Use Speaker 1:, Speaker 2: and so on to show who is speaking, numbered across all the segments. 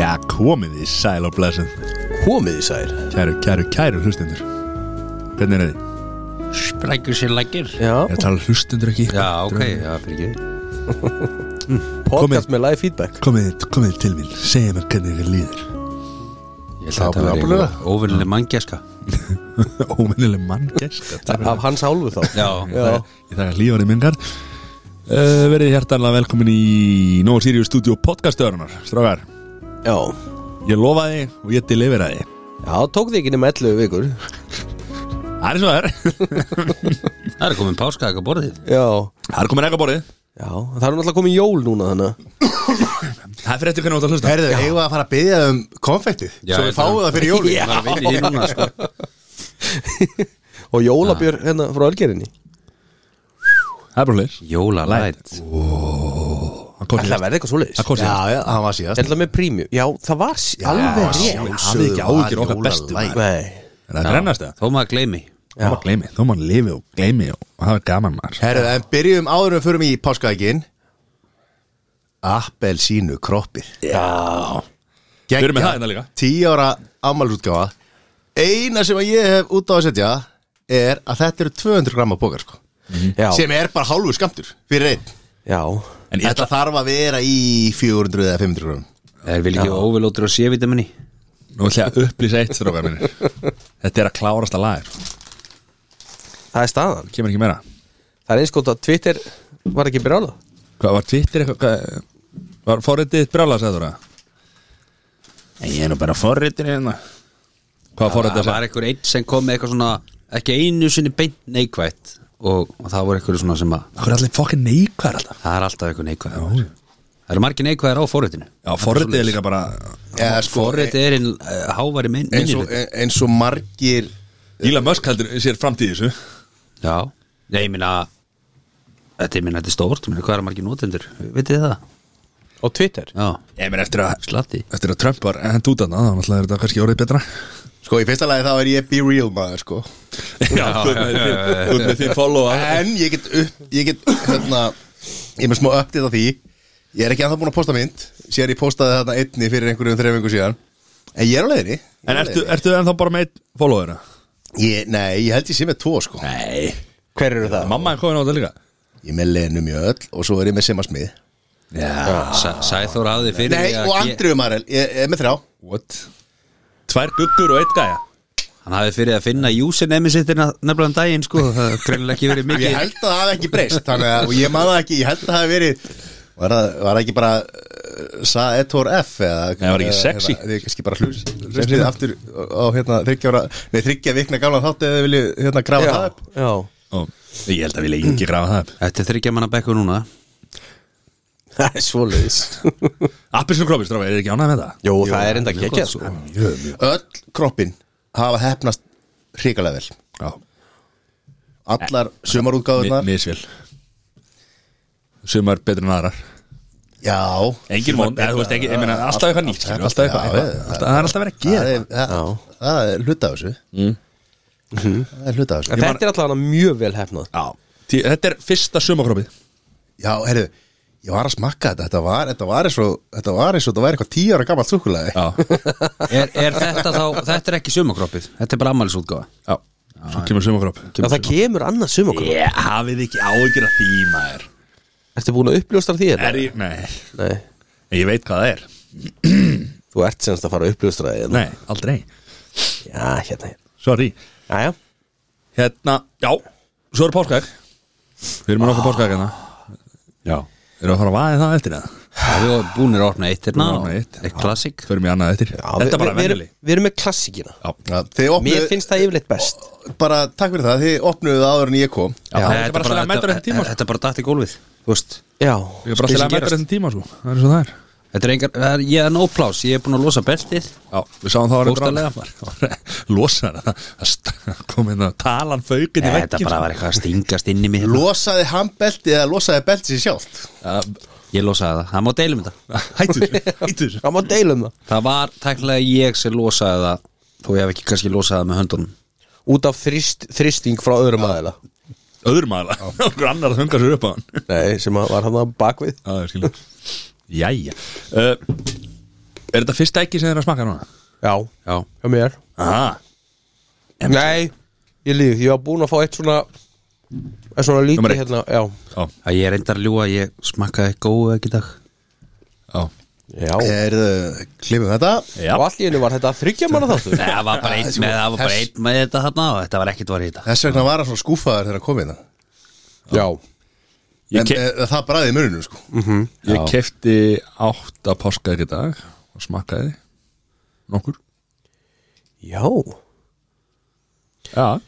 Speaker 1: Já, komið í sæl og blessin
Speaker 2: Komið í sær
Speaker 1: Kæru, kæru, kæru hlustendur Hvernig er þið?
Speaker 3: Sprækjur sér lækir
Speaker 2: Já,
Speaker 1: Ég tala hlustendur ekki
Speaker 3: Já, ok, já, fyrir ekki
Speaker 2: podcast með live feedback
Speaker 1: Komið, komið til mín, segja mér hvernig þið líður
Speaker 3: Ég held að þetta var
Speaker 2: Nákvæmlega.
Speaker 3: einhver óvinnileg manngjaska
Speaker 1: Óminnileg manngest
Speaker 2: Af hans hálfu þá
Speaker 3: Já,
Speaker 2: Já.
Speaker 1: Ég þakka hlífarið mingar uh, Verið hjartanlega velkomin í Nóa Sirius Studio podcastöðunar Strágar,
Speaker 2: Já,
Speaker 1: ég lofaði og ég deliveraði
Speaker 2: Já tók þið ekki nema 11 vikur
Speaker 1: Það er svo það er
Speaker 3: það er komin páskaðaka borðið
Speaker 2: Já,
Speaker 1: Það er komin ekki að borðið
Speaker 2: já Það er náttúrulega komið jól núna þannig
Speaker 1: Það er fyrir eftir hvernig þú ert að hlusta
Speaker 4: Herðu, eigum við að fara að byggja um konfektið
Speaker 3: Já,
Speaker 4: Svo
Speaker 3: ég
Speaker 4: við fáum
Speaker 3: þarf-
Speaker 4: það fyrir jóli
Speaker 3: Það er að vinna í því núna, sko
Speaker 2: Og jólabjör hérna frá Ölgerinni
Speaker 1: Það er bara hlutis
Speaker 3: Jólalæt
Speaker 1: Það kosti
Speaker 2: Ætla að verða eitthvað svoleiðis
Speaker 1: Það kosti
Speaker 4: Já, já, það var síðast
Speaker 2: Ætla Hérna með prímju Já, það var sí- alveg rétt
Speaker 1: rétt. Hafið ekki áhyggjur okkar bestu maður.
Speaker 2: Nei
Speaker 1: Það er brennast það
Speaker 3: Þó maður gleymi
Speaker 1: Þó maður gleymi, þó maður lifi og gleymi og hafa gaman maður
Speaker 4: Herðu, en byrjum áður en við förum í páskaðegin Appelsínu kroppið
Speaker 2: Já
Speaker 1: Við erum með það hérna líka
Speaker 4: Tíu ára ámælsútgáfa Eina sem að ég hef út á að setja er að þetta eru 200 gramma bókar sko.
Speaker 2: Já,
Speaker 4: sem er bara hálfu skamtur fyrir einn
Speaker 2: já
Speaker 1: En ég ætla
Speaker 4: Þetta þarf að vera í 400 eða 500 gram
Speaker 3: Það er vel ekki óvilóttur á sévitaminni
Speaker 1: Nú ætla ég að upplýsa eitt strókar minni Þetta er að klárast að lagar
Speaker 2: Það er staðan
Speaker 1: Kemur ekki meira
Speaker 2: Það er eins gott að Twitter var ekki brála
Speaker 1: Hvað var Twitter eitthvað hvað- Var forritið þitt brjála, sagði þú það? En ég er nú bara forritið hérna Hvað forritið
Speaker 3: Það
Speaker 1: það?
Speaker 3: var einhver einn sem kom með eitthvað svona ekki einu sinni beint neikvætt og, og það voru einhver svona sem að
Speaker 1: Hvað er allir fokkin neikvæðar alltaf?
Speaker 3: það er alltaf einhver neikvæð Það eru margir neikvæðar á forritinu
Speaker 1: Já, forritið er líka bara
Speaker 4: Eða, sko,
Speaker 3: Forritið er einn eh, háværi minn
Speaker 4: eins, og, eins og margir
Speaker 1: Íla Mösk heldur sér framtíð í þessu
Speaker 3: Já, Nei, ég minna Þetta er minna, þetta er stórt, ég meina, hvað er margir notendur Vitið þið það?
Speaker 2: Á Twitter
Speaker 3: Já,
Speaker 1: Ég meir eftir að
Speaker 3: slatti
Speaker 1: Eftir að Trump var hent út aðna Þannig að þetta kannski orðið betra
Speaker 4: sko, í fyrsta lagi þá er ég be real maður sko.
Speaker 1: Já, þú ert með þín- þú ert með þín followa
Speaker 4: en ég get upp, ég get hérna, ég er með smá uppdýtt á því ég er ekki anþá búin að posta mynd sér ég postaði þarna einni fyrir einhverjum þreifingu síðan en ég er á leiðinni Ég
Speaker 1: En
Speaker 4: er á
Speaker 1: ertu, ertu ennþá bara með einn follower? eða?
Speaker 4: leiðinni. ég, nei, ég held ég sé með tvo sko
Speaker 1: Nei
Speaker 2: Hver eru það?
Speaker 1: Mamma er komin á þetta líka
Speaker 4: ég er með Lenu Mjöll og svo er ég með Sema Smið
Speaker 1: Já
Speaker 3: Sa- Sæþór hafði fyrir
Speaker 4: nei,
Speaker 3: því að
Speaker 4: og
Speaker 3: ge-
Speaker 4: Andriðu Marel, ég, ég er með þrjá
Speaker 1: What? Tvær guggur og eitt gæja
Speaker 3: Hann hafði fyrir að finna username sitt nefnilega um daginn sko, það greinlega ekki verið
Speaker 4: ég
Speaker 3: mikið
Speaker 4: held að það hafi ekki breyst þannig að, og ég man það ekki, ég held að það hafi verið var það, var það ekki bara uh, Sa Etor F eða
Speaker 1: Nei, var ekki sexy?
Speaker 4: eða- þið kannski bara hlust hlustið aftur á hérna þryggjára nei þryggja vikna gamla þátt eða þið viljið hérna grafa það upp
Speaker 2: já
Speaker 1: og Ég held að við leiðum ekki grafa það upp
Speaker 3: Þetta er þryggja manna bekku núna
Speaker 2: Það er svoleiðis
Speaker 1: Appelsinu kroppi, stráfi, er ekki ánægð með það?
Speaker 2: Jó, það er enda
Speaker 3: mjög
Speaker 2: ekki
Speaker 3: gott,
Speaker 2: sko
Speaker 4: öll kroppin hafa hefnast hrikalega vel
Speaker 1: Já,
Speaker 4: allar sumarútgáðurnar
Speaker 1: misvel Sumar betur en aðrar
Speaker 4: já
Speaker 1: Engin món, eða þú veist ekki, ég meina alltaf eitthvað nýtt skilur, Alltaf eitthvað,
Speaker 4: Já,
Speaker 1: eitthvað,
Speaker 4: já,
Speaker 1: alltaf- það er alltaf verið að
Speaker 4: það
Speaker 1: gera
Speaker 4: er, það, það er hluta af þessu það er hluta af
Speaker 2: En
Speaker 4: þessu
Speaker 2: þetta er allavega mjög vel hefnað
Speaker 1: Já, Því- þetta er fyrsta sumakroppið
Speaker 4: já, heyrðu ég var að smakka þetta, þetta var, þetta var eins og þetta var eins og þetta var eitthvað tíu ára gammalt súkulega
Speaker 1: Já,
Speaker 3: Er, er þetta þá, þetta er ekki sumakroppið Þetta er bara ammælisútgáfa
Speaker 1: já, svo kemur sumakropp
Speaker 2: Já, það kemur annað sumakon
Speaker 1: Ég hafið ekki áhyggjur af því, maður
Speaker 2: Ertu búin að uppljóstra því þetta?
Speaker 1: Er ég, nei,
Speaker 2: Nei,
Speaker 1: En ég veit hvað það er
Speaker 2: þú ert semst að fara að uppljóstra því hérna.
Speaker 1: Nei, aldrei
Speaker 2: Já, hérna
Speaker 1: Sorry
Speaker 2: Jæja,
Speaker 1: Hérna, já, svo eru páskæk Við erum með nokkuð páskæk hérna
Speaker 3: Já
Speaker 1: Erum við að fara að vaðið það eftir það?
Speaker 3: Við erum búinir að opna eitt hérna
Speaker 1: Búnir að
Speaker 3: og
Speaker 1: opna eitt.
Speaker 3: Eitt klassik
Speaker 1: Förum í annað eftir
Speaker 2: já
Speaker 1: Þetta er
Speaker 2: við-
Speaker 1: bara
Speaker 2: við- við erum-
Speaker 1: venjuli
Speaker 2: Við erum með klassíkina
Speaker 4: Já, þið
Speaker 2: Mér
Speaker 4: opnuðu,
Speaker 2: finnst það yfirleitt best
Speaker 4: bara takk fyrir það, þið opnuðu það áður en ég kom
Speaker 1: Já, það er bara slega mættur þessum tíma sko.
Speaker 3: Þetta er bara dætt í gólfið Þú veist
Speaker 2: Já
Speaker 1: Ég er bara
Speaker 3: Spil
Speaker 1: slega
Speaker 3: sem
Speaker 1: mættur
Speaker 3: gerast.
Speaker 1: þessum tíma sko. Það er svo það er
Speaker 3: Þetta er engar, það er- ég er no plás, ég er búin að losa beltið
Speaker 1: Já, við sáum það var
Speaker 3: Bókstaflega.
Speaker 1: einhver alveg Losar það- það st- kom inn að talan faukinn í sko.
Speaker 3: Þetta
Speaker 1: vekkinn
Speaker 3: bara var eitthvað að stingast inn í mig hérna.
Speaker 4: losaði handbeltið eða losaði beltið sér sjálft
Speaker 1: Já,
Speaker 3: Ég losaði það, það má deilum þetta
Speaker 1: Hættur, hættur
Speaker 2: Það má deila um það
Speaker 3: Það var tæklega ég sem losaði það Þó ég hef ekki kannski losaði það með höndunum
Speaker 2: Út af þrist, þristing frá öðrum aðeila
Speaker 1: Öðrum aðla, okkur annar að hunga sér upp á hann
Speaker 2: Nei, sem að var hann að bakvið
Speaker 1: Já, ég skilja Jæja uh, Er þetta fyrsta ekki sem þeir eru að smakka núna?
Speaker 2: Já,
Speaker 3: Já,
Speaker 2: hjá mér
Speaker 1: Aha,
Speaker 2: Nei, ég líf, ég var búin að fá eitt svona eitt svona
Speaker 1: Númer
Speaker 2: lítið
Speaker 1: eitt.
Speaker 2: hérna, já
Speaker 1: já,
Speaker 3: að ég reyndar að ljúga Ég smakkaði góðu ekki í dag
Speaker 1: já
Speaker 2: Já,
Speaker 4: Er það, klifum þetta
Speaker 1: Já,
Speaker 2: og allt í einu var þetta þryggja manna þáttur
Speaker 3: Nei, það var bara einn með, það var bara einn með þetta þarna og þetta var ekkert var í þetta
Speaker 4: Þess vegna var hann svona skúfaður þegar hann kom hérna
Speaker 2: Já,
Speaker 1: ég,
Speaker 4: En
Speaker 1: ke Mm.
Speaker 4: e, það bræði í mununum sko
Speaker 1: ég kefti átta páska ekki dag og smakkaði nokkur
Speaker 2: já
Speaker 1: Já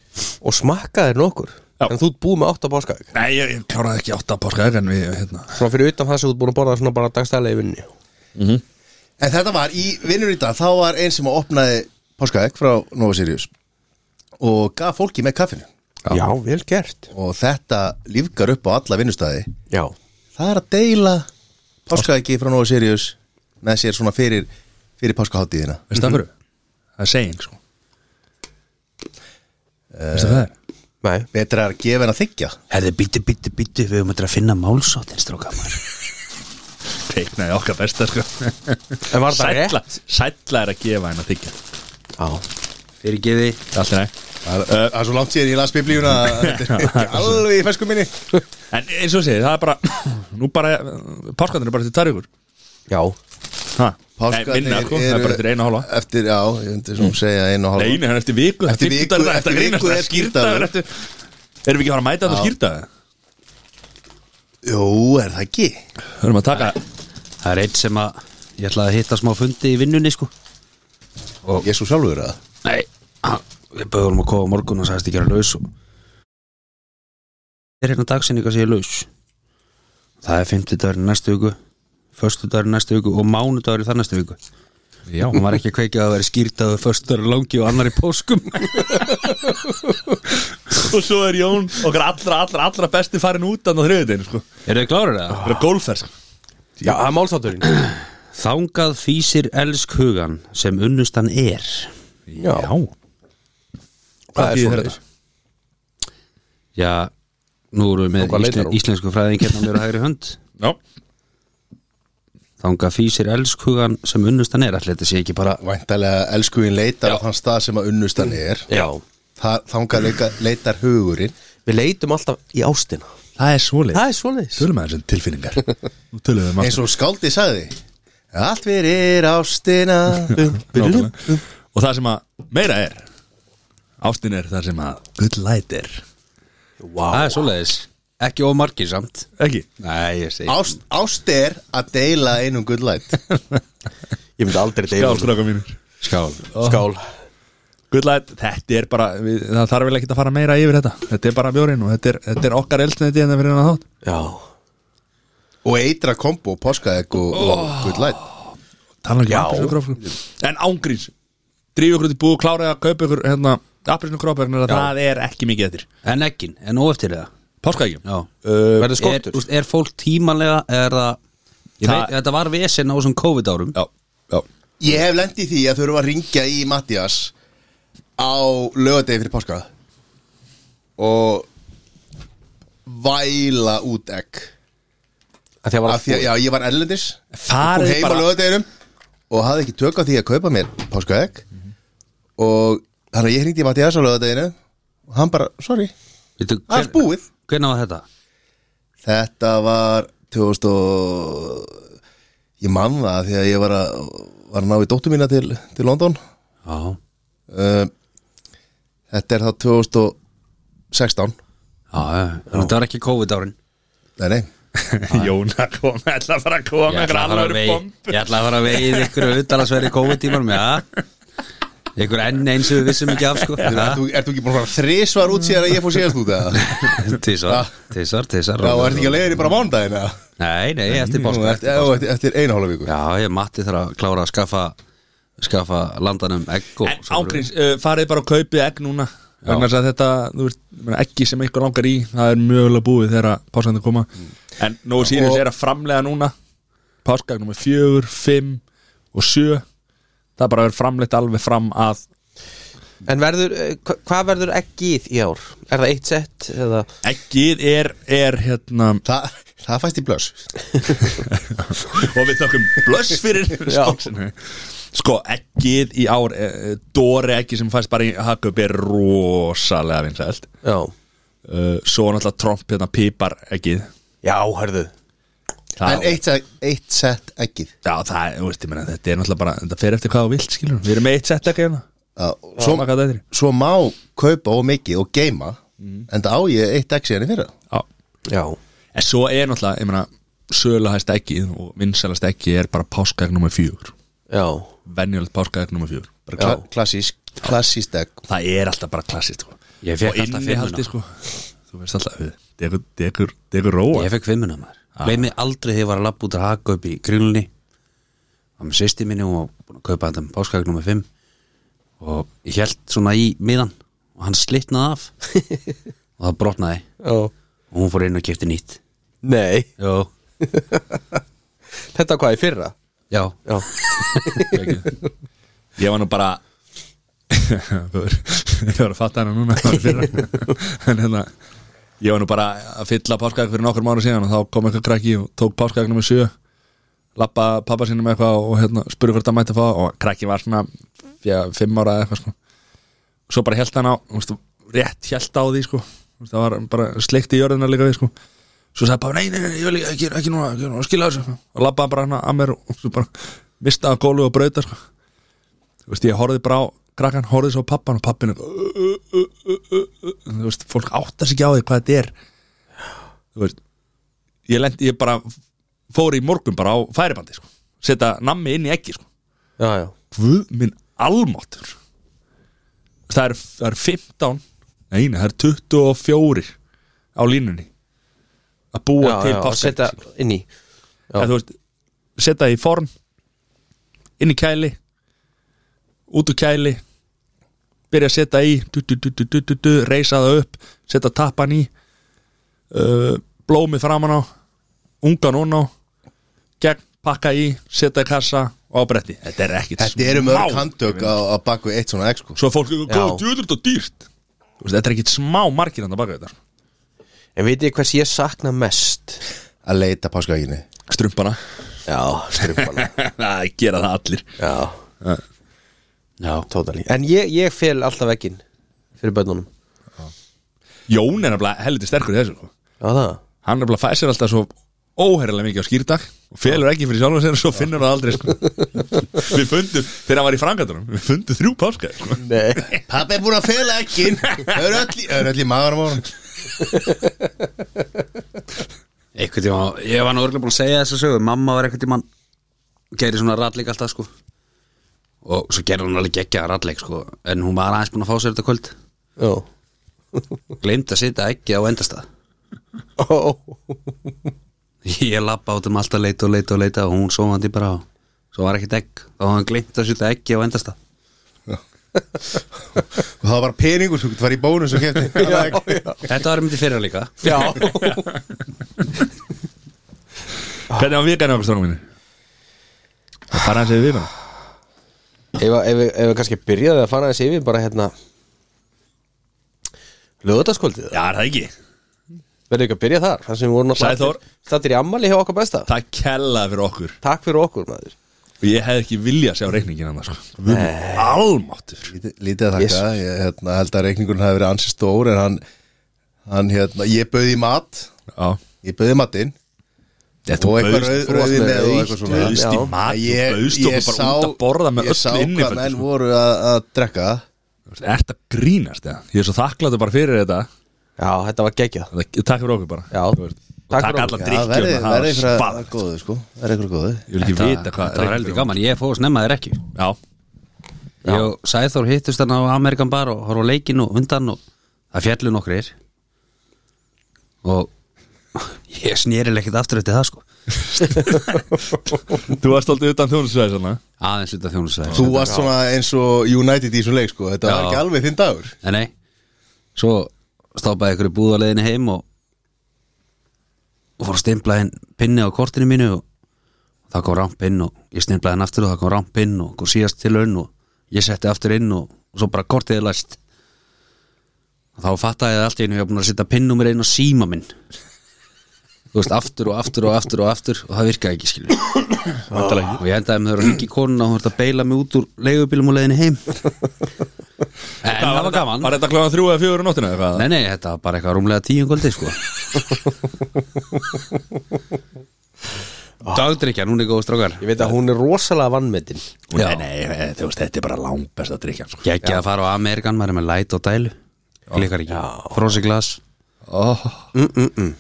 Speaker 2: Og smakkaðir nokkur
Speaker 1: Já.
Speaker 2: En þú ert búið með átta páskaðeg
Speaker 1: Nei, ég, ég kláraði ekki átta páska ekki en við, hérna
Speaker 2: Svona fyrir utan það sem þú ert búin að borða svona bara dagstælega í vinnu
Speaker 4: En þetta var í vinnur í dag Þá var einn sem opnaði páskaegg frá Nova Sirius Og gaf fólki með kaffinu
Speaker 2: já. já, vel gert
Speaker 4: Og þetta lífgar upp á alla vinnustæði
Speaker 2: Já,
Speaker 4: Það er að deila páskaeggi frá Nova Sirius Með sér svona fyrir, fyrir páskaháttíðina
Speaker 1: Veist það fyrir? Það er seging sko Veist það það er?
Speaker 2: nei,
Speaker 4: Betra er að gefa en að þykja
Speaker 3: Herði, bíti, bíti, bíti, við höfum að finna málsáttin stróka maður
Speaker 1: Teiknaði okkar besta sko
Speaker 2: en var þetta rétt?
Speaker 1: Sælla, sælla er að gefa henn að þykja
Speaker 2: Já,
Speaker 3: Fyrir geði
Speaker 1: Allt er nægt
Speaker 4: Það er- eh, það er svo langt síðan ég las biblíuna að Þetta er ekki alveg í fesku minni
Speaker 1: En eins og segið, það er bara Nú bara, páskandir er bara til tæri ykkur
Speaker 2: já,
Speaker 1: Ha? Nei,
Speaker 4: Páskarnir
Speaker 1: minna, sko, það er
Speaker 4: eru-
Speaker 1: bara eftir eina hálfa
Speaker 4: Eftir, já, ég myndi svona segja einu og hálfa
Speaker 1: Nei, nei, það er eftir viku það er
Speaker 4: Eftir viku-
Speaker 1: 50 dagar, Eftir viku Það er skýrtaður
Speaker 4: eftir viku er skírdagur.
Speaker 1: eftir Erum við ekki að fara að mæta þetta skýrtaður?
Speaker 4: Jú, er það ekki?
Speaker 1: Við erum að taka
Speaker 3: Það er einn sem að ég ætlaði að hitta smá fundi í vinnunni sko
Speaker 4: Ég er svo sjálfur að
Speaker 3: Nei, hann- við böðum að kofa morgun og sagðist ekki að laus og Það er hérna dagsinninga sem ég er laus Það er 50 dagur næstu viku Föstu dagur næstu viku og mánudagur í þar næstu viku
Speaker 1: Já,
Speaker 3: Hún var ekki að kveikja að það veri skýrtaðu Föstu dagur langi og annar í póskum
Speaker 1: og svo er Jón Okkar allra, allra, allra besti farin út Þannig á þriðutin, sko
Speaker 3: Eru þið klárir það?
Speaker 1: Það er golfer, sko
Speaker 2: já, það er málsátturinn
Speaker 3: Þangað fýsir elsk hugan sem unnustan er
Speaker 2: Já,
Speaker 1: Hvað
Speaker 2: er
Speaker 1: þýðir
Speaker 2: svoleiðis.
Speaker 1: þetta?
Speaker 3: Já, nú erum við
Speaker 2: Og hvað
Speaker 3: með
Speaker 2: leitar
Speaker 3: íslen,
Speaker 2: hún?
Speaker 3: íslensku fræðin hérna mér á hægri hönd
Speaker 1: Já
Speaker 3: Þangað fýsir elsk hugan sem unnustan er Ætli þetta sé ekki bara
Speaker 4: Væntalega elskuðin leitar á þann stað sem að unnustan er
Speaker 2: já
Speaker 4: Það þangað leika, leitar hugurinn
Speaker 2: Við leitum alltaf í ástina
Speaker 1: Það er svoleið
Speaker 2: Það er svoleiðis
Speaker 1: Tölum að þessum tilfinningar Nú tölum við um
Speaker 4: Eins og skáldið sagði Allt fyrir ástina
Speaker 1: Nákvæmlega. Og það sem að meira er Ástin er það sem að Good light er
Speaker 3: Það er svoleiðis, ekki ómargir samt
Speaker 1: Ekki?
Speaker 3: Nei, ég segi
Speaker 4: Ást, ást er að deila einum good light
Speaker 2: Ég myndi aldrei
Speaker 1: Já,
Speaker 2: deila um
Speaker 1: stráka mínir
Speaker 3: Skál
Speaker 2: Skál
Speaker 1: Good light, þetta er bara, við, það þarf vel ekki að fara meira yfir þetta Þetta er bara bjórin og þetta er, þetta er okkar eldsneiti en það fyrir hann að þátt
Speaker 2: Já
Speaker 4: Og eitra kombo, páskaegg og,
Speaker 1: Oh.
Speaker 4: og good light
Speaker 1: Tala ekki
Speaker 2: Já.
Speaker 1: um appelsinu En ángrís, drífu ykkur út í búð, klárið að kaupa ykkur hérna, appelsinu krópa Það er ekki mikið eftir
Speaker 3: En ekkin, en óeftir það
Speaker 1: Páskaægjum
Speaker 3: Já
Speaker 1: uh,
Speaker 2: Verður
Speaker 3: er,
Speaker 2: skortur
Speaker 3: úst, er fólk tímanlega, er það Ég
Speaker 1: Það-
Speaker 3: veit, þetta var vesen á þessum COVID-árum
Speaker 1: Já, já
Speaker 4: Ég hef lent í því að þurfa að ringja í Mattias á lögadegi fyrir páska og væla út egg
Speaker 2: Af Því að var
Speaker 4: af því að já, ég var erlendis og
Speaker 1: Farið
Speaker 4: heim á
Speaker 1: bara
Speaker 4: lögadeginum og hafði ekki tök á því að kaupa mér páskaegg
Speaker 1: Mhm.
Speaker 4: og þannig að ég hringdi í Mattias á lögadeginu og hann bara, sorry,
Speaker 3: Veitu,
Speaker 4: allt búið
Speaker 3: Hvernig var þetta?
Speaker 4: Þetta var 2000 og ég man það af því að ég var að, var að ná í dóttu mína til, til London
Speaker 3: Já,
Speaker 4: Uh, Þetta er þá 2016
Speaker 3: já, já, þetta var ekki COVID-árin
Speaker 4: Nei, nei
Speaker 1: Jóna kom, ætla að fara að koma
Speaker 3: Ég
Speaker 1: með
Speaker 3: ætla að fara að
Speaker 1: alvöru
Speaker 3: vei-
Speaker 1: bomb.
Speaker 3: ég ætla að fara að veið ykkur utalansverði COVID-tímanum, já Ykkur enn eins og við vissum ekki af sko
Speaker 4: Ert þú, ert þú ekki búin að fara þrisvar út síðan að ég fór síðast út eða?
Speaker 3: Tísar, tísar, tísar
Speaker 4: Já, ert ekki að leiðin bara á mánudaginn eða?
Speaker 3: Nei, nei, eftir
Speaker 4: Nú,
Speaker 3: páska
Speaker 4: Eftir, já, eftir, eftir einu hálfa viku
Speaker 3: Já, ég matti þarf að klára að skaffa skaffa landanum egg og
Speaker 1: En
Speaker 3: svo verður-
Speaker 1: eh, ángrís, uh, farið bara að kaupið egg núna vegna þess að þetta, þú veist, ég meina, ekki sem eitthvað langar í, það er mjögulega búið þegar að páskandi koma en Nói Sirius
Speaker 2: Og-
Speaker 1: er að framlega núna páskagnum er fjögur, fimm og sjö það er bara að vera framleitt alveg fram að
Speaker 2: En verður, eh, hva- hvað verður eggið í ár? Er það eitt sett eða
Speaker 1: ekkið er, er hérna
Speaker 4: Þa, það fæst í blöss
Speaker 1: og við þökkum blöss fyrir spóksinu sko, ekkið í ár e, e, dóri ekki sem fæst bara í hakup er rosalega vinsælt
Speaker 2: Já,
Speaker 1: uh, svo náttúrulega tromp hérna pípar ekkið
Speaker 2: já, hörðu
Speaker 4: En eitt, se- eitt sett ekkið
Speaker 1: já, það, er, þú veist, ég meina, þetta er náttúrulega bara þetta fer eftir hvað þú vilt, skilur við erum með eitt sett ekki hérna
Speaker 4: Já,
Speaker 1: svo
Speaker 4: svo,
Speaker 1: makað þetta er
Speaker 4: svo má kaupa og mikið og geima En það á ég eitt ekk síðan í fyrra
Speaker 1: já
Speaker 2: Já,
Speaker 1: en svo er náttúrulega, ég meina söluhæst ekkið og vinsælast ekkið er bara páskaegg nummer fjögur
Speaker 2: já,
Speaker 1: venjulegt páskaegg nummer fjögur
Speaker 4: Bara kla, klassísk, klassísk ekk
Speaker 1: það er alltaf bara klassist sko.
Speaker 3: Ég fékk
Speaker 1: og
Speaker 3: alltaf
Speaker 1: innihaldi sko þú veist alltaf, degur, degur, degur róa
Speaker 3: Ég fekk fimmuna maður Gleimi aldrei þegar ég var að lappa út að haka upp í grillunni Það með sýsti minni og var búin að kaupa þetta um páskaknum með fimm og ég held svona í miðan og hann slitnaði af og það brotnaði
Speaker 2: já
Speaker 3: og hún fór inn og kefti nýtt
Speaker 2: Nei,
Speaker 3: Já,
Speaker 2: þetta hvað í fyrra?
Speaker 3: já,
Speaker 2: Já,
Speaker 1: Ekki. ég var nú bara ég var að fatta hana núna það var í fyrra. en hérna ég var nú bara að fylla páskaðið fyrir nokkur mánu síðan og þá kom eitthvað krakki og tók páskaðið nummer 7 lappa pappa sínum með eitthvað og hérna, spurði hvort það mætti að fá og krakki var svona ja, fimm ára eða eitthvað sko. svo bara held hann á þú veist, rétt held á því sko. Þú veist, það var bara sleikt í jörðina líka við sko. svo sagði pappa, nei, nei, nei, ég vil ekki, ekki, ekki núna, ekki núna, skila þessu og lappaði bara hana að mér og svo bara mistaði gólu og brauta sko. þú veist, ég horfði bara á krakkan, horfði svo á pappan og pappinu uh, þú veist, fólk áttar sig ekki á því hvað þetta er þú veist ég, lent, ég bara fór í morgun bara á færibandi sko. setja nammi inn í ekki sko.
Speaker 2: já, já
Speaker 1: Guð minn almáttur það er, það er 15 neina, það er 24 á línunni að búa
Speaker 2: Já,
Speaker 1: til
Speaker 2: já, og
Speaker 1: páskaegg,
Speaker 2: setja
Speaker 1: sko.
Speaker 2: inn í Já.
Speaker 1: en þú veist setja það í form inn í kæli út úr kæli byrja að setja í du, du, du, du, du, du, du, reisa það upp setja tappan í uh, blómið framan á ungan unn á gegn pakka í, setja í kassa og á bretti, þetta er ekkit
Speaker 4: Þetta eru mörg handtök á, á baku eitt svona ekk sko
Speaker 1: svo er fólk, góð,
Speaker 2: Já.
Speaker 1: djúður þetta er dýrt Þú veist, þetta er ekkit smá margir hann að baka þetta
Speaker 2: En vitið þið hvers ég sakna mest?
Speaker 4: Að leita páskaeginni
Speaker 1: strumpana,
Speaker 2: Já, strumpana
Speaker 1: það gera það allir
Speaker 2: Já,
Speaker 3: já
Speaker 2: totally En ég, ég fel alltaf ekkin fyrir bönnunum
Speaker 1: Jón er nefnilega helviti sterkur í þessu sko.
Speaker 2: Já, það
Speaker 1: hann nefnilega fæ sér alltaf svo óherrilega mikið á skýrdag og felur ekki fyrir sjálfur sér og svo finnur það aldrei sko. við fundum, þegar hann var í frangatunum við fundum þrjú páska sko.
Speaker 2: Nei
Speaker 4: Pappi er búin að fela ekkin Það eru öll, í- þau eru öll í maður á morgun
Speaker 3: Eitthvað tíma, ég var nú örgulega búin að segja þess að sögu Mamma var eitthvað tíma Gerið svona ratleik alltaf sko Og svo gerði hún alveg geggjaða ratleik sko En hún var aðeins búin að fá sér þetta kvöld
Speaker 2: Já
Speaker 3: Gleimd að setja ekki á endastað
Speaker 2: Ó,
Speaker 3: Ég lappa át um allt að leita og leita og leita og hún sofandi bara á Svo var ekkert egg Þá hafði hann gleymt að setja ekki á endasta
Speaker 4: Og það var bara peningur, þú getur farið í bónus og kefti
Speaker 3: Þetta var myndi fyrra líka
Speaker 2: Já
Speaker 1: hvernig var vikan okkur strákum minni það fara hans yfir vikan
Speaker 2: Ef að- ef við ef við kannski byrjaði að fara þessi yfir bara hérna Lögutaskvöldið
Speaker 1: já, er það ekki,
Speaker 2: Verður ekki að byrja þar Þar sem við vorum
Speaker 1: Sæþór.
Speaker 2: allir Stattir í ammali hjá okkar besta
Speaker 1: það kellaði fyrir okkur
Speaker 2: Takk fyrir okkur maður
Speaker 1: og ég hefði ekki viljað sjá reikningin hann sko. Við erum almáttur
Speaker 4: Lítið, lítið að þakka, ég hérna, held að reikningurinn hafi verið ansið stór en hann, hann hérna, ég bauði í mat
Speaker 1: já
Speaker 4: ég bauði matinn
Speaker 1: Þetta
Speaker 4: og eitthvað rauð, rauði með og eitthvað svona
Speaker 1: Bauðst í
Speaker 2: Já.
Speaker 1: mat
Speaker 4: Ég-
Speaker 1: og bauðst okkur
Speaker 4: ég
Speaker 1: bara
Speaker 4: sá-
Speaker 1: út að borða með
Speaker 4: ég sá
Speaker 1: öllu
Speaker 4: hvað
Speaker 1: inniföldu
Speaker 4: menn
Speaker 1: sko.
Speaker 4: voru að, að drekka
Speaker 1: Ert að grínast eða? Ég er svo þakkláttur bara fyrir þetta
Speaker 2: Já, þetta var geggjað
Speaker 1: Þetta- Takk fyrir okkur bara
Speaker 2: Já,
Speaker 1: Þú veist, Og
Speaker 2: takk
Speaker 1: takk
Speaker 2: fyrir
Speaker 1: allan
Speaker 2: okkur.
Speaker 1: drikkjum
Speaker 4: Já, verði
Speaker 1: og það
Speaker 4: verði
Speaker 1: var
Speaker 4: ykkur
Speaker 1: spart.
Speaker 4: góðu sko verði ykkur góðu
Speaker 1: Ég vil ekki vita hvað
Speaker 3: Þetta var heldur gaman, ég fóð að snemma þér ekki
Speaker 1: Já,
Speaker 3: Ég og Sæþór hittust hann á Amerikan bar og horf á leikin og undan og það fjallu nokkrir og ég snýril ekkert aftur eftir það sko
Speaker 1: þú varst aldrei utan þjónusvæði svona
Speaker 3: aðeins út af þjónusvæði
Speaker 4: Þú varst svona eins og United í þessum leik sko þetta var
Speaker 3: Já.
Speaker 4: ekki alveg þinn dagur
Speaker 3: Nei, nei, svo stápaði ykkur í búðarleginni heim og og fór að stimpla inn pinni á kortinu mínu og það kom ramp inn og ég stimplaði hann aftur og það kom ramp inn og kom síðast til önn og ég setti aftur inn og, og svo bara kortið er læst og þá fattaði ég allt í einu ég var búin að setja pinnumir inn á síma minn þú veist, aftur og aftur og aftur og aftur og það virkaði ekki skilur og ég endaði með þau að ringi konuna og þú ert að beila mig út úr leigubílum og leiðinni heim en það var gaman
Speaker 1: Var þetta klokkan þrjú eða fjögur á nóttina eða hvað?
Speaker 3: Nei, nei, þetta var bara eitthvað rúmlega tíu um kvöldi, sko Dagdrykja, núna er góð strákar
Speaker 2: Ég veit að hún er rosalega vannmetin
Speaker 3: Já.
Speaker 1: Nei, nei, þú veist, þetta er bara langbest að drikja sko.
Speaker 3: Ég ekki að fara á Amerikan, maður er með læt og dælu Klikkar ekki, frósiglas
Speaker 1: oh.
Speaker 2: Mm,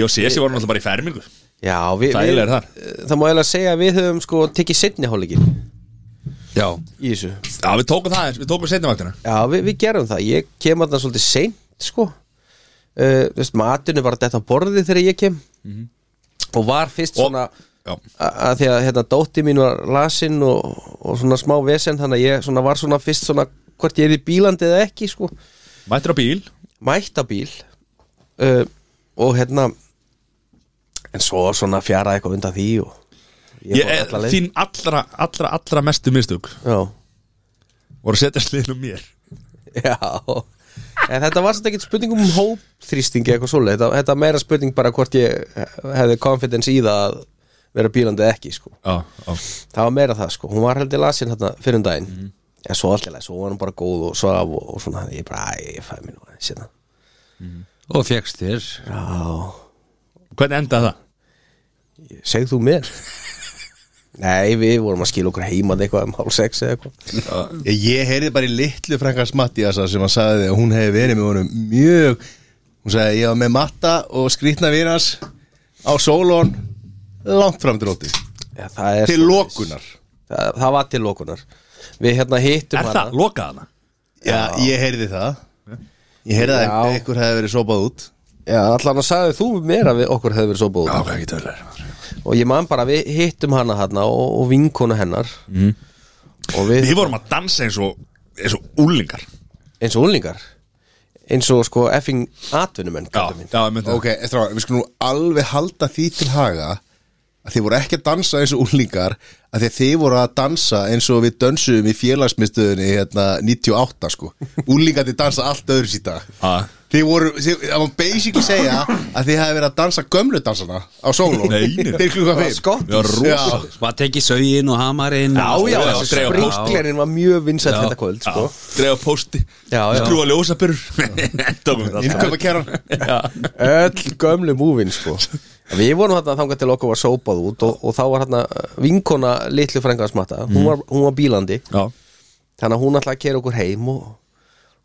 Speaker 1: Ég og Sessi voru náttúrulega bara í fermingu
Speaker 2: Já, við,
Speaker 1: Það
Speaker 2: við,
Speaker 1: eiginlega er þar.
Speaker 2: það má eiginlega segja að við höfum sko tekið setni hálfleikin
Speaker 3: Já,
Speaker 2: í þessu
Speaker 1: Já, við tókum það eins, við tókum setnivaktina
Speaker 2: Já, við, við gerum það, ég kem að það svolítið seint sko uh, veist, matinu var þetta borðið þegar ég kem og var fyrst
Speaker 1: Mhm. Og-
Speaker 2: svona
Speaker 1: Já.
Speaker 2: a- að því að hérna, dótti mín var lasin og, og svona smá vesen þannig að ég svona var svona fyrst svona hvort ég er í bílandi eða ekki sko
Speaker 1: Mættir á bíl
Speaker 2: mætt á bíl uh, og hérna en svo svona fjaraði eitthvað undan því og
Speaker 1: ég,
Speaker 2: fór
Speaker 1: ég,
Speaker 2: alla leið.
Speaker 1: Þín allra, allra, allra mestu mistug
Speaker 2: Já,
Speaker 1: voru að setja sliðin um mér
Speaker 2: já En þetta var svolítið ekkert spurning um hópþrýstingi eitthvað svoleið, þetta, þetta er meira spurning bara hvort ég hefði confidence í það að vera bílandi eða ekki sko
Speaker 1: Já, já
Speaker 2: það var meira það sko, hún var heldur lasin hérna fyrir um daginn, en svo alltaf leið, svo var hún bara góð og svaf og, og svona ég bara, æ, ég fæði mér nú aðeins hérna
Speaker 3: og fegst þér
Speaker 2: Já,
Speaker 1: Hvernig endaði það?
Speaker 2: segð þú mér Nei, við vorum að skila okkur heimað eitthvað um hálf sex eða eitthvað
Speaker 4: Ég, ég heyrði bara í litlu frankars Mattiasa sem að sagði að hún hefði verið með honum mjög Hún sagði ég var með matta og skrýtna vinas á sólón langt fram til róti
Speaker 2: Já, það, er
Speaker 4: Til
Speaker 2: svoleiðis.
Speaker 4: lokunar
Speaker 2: það, það var til lokunar Við hérna hittum
Speaker 1: Er það? Lokaði hana?
Speaker 4: Já, ég heyrði það Ég heyrði
Speaker 2: Já.
Speaker 4: að einhver hefði verið sopað út
Speaker 2: Já, allan að sagði þú mér að við, okkur hefði verið svo búið
Speaker 1: hvað ekki törlega
Speaker 2: Og ég man bara, við hittum hana hérna og, og vinkona hennar mm. Og við
Speaker 1: Við vorum að dansa eins og, eins og úlingar
Speaker 2: eins og úlingar eins og sko effing atvinnumenn kallar mín.
Speaker 1: já, myndi
Speaker 4: Ok, strá, við skulum nú alveg halda því til haga að þið voru ekki að dansa eins og úlingar að því að þið voru að dansa eins og við dönsuðum í félagsmyndstöðunni hérna 98 sko úlingandi dansa allt öðru síta
Speaker 1: Ha.
Speaker 4: þið voru, þið, það var basically segja að þið hafi verið að dansa gömlu dansana á
Speaker 1: Nei,
Speaker 4: sóló
Speaker 1: nei.
Speaker 4: til klukka
Speaker 2: Það var
Speaker 4: 5
Speaker 2: skott.
Speaker 1: Já, rosa.
Speaker 4: Já.
Speaker 3: Maður tekið sögin og hamarinn
Speaker 1: Já,
Speaker 2: Já, já,
Speaker 1: Já,
Speaker 2: þessi
Speaker 1: já,
Speaker 2: sprinklerinn var mjög vinsætt
Speaker 3: Já.
Speaker 2: þetta kvöld sko.
Speaker 1: Drefa pósti
Speaker 2: Já, já.
Speaker 1: Skrúa ljósabyrur Tókum þetta allt.
Speaker 4: innkaupa kæran
Speaker 2: Öll gömlu múvin sko. Við vorum hérna þangað til okkur var sópað út og, og þá var hérna vinkona litlu frængaðsmatta, hún, var, hún var bílandi
Speaker 1: Já
Speaker 2: þannig að hún ætlaði að kera okkur heim og,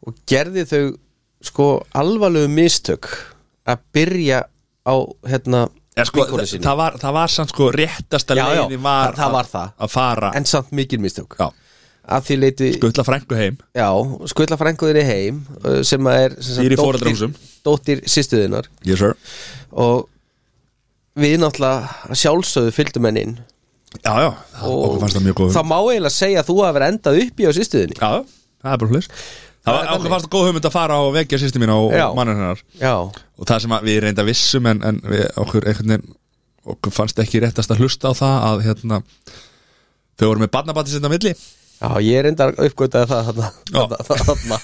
Speaker 2: og gerði þau sko alvarlegu mistök að byrja á hérna
Speaker 1: En sko,
Speaker 2: vinkonu sinni.
Speaker 1: það var, það var samt sko réttasta
Speaker 2: Já, já,
Speaker 1: leiðin var
Speaker 2: það- það var
Speaker 1: að-
Speaker 2: það.
Speaker 1: Að fara
Speaker 2: en samt mikil mistök
Speaker 1: Já.
Speaker 2: að því leiti
Speaker 1: Guðla frængu heim
Speaker 2: Já, skvilla frænguðinni heim uh, sem að er sem
Speaker 1: Býr
Speaker 2: sagt
Speaker 1: í
Speaker 2: dóttir-
Speaker 1: foreldrahúsum.
Speaker 2: Dóttir sýstuðinnar
Speaker 1: Yes sir
Speaker 2: og við náttúrulega að sjálfsögðu fylgdum henni inn
Speaker 1: Já, já, það, Ah, okkur fannst það mjög góð
Speaker 2: Það má eiginlega segja að þú hafi verið endað upp í á sýstuðinni
Speaker 1: Já, það er bara hlust Það var okkur fannst góð hugmynd að fara og vekja sýsti mín og
Speaker 2: Já.
Speaker 1: mannir hennar
Speaker 2: Já,
Speaker 1: og það sem að við reynda vissum en, en við, okkur einhvern veginn okkur fannst ekki réttast að hlusta á það að hérna þau voru með barnabati sinna milli
Speaker 2: já ég er endað uppgötaði það þarna,
Speaker 1: Já.
Speaker 2: þarna, þarna.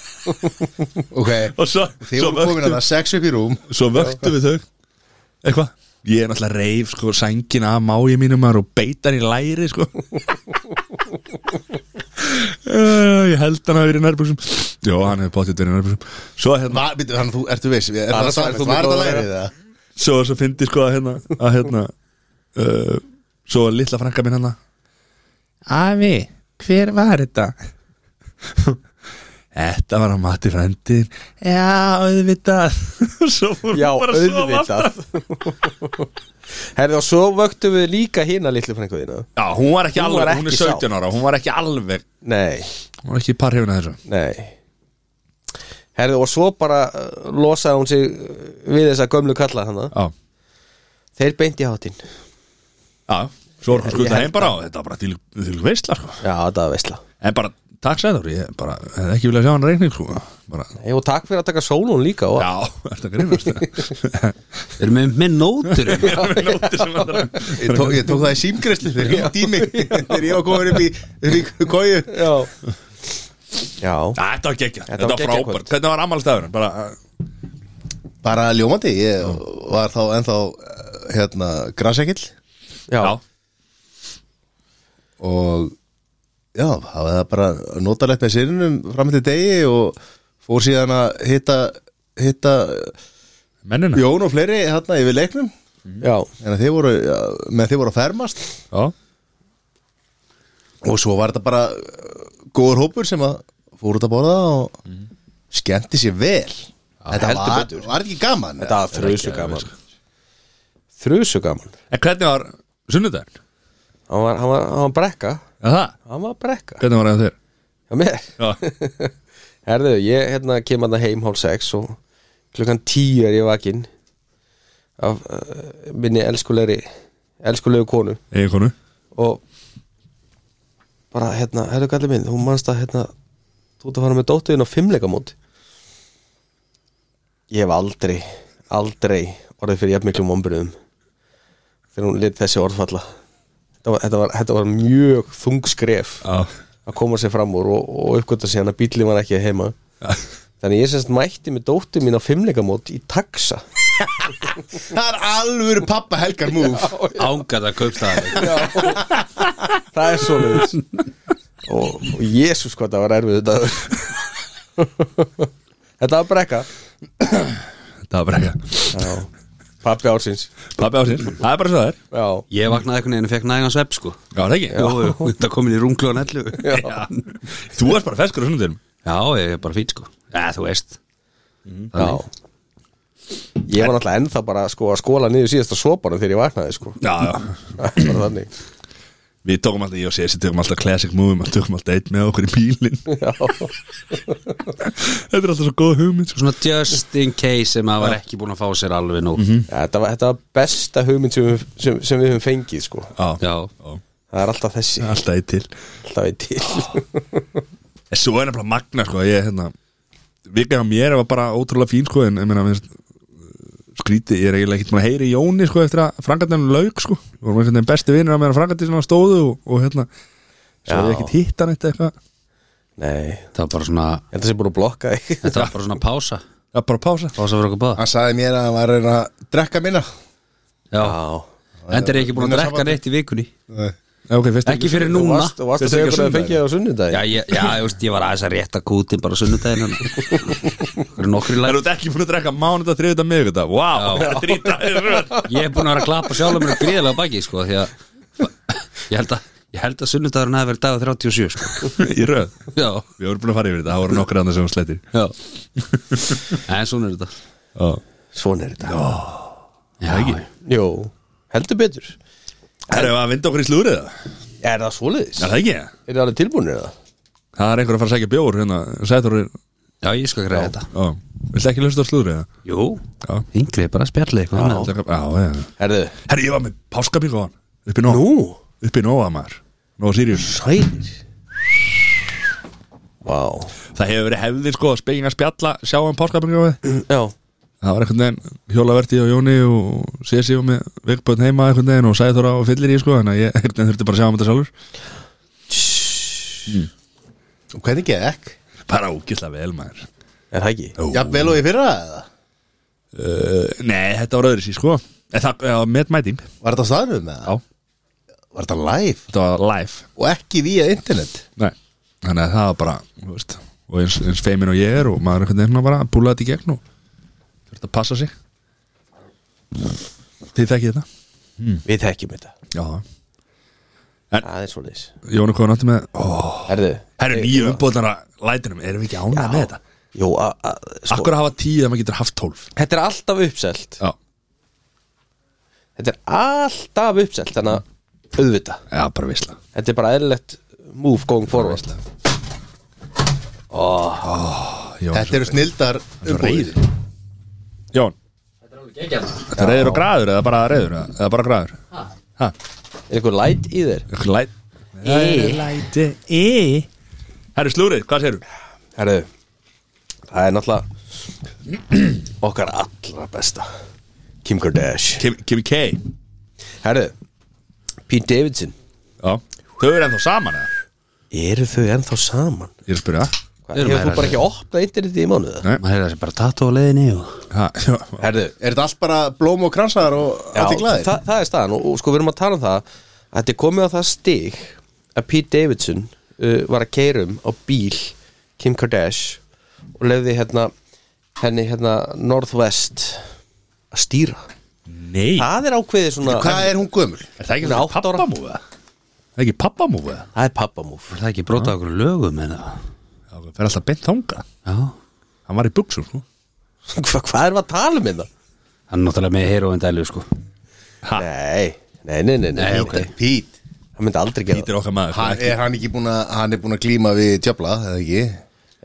Speaker 4: ok,
Speaker 1: og svo,
Speaker 4: þið
Speaker 1: svo,
Speaker 4: voru komin að
Speaker 1: vöktu,
Speaker 4: það sex upp í rúm
Speaker 1: svo vöktu við þau eitthvað ég er náttúrulega reif sko sængin af mái mínum maður, og beit hann í læri sko Eh, ég held hann að verið í nærbuxum já hann hefði bóttið verið í nærbuxum svo hérna
Speaker 4: Va, býttu, þannig að þú, ertu viss, er það
Speaker 2: Annars væri
Speaker 4: samið,
Speaker 2: þú með
Speaker 4: var það
Speaker 2: góða
Speaker 4: lærið það?
Speaker 1: svo, svo fyndi sko að hérna, að, hérna uh, svo litla franka minn hérna Afi, hver var þetta? þetta var að mati frændin Já, auðvitað Svo fór
Speaker 2: Já,
Speaker 1: hún bara að sofa aftur.
Speaker 2: auðvitað Herðu og svo vöktum við líka hina litlu frænguðina
Speaker 1: Já, hún var ekki
Speaker 2: Hún
Speaker 1: alveg,
Speaker 2: var
Speaker 1: hún er
Speaker 2: ekki
Speaker 1: 17 ára Hún var ekki alveg,
Speaker 2: Nei,
Speaker 1: hún var ekki par hefina þessu
Speaker 2: nei Herðu og svo bara uh, losaði hún sig uh, við þessa gömlu kalla hana
Speaker 1: Já,
Speaker 2: Þeir beint í hátinn
Speaker 1: já Svo var hún
Speaker 2: Ég
Speaker 1: skuta
Speaker 2: held
Speaker 1: heim bara og þetta var bara til, til veistla sko.
Speaker 2: Já, þetta var veistla
Speaker 1: En bara Takk sæður, ég bara, hefði ekki viljað sjá hann reikning sko. bara,
Speaker 2: Nei, og takk fyrir að taka sólun líka og,
Speaker 1: já, þetta grínast
Speaker 3: Við erum með, með nótur um.
Speaker 4: Ég tók, ég tók það í símgreslu þegar ég tími þegar ég var komin upp í, upp í kóju
Speaker 2: já. já
Speaker 1: Þetta var geggja,
Speaker 2: Þetta
Speaker 1: þetta
Speaker 2: var
Speaker 1: var
Speaker 2: geggjað
Speaker 1: frábært Hvernig var ammálstafurinn? Bara,
Speaker 4: bara ljómandi, ég var þá ennþá hérna grasekill
Speaker 2: já,
Speaker 1: já,
Speaker 4: og já, það var bara notalegt með sérunum fram til degi og fór síðan að hitta, hitta
Speaker 1: mennina
Speaker 4: Jón og fleiri hérna yfir leiknum
Speaker 2: já,
Speaker 4: en þeir voru, ja, með þeir voru að fermast
Speaker 1: Já,
Speaker 4: og svo var þetta bara uh, góður hópur sem að fór út að borða og skemmti sér vel þetta
Speaker 2: heldur
Speaker 4: var,
Speaker 2: betur.
Speaker 4: var ekki gaman
Speaker 2: þetta var þrjusu gaman þrjusu gaman
Speaker 1: en hvernig var sunnudaginn?
Speaker 2: hann var, hann var, hann var brekka
Speaker 1: Já, það,
Speaker 2: hann var brekka
Speaker 1: hvernig var það þér?
Speaker 2: já, mér
Speaker 1: Já,
Speaker 2: Herðu, ég hérna kem að heim hálf sex og klukkan tíu er ég vakinn af uh, minni elskulegri elskulegu konu
Speaker 1: eigin konu
Speaker 2: og bara hérna, herðu gallið minn, hún manst að hérna, þú ert að fara með dóttuðin á fimmleikamót ég hef aldrei aldrei orðið fyrir jafn miklum ombriðum þegar hún lit þessi orðfalla þetta var, þetta var, þetta var mjög þungskref
Speaker 1: Já,
Speaker 2: að koma sér fram úr og, og uppgötta síðan að bílið var ekki heima þannig ég semst mætti með dóttu mín á fimmleikamót í taxa
Speaker 4: það er alvöru pappa helgar múf
Speaker 3: Ángat að kaupa það
Speaker 2: það er svo leiðis og, og jésus hvað það var erfið þetta þetta var brekka
Speaker 1: þetta var bara ekki
Speaker 2: pappi ársins
Speaker 1: Pappi ásins, það er bara svo það er
Speaker 2: já,
Speaker 3: Ég vaknaði einhvern veginn og fekk nægan svepp sko
Speaker 1: Já, það ekki
Speaker 3: Jú, jú, Þetta komin í runglu á nellu Já,
Speaker 1: Já. Þú varst bara feskur á sunnudaginn
Speaker 3: ég er bara fín sko Já, þú veist
Speaker 2: já ég var náttúrulega ennþá bara sko að skóla niður síðasta sopanum þegar ég vaknaði sko
Speaker 1: Já, já
Speaker 2: bara þannig
Speaker 1: Við tókum alltaf, ég og Sessi tökum alltaf classic movie maður tökum alltaf eitt með okkur í bílinn
Speaker 2: já,
Speaker 1: Þetta er alltaf svo góð hugmynd sko.
Speaker 3: Svona just in case sem að var ekki búin að fá sér alveg nú
Speaker 2: Já, þetta, var, þetta var besta hugmynd sem, við- sem, sem við höfum fengið sko
Speaker 1: Já,
Speaker 3: Já,
Speaker 1: já.
Speaker 2: það er alltaf þessi,
Speaker 1: alltaf eitt til
Speaker 2: alltaf í til
Speaker 1: En svo er nefnilega magna sko ég, hérna, Vikaði á mér var bara ótrúlega fín sko En ég meina, minnst, skríti Ég er eiginlega ekkert maður að heyri í Jóni sko Eftir að frangatanum lauk sko Við vorum einhvern veginn besti vinir að meðan frangandi sem hann stóðu Og, og hérna, svo
Speaker 2: Já.
Speaker 1: er ég ekkert hitt hann eitt eitthvað
Speaker 2: Nei,
Speaker 3: það var bara svona
Speaker 2: þetta sé búin að blokka þig
Speaker 3: Þetta var bara svona pása
Speaker 1: Það er bara að pása
Speaker 3: Pása fyrir okkur báða
Speaker 4: hann sagði mér að hann var að reyna að drekka minna
Speaker 3: Já, endur ég ekki búin að
Speaker 4: Minna
Speaker 3: drekka
Speaker 4: sambandi.
Speaker 3: neitt í vikunni
Speaker 1: Já, ok, fyrst
Speaker 3: Ekki fyrir
Speaker 2: Þú
Speaker 3: núna
Speaker 2: varst, þú varst að
Speaker 1: Fyrst ekki á
Speaker 2: segja okkur að það fengið það á
Speaker 3: Já,
Speaker 2: sunnudaginn
Speaker 3: ég, já, ég, veist, ég var aðeins að rétta kútin bara á sunnudaginn hérna. Okkur nokkri
Speaker 1: Það
Speaker 3: læg
Speaker 1: eru ekki búin að drekka mánuða, þriðuða, miðugudag Vá, það er drýta
Speaker 3: Ég er búin að vera að klappa sjálfur mér gríðlega baki sko, því að ég held að, ég held að sunnudagurinn hafi verið dagur 37 sko.
Speaker 1: Í röð
Speaker 3: Já,
Speaker 1: Við vorum búin að fara yfir þetta, það voru nokkur annað sem hún slettir
Speaker 3: já En svona er þetta
Speaker 2: Svona er þetta
Speaker 3: Já,
Speaker 2: Jó, heldur betur
Speaker 1: Það eru að vinda okkur í slúrið það
Speaker 2: Er það svoleiðis?
Speaker 1: Er það ekki?
Speaker 2: Er það alveg tilbúinir það?
Speaker 1: Það er einhver að fara að segja bjór hérna Sæður er
Speaker 3: já ég skal greiða þetta
Speaker 1: Já, viltu ekki hlusta á slúðrið það?
Speaker 3: Jú,
Speaker 1: Já.
Speaker 3: yngri er bara að spjalla eitthvað annað.
Speaker 1: Já, já, já
Speaker 2: Herðu
Speaker 1: Herri, ég var með páskabík á hann Upp í Nóa
Speaker 2: Nú,
Speaker 1: Upp í Nóa maður Nóa Sirius
Speaker 2: sælir Vá
Speaker 1: Það hefur verið hefðið sko að Speking að spjalla Sjá hann páskabík á við
Speaker 2: Já,
Speaker 1: Það var einhvern veginn Hjólaverti og Jóni Og Sessi og með Vigbjörn heima einhvern veginn Og Sæður á fyllir í sko Þannig að ég einhvern veginn þurfti bara að sjá um þetta sjálfur
Speaker 4: og hvernig gekk?
Speaker 1: Bara ógislega vel maður
Speaker 2: er það ekki?
Speaker 4: Já, vel og í fyrra eða?
Speaker 1: uh, Nei, þetta var öðru sko En það var metmæting
Speaker 4: Var þetta á staðnum með það?
Speaker 1: Já.
Speaker 4: Var þetta live?
Speaker 1: Þetta var live
Speaker 4: Og ekki vía internet?
Speaker 1: Nei, þannig að það var bara þú veist, og eins, eins feimin og ég er og maður einhvern veginn að bara að búla þetta í gegn og þurft að passa sig Þið þekkið þetta
Speaker 2: Við þekkjum þetta
Speaker 1: Já,
Speaker 2: Það er svoleiðis
Speaker 1: Jónu kom náttúrulega með ó, Eh,
Speaker 2: Herðu
Speaker 1: Það eru nýju umbóðnara lætinum, erum við ekki ánægð með þetta?
Speaker 2: Jó, a, a, sko,
Speaker 1: Akkur að hafa tíu þegar maður getur haft tólf
Speaker 2: þetta er alltaf uppselt
Speaker 1: Já,
Speaker 2: Þetta er alltaf uppselt Þannig að auðvita
Speaker 1: já bara visla
Speaker 2: Þetta er bara eðlilegt move going forward
Speaker 1: Jón,
Speaker 4: Þetta eru snildar umbúðir
Speaker 1: Jón Þetta er reyður og græður eða bara reyður eða eða bara græður Ha,
Speaker 2: Er eitthvað light í þér?
Speaker 1: E. eitthvað læt Læti Í Herri slúrið, hvað sérum?
Speaker 2: Herðu, það er náttúrulega okkar allra besta Kim Kardashian
Speaker 1: Kim, Kim K
Speaker 2: Herðu, Pete Davidson
Speaker 1: Já Þau eru ennþá saman eða?
Speaker 2: Eru þau ennþá saman?
Speaker 1: Ég er að spyrja
Speaker 2: Hvað,
Speaker 3: Eru
Speaker 2: hefur þú
Speaker 3: meira
Speaker 2: bara ekki opnað internetið í mánuða?
Speaker 1: Nei.
Speaker 3: maður er þessi bara tattu á leiðinni og
Speaker 1: ha, já,
Speaker 2: Herðu,
Speaker 4: Er þetta allt bara blóm og kransar og allt í glæðir?
Speaker 2: þa það er staðan og, og sko við erum að tala um það að þetta er komið á það stig að Pete Davidson uh, var að keira um á bíl Kim Kardashian og lefði hérna henni hérna Northwest að stýra
Speaker 1: Nei Er
Speaker 2: það er ákveðið svona
Speaker 4: Hvað er hún gömul?
Speaker 1: það ekki
Speaker 2: Hún er
Speaker 1: svona
Speaker 2: átta ára.
Speaker 1: pappamúfa? Það er ekki pappamúfa?
Speaker 2: það er pappamúf
Speaker 3: er það ekki brota okkur lögum en það
Speaker 1: Já, það fer alltaf beint þanga
Speaker 3: já hann
Speaker 1: Hann var í buksum sko
Speaker 2: Hva, hvað erum við að tala um þetta?
Speaker 3: er náttúrulega með heroin dælu sko
Speaker 2: Nei, nei, nei, nei, nei.
Speaker 3: Nei, ok.
Speaker 4: Pít
Speaker 2: hann myndi aldrei gera
Speaker 1: Ítir okkar maður sko.
Speaker 4: Hann er hann ekki búin að, hann er búin að glíma við djöfla, eða ekki?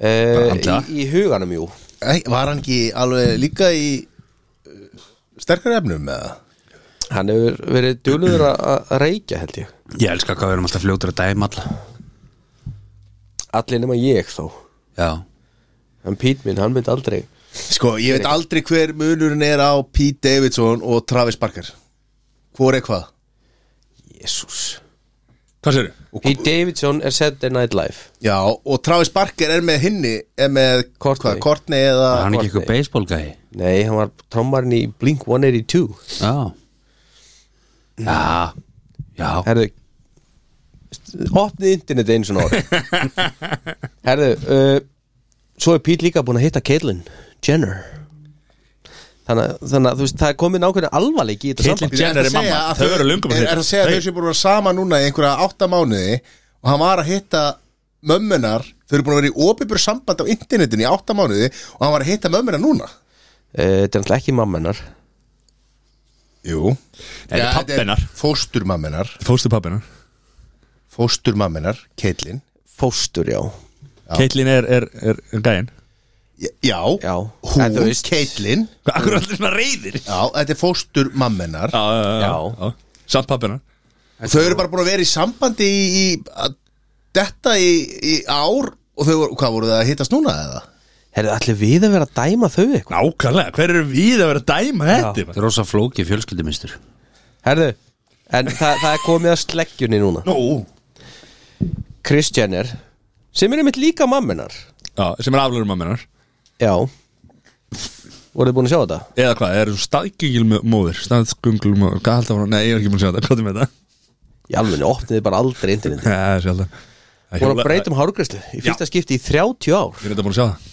Speaker 2: það
Speaker 1: andlega.
Speaker 2: uh, í, í huganum jú
Speaker 4: Ei, Var hann ekki alveg líka í uh, sterkari efnum eða?
Speaker 2: hann hefur verið djúluður að að reykja held ég
Speaker 3: ég elska hvað við erum alltaf fljótur að dæma alla
Speaker 2: allir nema ég þó
Speaker 3: já
Speaker 2: en Pete minn hann myndi aldrei
Speaker 4: Sko, ég veit aldrei hver munurinn er á Pete Davidson og Travis Barker Hvor er hvað?
Speaker 2: Jésús
Speaker 1: Hvað sérum?
Speaker 2: Pete Davidson er Saturday Night Live
Speaker 4: Já, og Travis Barker er með hinni er með
Speaker 2: Courtney.
Speaker 4: hvað, Courtney eða
Speaker 3: er hann ekki eitthvað baseball gæi
Speaker 2: Nei, hann var trommarinn í Blink 182
Speaker 3: já já já
Speaker 2: Herðu Opnið internet eins og nári Herðu uh, Svo er Pete líka búin að hitta Caitlyn Jenner Þannig, að- þannig að þú veist, það er komin ákveðin alvarleik í þetta
Speaker 1: Caitlyn
Speaker 2: samband
Speaker 1: Jenner
Speaker 4: Er
Speaker 1: er
Speaker 4: það að segja
Speaker 1: mamma.
Speaker 4: að
Speaker 1: Þau eru löngum að
Speaker 4: er,
Speaker 1: hitta.
Speaker 4: er að segja að
Speaker 1: Þau-
Speaker 4: þau sem búin að vera saman núna í einhverja átta mánuði og hann var að hitta mömmunar þau eru búin að vera í opibur samband á internetinu í átta mánuði og hann var að hitta mömmunar núna
Speaker 2: Eh, Þetta er náttúrulega ekki mammenar
Speaker 4: Jú
Speaker 1: Þetta er pabbi hennar.
Speaker 4: Fósturmammenar
Speaker 1: Fóstu pappinar
Speaker 4: Fósturmammenar, Caitlin
Speaker 2: Fóstur, já
Speaker 1: Caitlyn er, er, er, er gæin
Speaker 4: Já,
Speaker 2: Já. En
Speaker 4: hún,
Speaker 2: þú veist-
Speaker 4: Caitlin
Speaker 1: Hvað akkur er allir svona reyðir?
Speaker 4: Já, þetta er fósturmammenar
Speaker 1: Mm. Já, já, já,
Speaker 2: Já.
Speaker 1: já. Samt pappinar
Speaker 4: Og þau eru bara búin að vera í sambandi í, í að detta í, í ár og þau voru, hvað voru það að hittast núna eða?
Speaker 2: Herðu, allir við að vera að dæma þau eitthvað
Speaker 1: Nákvæmlega, hver eru við að vera að dæma þetta?
Speaker 3: þetta er rosa flóki fjölskyldumistur
Speaker 2: Herðu, en það, það er komið að sleggjunni núna
Speaker 1: Nú
Speaker 2: Kris Jenner sem er einmitt líka mammenar
Speaker 1: Já, sem er aflöður mamminar
Speaker 2: já voruð þið búin að sjá þetta?
Speaker 1: Eða hvað, er svo staðgengilmóður Staðgengilmóður, hvað heldur hún? Nei, ég er ekki múin að sjá þetta, hvað er með þetta?
Speaker 2: í alveg opniði bara aldrei interneti
Speaker 1: Já, það er sjálf það
Speaker 2: voru að breyta um hárgræslu í fyrsta skipti í 30 ár
Speaker 1: Ég er þetta búin að sjá það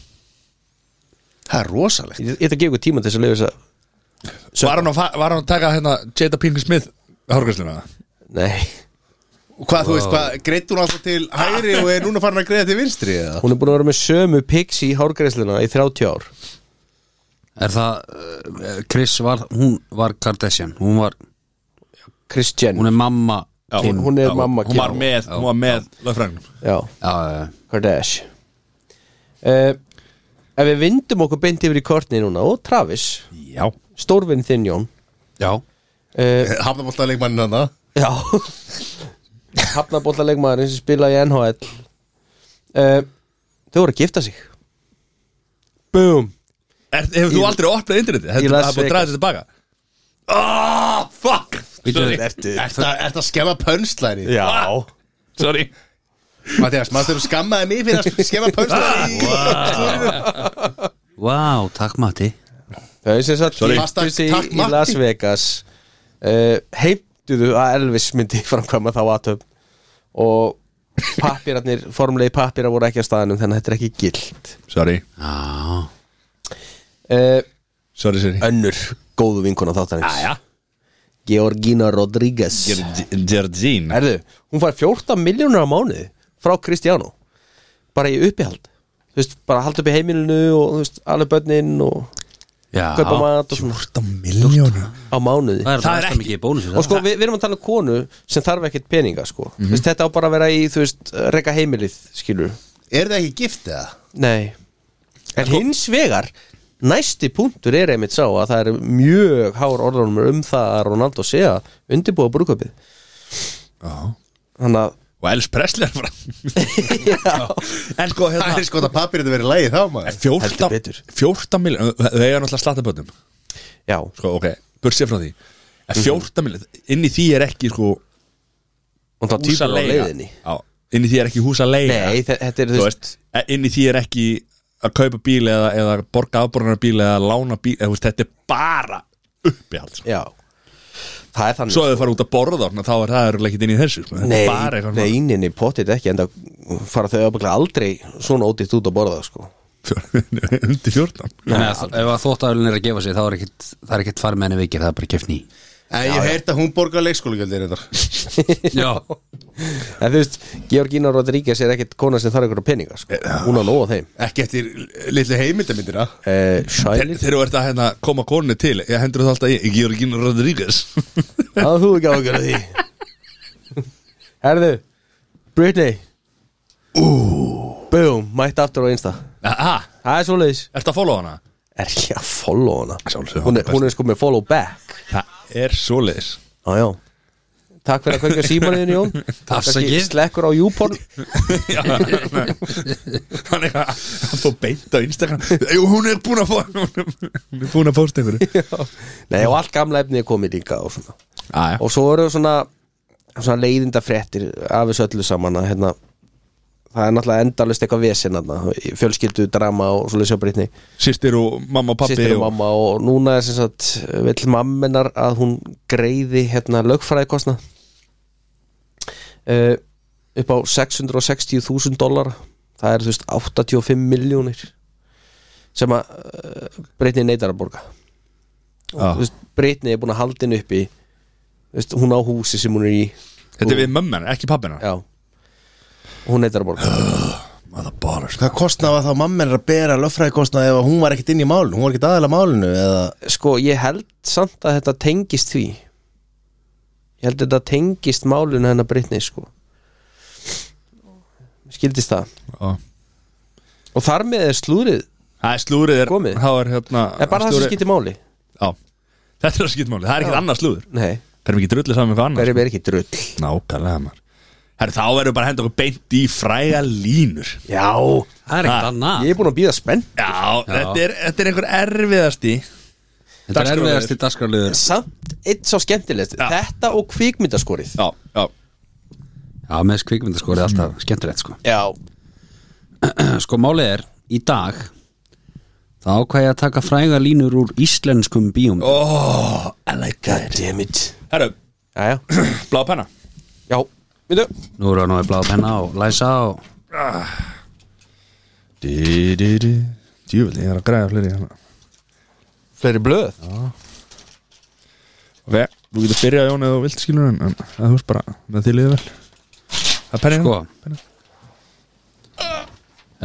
Speaker 4: Það er rosalegt
Speaker 2: ég ætla að gefa ykkur tíma til þess að leiða þess að
Speaker 1: Var hann að, fa- var hann að taka hérna Jada Pinkett Smith Hárgæsluna?
Speaker 2: nei,
Speaker 4: Og hvað, þú veist, hvað, greitt hún alltaf til hægri og er núna farin að greiða til vinstri eða?
Speaker 2: hún er búin að vera með sömu pics í hárgræsluna í 30 ár
Speaker 3: er það uh, Chris var hún var Kardashian hún var
Speaker 2: Kris
Speaker 3: hún
Speaker 2: Jenner
Speaker 3: er mamma
Speaker 2: hún,
Speaker 3: Kim.
Speaker 2: hún er mamma
Speaker 1: Hún var
Speaker 2: Kim.
Speaker 1: með, hún var með lögfræðingnum
Speaker 2: já,
Speaker 3: já já, já
Speaker 2: Kardashian uh, ef við vindum okkur beint yfir í kortni núna og Travis,
Speaker 1: Já
Speaker 2: stórvinn þinn Jón
Speaker 3: Já,
Speaker 2: uh,
Speaker 4: Hafnabólta leikmannin hann
Speaker 2: Já Hafnabólla leikmaðurinn sem spilaði í NHL uh, Þau voru að gifta sig Boom
Speaker 1: er, Hefur þú aldrei opnað internetið? Þetta
Speaker 2: Í
Speaker 1: það
Speaker 2: Las
Speaker 1: er búin að draga þetta tilbaka Ah, fuck Sorry,
Speaker 4: Ertu Ertu að skemma pönslæri?
Speaker 2: Já
Speaker 1: sorry
Speaker 4: Mattias, maður þurfum skammaði mig fyrir að skemma
Speaker 1: Ah,
Speaker 4: pönslæri
Speaker 3: vá, takk Matti
Speaker 2: Þau sem satt
Speaker 1: Sorry.
Speaker 2: giftu sig
Speaker 4: Takk,
Speaker 2: í
Speaker 4: Matti.
Speaker 2: Las Vegas uh, Heimtuðu að Elvis myndi framkvæma þá aðtöp og pappirarnir, formlegi pappirar voru ekki á staðanum þannig að þetta er ekki gilt
Speaker 1: Sorry,
Speaker 3: Já,
Speaker 2: uh,
Speaker 1: sorry, sorry
Speaker 2: Önnur góðu vinkona þáttanins
Speaker 1: Jæja
Speaker 2: Georgina Rodriguez
Speaker 1: Georg- Georgina
Speaker 2: Erðu, hún fær 14 miljónur á mánuði frá Kristjánu bara í uppihald þú veist, bara halda upp í heimilinu og þú veist, alveg börnin og
Speaker 3: já
Speaker 2: kaupa mat og svona
Speaker 1: 14 miljónu
Speaker 2: á mánuði
Speaker 3: Það er,
Speaker 1: Það
Speaker 3: það Mhm.
Speaker 1: er
Speaker 3: ekki mikið bónus
Speaker 2: og sko, við, við erum að tala um konu sem þarf ekkert peninga, sko þú veist, þetta á bara að vera í, þú veist, reka heimilið skilur,
Speaker 4: Er það ekki gift eða?
Speaker 2: nei en hins vegar, næsti punktur er einmitt sá að það er mjög hár orðanum um það að Ronaldo sé að undirbúa brúköpið
Speaker 1: Já
Speaker 2: þannig að
Speaker 1: og Els Presley er fram en sko
Speaker 4: Það
Speaker 1: hérna
Speaker 4: er sko að pappirinn verið lægi þá maður
Speaker 1: 14,
Speaker 2: Heldur betur.
Speaker 1: 14 miljón þau eiga náttúrulega slattaböndum
Speaker 2: já,
Speaker 1: sko, ok, bursið frá því en 14 miljón, inn í því er ekki sko
Speaker 2: og það
Speaker 1: húsa
Speaker 2: týpur á
Speaker 1: leiga
Speaker 2: leiðinni
Speaker 1: Já, inn í því er ekki húsa leiga
Speaker 2: Nei, þe- þetta er,
Speaker 1: þú veist, e, inn í því er ekki að kaupa bíl eða, eða borga afborðanar bíl eða lána bíl, eða, þú veist, þetta er bara uppihald sko.
Speaker 2: já Það er þannig
Speaker 1: svo ef þau fara út að borða þarna, þá er það örugglega ekkert inn í þessu sko. Þetta er
Speaker 2: Nei,
Speaker 1: bara eitthvað svona-
Speaker 2: nei, nei, pottit ekki enda fara þau öfnlega aldrei svona ódýtt út að borða sko.
Speaker 1: Fjör- undir 14
Speaker 3: Þannig að þ- ef að þóttavölin er að gefa sig þá er ekkit, það er ekkit farið með henni vikir, það er bara keft ný
Speaker 4: En ég heirt að hún borgar leikskólagjöldin þetta
Speaker 3: Já,
Speaker 2: En þú veist, Georgina Rodríguez er ekkit kona sem þarf ykkur peninga sko.
Speaker 1: Eh,
Speaker 2: Hún á nóg á þeim
Speaker 4: Ekki eftir litlu heimildamindina
Speaker 2: uh, Shiny,
Speaker 1: þegar þú ert að hérna, koma konunni til ég hendur þú alltaf í, ég er ekki inn Rodríguez
Speaker 2: það þú ekki á ykkur því Herðu Britney Ooh. Boom, mætt aftur á einsta
Speaker 1: aha,
Speaker 2: Það er svoleiðis
Speaker 1: ert að follow hana?
Speaker 2: Er ekki að follow hana
Speaker 1: Sjálfsögðu,
Speaker 2: hún
Speaker 1: hún
Speaker 2: er,
Speaker 1: er
Speaker 2: hún er sko með follow back
Speaker 1: það er svoleiðis
Speaker 2: ah, já. Takk fyrir að kveika símanuðinu Jón
Speaker 3: Afsakið.
Speaker 2: Kannski Slekkur á Júporn
Speaker 1: Já, nei. hann er eitthvað hann fór beint á Instagram Jú, hún er búin að fá hún er búin að posta einhverju
Speaker 2: Nei og allt gamla efni er komið líka og, svona.
Speaker 1: Aja.
Speaker 2: og svo eru svona, svona leiðinda fréttir af þessu öllu saman að hérna það er náttúrulega endalust eitthvað vesen hérna, fjölskyldu, drama og svo leysja breytni
Speaker 1: Sýstir og mamma og pappi
Speaker 2: sýstir og
Speaker 1: og,
Speaker 2: mamma og núna er sem sagt vill mammenar að hún greiði hérna lögfræðikostna uh, upp á 660.000 dólar það er þú veist 85 miljónir sem að uh, breytni neytar að borga
Speaker 1: Já.
Speaker 2: Þú veist, Britney er búin að halda henni uppi Þú veist, hún á húsi sem hún er í
Speaker 1: Þetta er við mömmen, ekki pappina
Speaker 2: já og hún neytar að borga
Speaker 1: Motherbollers
Speaker 4: Hvað kostnaði þá mamma er að bera löffræðikostnaði ef að hún var ekkit inn í málinu, hún var ekkit aðalega málinu eða
Speaker 2: sko ég held samt að þetta tengist því ég held að þetta tengist málun hennar Britney sko skildist það
Speaker 1: Það
Speaker 2: og þar með er slúrið
Speaker 1: er slúrið er,
Speaker 2: Komið.
Speaker 1: þá er hérna
Speaker 2: er bara það sem
Speaker 1: slúrið-
Speaker 2: skildi máli
Speaker 1: Já, þetta er það skiptmáli, það er ekkert annað slúður
Speaker 2: nei,
Speaker 1: Það er mikið drullið saman með eitthvað
Speaker 2: verið
Speaker 1: annað
Speaker 2: verið ekki drull
Speaker 1: Nákvæmlega maður Herri, þá verðum við bara að henda okkur beint í fræga línur
Speaker 2: já,
Speaker 3: það er ekkit
Speaker 1: Ha,
Speaker 3: annað
Speaker 2: ég er búin að býða spenn
Speaker 1: Já, Þetta, er, þetta er einhver erfiðasti
Speaker 3: Þetta er
Speaker 1: dagskrárliður.
Speaker 3: erfiðast í dagskarliður
Speaker 2: samt eitt svo skemmtilegt
Speaker 1: Já.
Speaker 2: þetta og kvikmyndaskorið
Speaker 1: Já, já
Speaker 3: Já, með þess kvikmyndaskori alltaf skemmtilegt sko
Speaker 2: já,
Speaker 3: Sko málið er, í dag þá ákvað ég að taka fræga línur úr íslenskum bíum
Speaker 1: Oh, I like that
Speaker 2: goddammit
Speaker 1: Herru,
Speaker 2: já, já,
Speaker 1: blá penna
Speaker 2: já, veitu
Speaker 3: Nú erum við að náði bláða penna og læsa og
Speaker 1: Djúvel, ég er að græða fleiri hérna
Speaker 2: fleiri blöð
Speaker 1: Ok, þú getur byrjað Jón eða þú vilt skilur en, en að þú veist bara, með því liðið vel Það er penna
Speaker 3: sko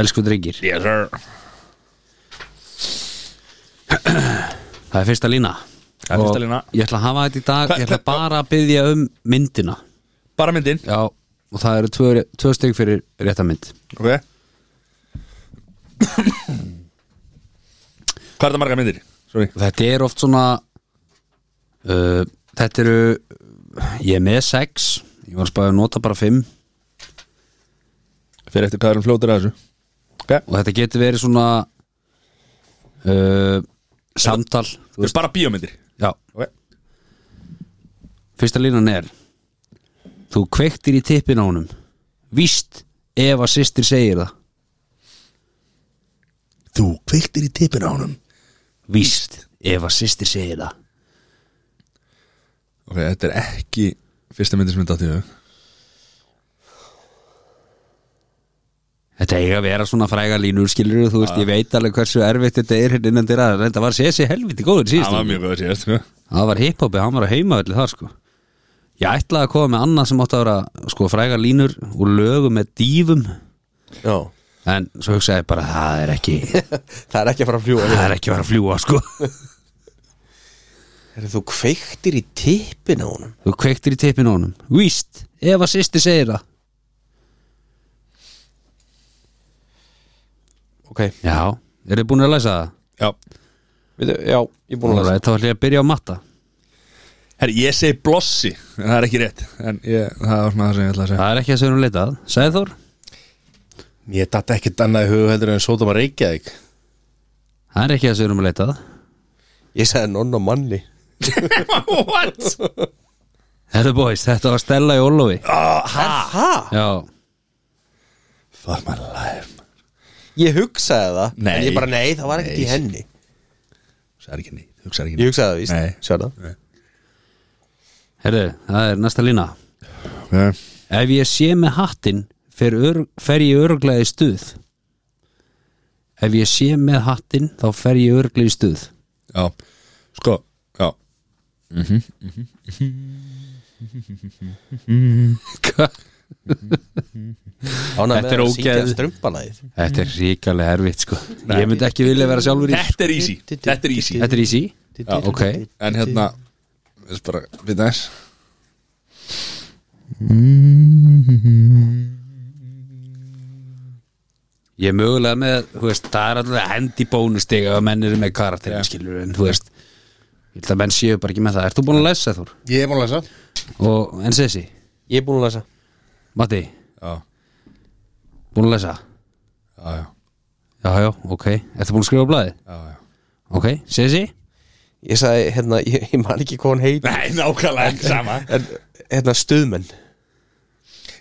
Speaker 3: Elsku drengir
Speaker 1: Yes sir
Speaker 3: Það er fyrsta lína
Speaker 1: Það er fyrsta lína.
Speaker 3: Og Ég ætla að hafa þetta í dag,
Speaker 1: Hva-
Speaker 3: ég ætla
Speaker 1: hva-
Speaker 3: bara að byggja um myndina
Speaker 1: Bara myndin
Speaker 3: Já, og það eru tvö, tvö stygg fyrir rétta mynd
Speaker 1: Ok Hvað er það marga myndir? Sorry
Speaker 3: Þetta er oft svona uh, Þetta eru Ég er með sex Ég var að spáði að nota bara fimm
Speaker 1: Fyrir eftir hvað erum fljótur að þessu Ok
Speaker 3: Og þetta getur verið svona uh, Samtal þú
Speaker 1: Þú
Speaker 3: veist,
Speaker 1: veist bara bíómyndir
Speaker 3: Já,
Speaker 1: Ok
Speaker 3: fyrsta línan er Þú kveiktir í tippin á honum Víst ef að systir segir það
Speaker 1: Þú kveiktir í tipin á honum
Speaker 3: Víst ef að systir segir það
Speaker 1: Ok, þetta er ekki fyrsta myndir sem ég datt í þau
Speaker 3: Þetta eiga að vera svona fræga línur skilur þú veist, ég veit alveg hversu erfitt þetta er hérna innan dyra, þetta var sési helviti góður síðust
Speaker 1: Það var mjög góð síðast sko.
Speaker 3: Það var hiphopi, hann var að heima allir þar sko Ég ætlaði að koma með annað sem átti að vera sko fræga línur og lögum með dýfum
Speaker 2: já,
Speaker 3: en svo hugsaði ég bara það er ekki
Speaker 2: það er ekki að fara að fljúa
Speaker 3: það er ekki að vera að fljúa sko
Speaker 2: Herri, þú kveiktir í tippin á honum
Speaker 3: Þú kveiktir í tippin á honum Víst, ef að sýsti segir það
Speaker 2: Ok,
Speaker 3: Já, eru þið búin að læsa það?
Speaker 1: Já
Speaker 2: við, já, ég er búin að
Speaker 3: Ólega,
Speaker 2: lesa
Speaker 3: þá ætlum ég að byrja á matta
Speaker 1: Herri, ég segi blossi en Það er ekki rétt En ég, það var svona það sem ég ætla að segja
Speaker 3: Það er ekki að segja um leitað Sæður,
Speaker 4: Ég datt ekki dannað í hugu heldur en sótum að reykja þig
Speaker 3: það er ekki að segja um leitað
Speaker 2: Ég sagði nonna manni
Speaker 1: What?
Speaker 3: Herðu boys, þetta var Stella í Ólofi
Speaker 2: Hæ?
Speaker 3: Já,
Speaker 1: Fuck my life man.
Speaker 2: Ég hugsaði það
Speaker 1: Nei.
Speaker 2: En ég bara nei, það var ekkert í
Speaker 1: Nei.
Speaker 2: henni
Speaker 1: Það er ekki nýtt, hugsa ekki
Speaker 2: Ég
Speaker 1: nýtt
Speaker 2: hugsaði það víst
Speaker 1: Nei.
Speaker 2: Sjáðu það
Speaker 3: herðu, það er næsta lína
Speaker 1: okay.
Speaker 3: Ef ég sé með hattinn fer, ör, fer ég örglega í stuð Ef ég sé með hattinn þá fer ég örglega í stuð
Speaker 1: Já, sko, já
Speaker 3: Hva?
Speaker 2: Ánægð
Speaker 3: Þetta er
Speaker 2: með að syngja
Speaker 3: ógeð.
Speaker 2: strumpalæðið
Speaker 3: Þetta er ríkalega erfitt sko Ég myndi ekki vilja vera sjálfur í
Speaker 1: Þetta er easy, þetta er easy
Speaker 3: Þetta er easy
Speaker 1: Já,
Speaker 3: ok.
Speaker 1: En hérna, við bara, við næs
Speaker 3: Ég er mögulega með, þú veist, það er alltaf hendi bónustig ef að menn eru með karakterin
Speaker 1: Já.
Speaker 3: skilur en þú veist, ég held að menn séu bara ekki með það Ert þú búin að lesa Þór?
Speaker 4: Ég er búin að lesa
Speaker 3: Og enn sessi,
Speaker 2: Ég er búin að lesa
Speaker 3: Matti,
Speaker 1: Já,
Speaker 3: búin að lesa?
Speaker 1: já, já,
Speaker 3: Já, já, ok, ertu búin að skrifa á blaðið?
Speaker 1: já, já
Speaker 3: Ok, sessi?
Speaker 2: Ég sagði, hérna, ég, ég man ekki hvað hann heit
Speaker 1: Nei, nákvæmlega ekki sama
Speaker 2: En, hérna, stuðmenn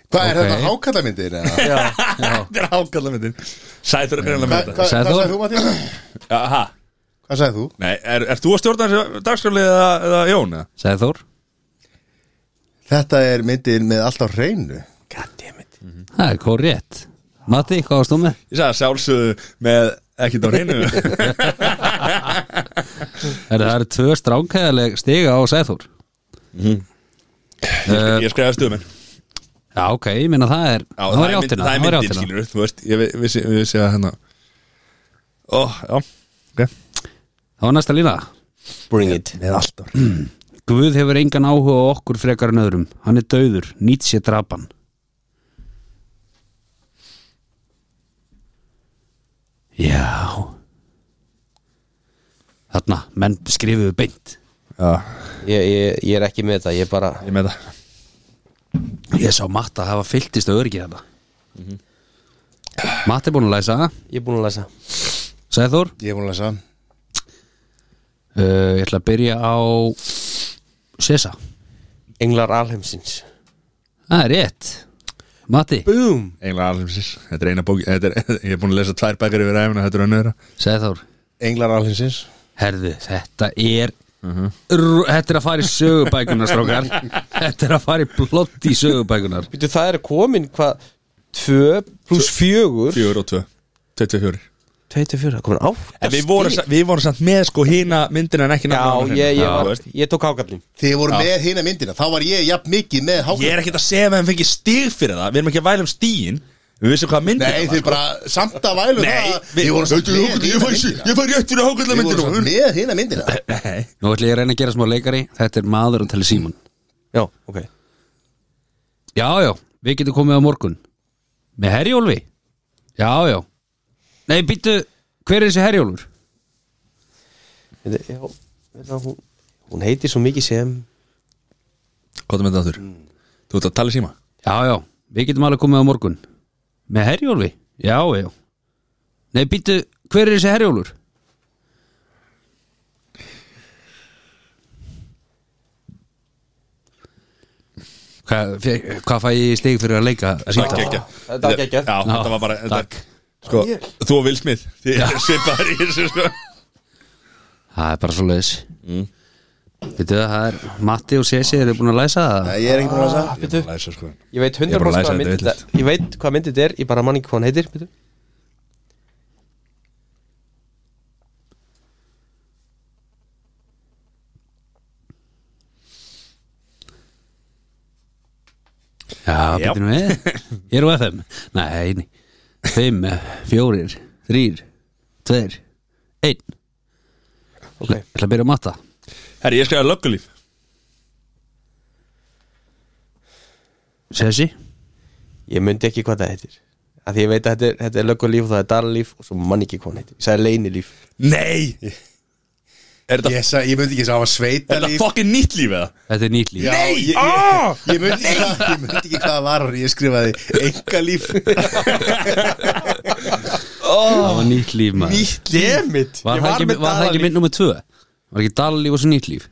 Speaker 4: Hvað er
Speaker 3: Ok.
Speaker 4: þetta hákallamyndir?
Speaker 1: Þetta er ákalla myndin Sæður er greinlega með
Speaker 4: Hvað
Speaker 1: þetta
Speaker 4: hva,
Speaker 3: Sæþór?
Speaker 4: sagði þú, Matti?
Speaker 1: Já, ha
Speaker 4: Hvað sagði þú?
Speaker 1: Nei, er, er þú að stjórna þessu dagskráli eða, eða Jón? eða?
Speaker 3: Sæði Þór?
Speaker 4: Þetta er myndin með alltaf hreinu
Speaker 2: Goddammit
Speaker 3: Það er korrétt Matti, hvað varst þú með?
Speaker 1: Ég sagði sjálfsögðu með ekkert á hreinu
Speaker 3: Er, það eru tvö stránkæðaleg stiga á Sæður
Speaker 1: Ég skræði stuðmenn Já,
Speaker 3: Já, ok, ég meina það er Það var í
Speaker 1: er mynd-
Speaker 3: áttina
Speaker 1: það er
Speaker 3: það var í
Speaker 1: myndin,
Speaker 3: áttina.
Speaker 1: skilur Þú veist, ég vi- vissi, ég vissi að hérna Ó, já, ok
Speaker 3: Það var næsta lína
Speaker 2: Bring it
Speaker 1: Með allt á hreinu
Speaker 3: Guð hefur engan áhuga á okkur frekar en öðrum Hann er dauður, nýtt sér drapan Já Þarna, menn skrifuðu beint
Speaker 1: Já,
Speaker 2: ég, ég, ég er ekki með þetta, ég bara
Speaker 1: ég með það
Speaker 3: Ég sá Matta hafa fylltist og örgið þetta Matta er búin að læsa
Speaker 2: Ég er búin að lesa
Speaker 3: Sæður,
Speaker 4: Ég er búin að lesa
Speaker 3: uh, ég ætla að byrja á Sessa
Speaker 2: Englar alheimsins
Speaker 3: Það er rétt Matti,
Speaker 2: Boom
Speaker 1: Eiginlega alheimsins, þetta er eina bóki þetta er, Ég er búin að lesa tvær bækur yfir æfina, þetta er önnur
Speaker 3: Sæður
Speaker 4: Englar alhinsins
Speaker 3: Herðu, þetta er Rú- Þetta er að fara í sögubækunar strókar Þetta er að fara í blott í sögubækunar
Speaker 2: Býtu, það er komin hvað 2 pluss 4
Speaker 1: Fjögur og tvö, tvei, tvei, fjórir
Speaker 2: 24, komin 8
Speaker 1: En við vorum, sa- við vorum samt með sko hína myndina en ekki
Speaker 2: Já,
Speaker 1: nafnið á henni.
Speaker 2: ég, ég,
Speaker 1: Þú
Speaker 2: var,
Speaker 1: hérna. veist.
Speaker 2: ég tók ágaflin
Speaker 4: Þið voru með hina myndina Þá var ég jafn mikið með
Speaker 1: Ég er
Speaker 4: hákallamyndir
Speaker 1: ekkert að segja með hann fengið stig fyrir það Við erum ekki að væla um stíin Við vissum hvað myndina
Speaker 4: Nei,
Speaker 1: var,
Speaker 4: þið
Speaker 1: sko.
Speaker 4: bara samt að vælu
Speaker 1: Nei, við-
Speaker 4: Þið voru samt með hina myndina
Speaker 1: Ég fæ rétt fyrir hákallamyndina Nei,
Speaker 4: Þið voru samt með hina myndina
Speaker 3: Nú ætla ég að reyna að gera smá leikari Þetta er maður um að tala síman
Speaker 2: Já, ok
Speaker 3: Já, já, við getum komið á morgun Með Herjólfi Já, já Nei, býttu, hver er þessi Herjólfur?
Speaker 2: Þetta- Já, hérna, hún, hún heitir svo mikið sem
Speaker 1: Hvað er myndið áttur? Þú ert að tala í síma?
Speaker 3: Já, já, við getum alveg komið á morgun Með Herjólfi? Já, já Nei, býttu, hver er þessi Herjólfur? Hvað, fe- hvað fæ ég í stig fyrir að leika símtal?
Speaker 1: Þetta
Speaker 2: Þetta var geggjað.
Speaker 1: Já, þetta var bara þetta,
Speaker 3: Takk.
Speaker 1: Sko, þú og Will Smith Þið er svipaðar í þessu sko
Speaker 3: Það er bara svo leiðis Veitu það, það er Matti og Sessi, eru búin að læsa það?
Speaker 4: Nei, ég er ekki búin að lesa
Speaker 2: Býtu,
Speaker 1: Læsa sko
Speaker 2: ég veit
Speaker 1: Ég er bara að læsa
Speaker 2: 100% hvað
Speaker 1: þetta
Speaker 2: myndið
Speaker 1: vitlaust.
Speaker 2: þetta Ég veit hvað myndið þetta er, ég bara man ekki hvað hann heitir Býtu
Speaker 3: Já, býttu nú við Ég er á FM Nei, nei. fimm, fjórir, þrýr, tveir, einn Ég
Speaker 2: Ok,
Speaker 3: ætla að byrja að matta
Speaker 1: Herri, ég skrifaði löggulíf
Speaker 3: Sessi,
Speaker 2: ég myndi ekki hvað það heitir Af því ég veit að þetta er, þetta er löggulíf og það er dalalíf og svo man ekki hvað hann heitir Ég sagði leynilíf
Speaker 1: Nei Er þetta
Speaker 4: Ég, sa, ég myndi ekki að það var
Speaker 1: er þetta
Speaker 4: sveitalíf
Speaker 1: fucking nýtt líf eða?
Speaker 3: Þetta er nýtt líf
Speaker 4: Já,
Speaker 1: Nei,
Speaker 4: ég,
Speaker 1: ah!
Speaker 4: ég, ég, myndi, ég, ég myndi ekki hvað það var Ég skrifaði engalíf
Speaker 3: Það var nýtt líf maður
Speaker 4: Nýtt limit
Speaker 3: Var það ekki, var það ekki mynd nummið tvö? Var ekki dalalíf og svo nýtt líf?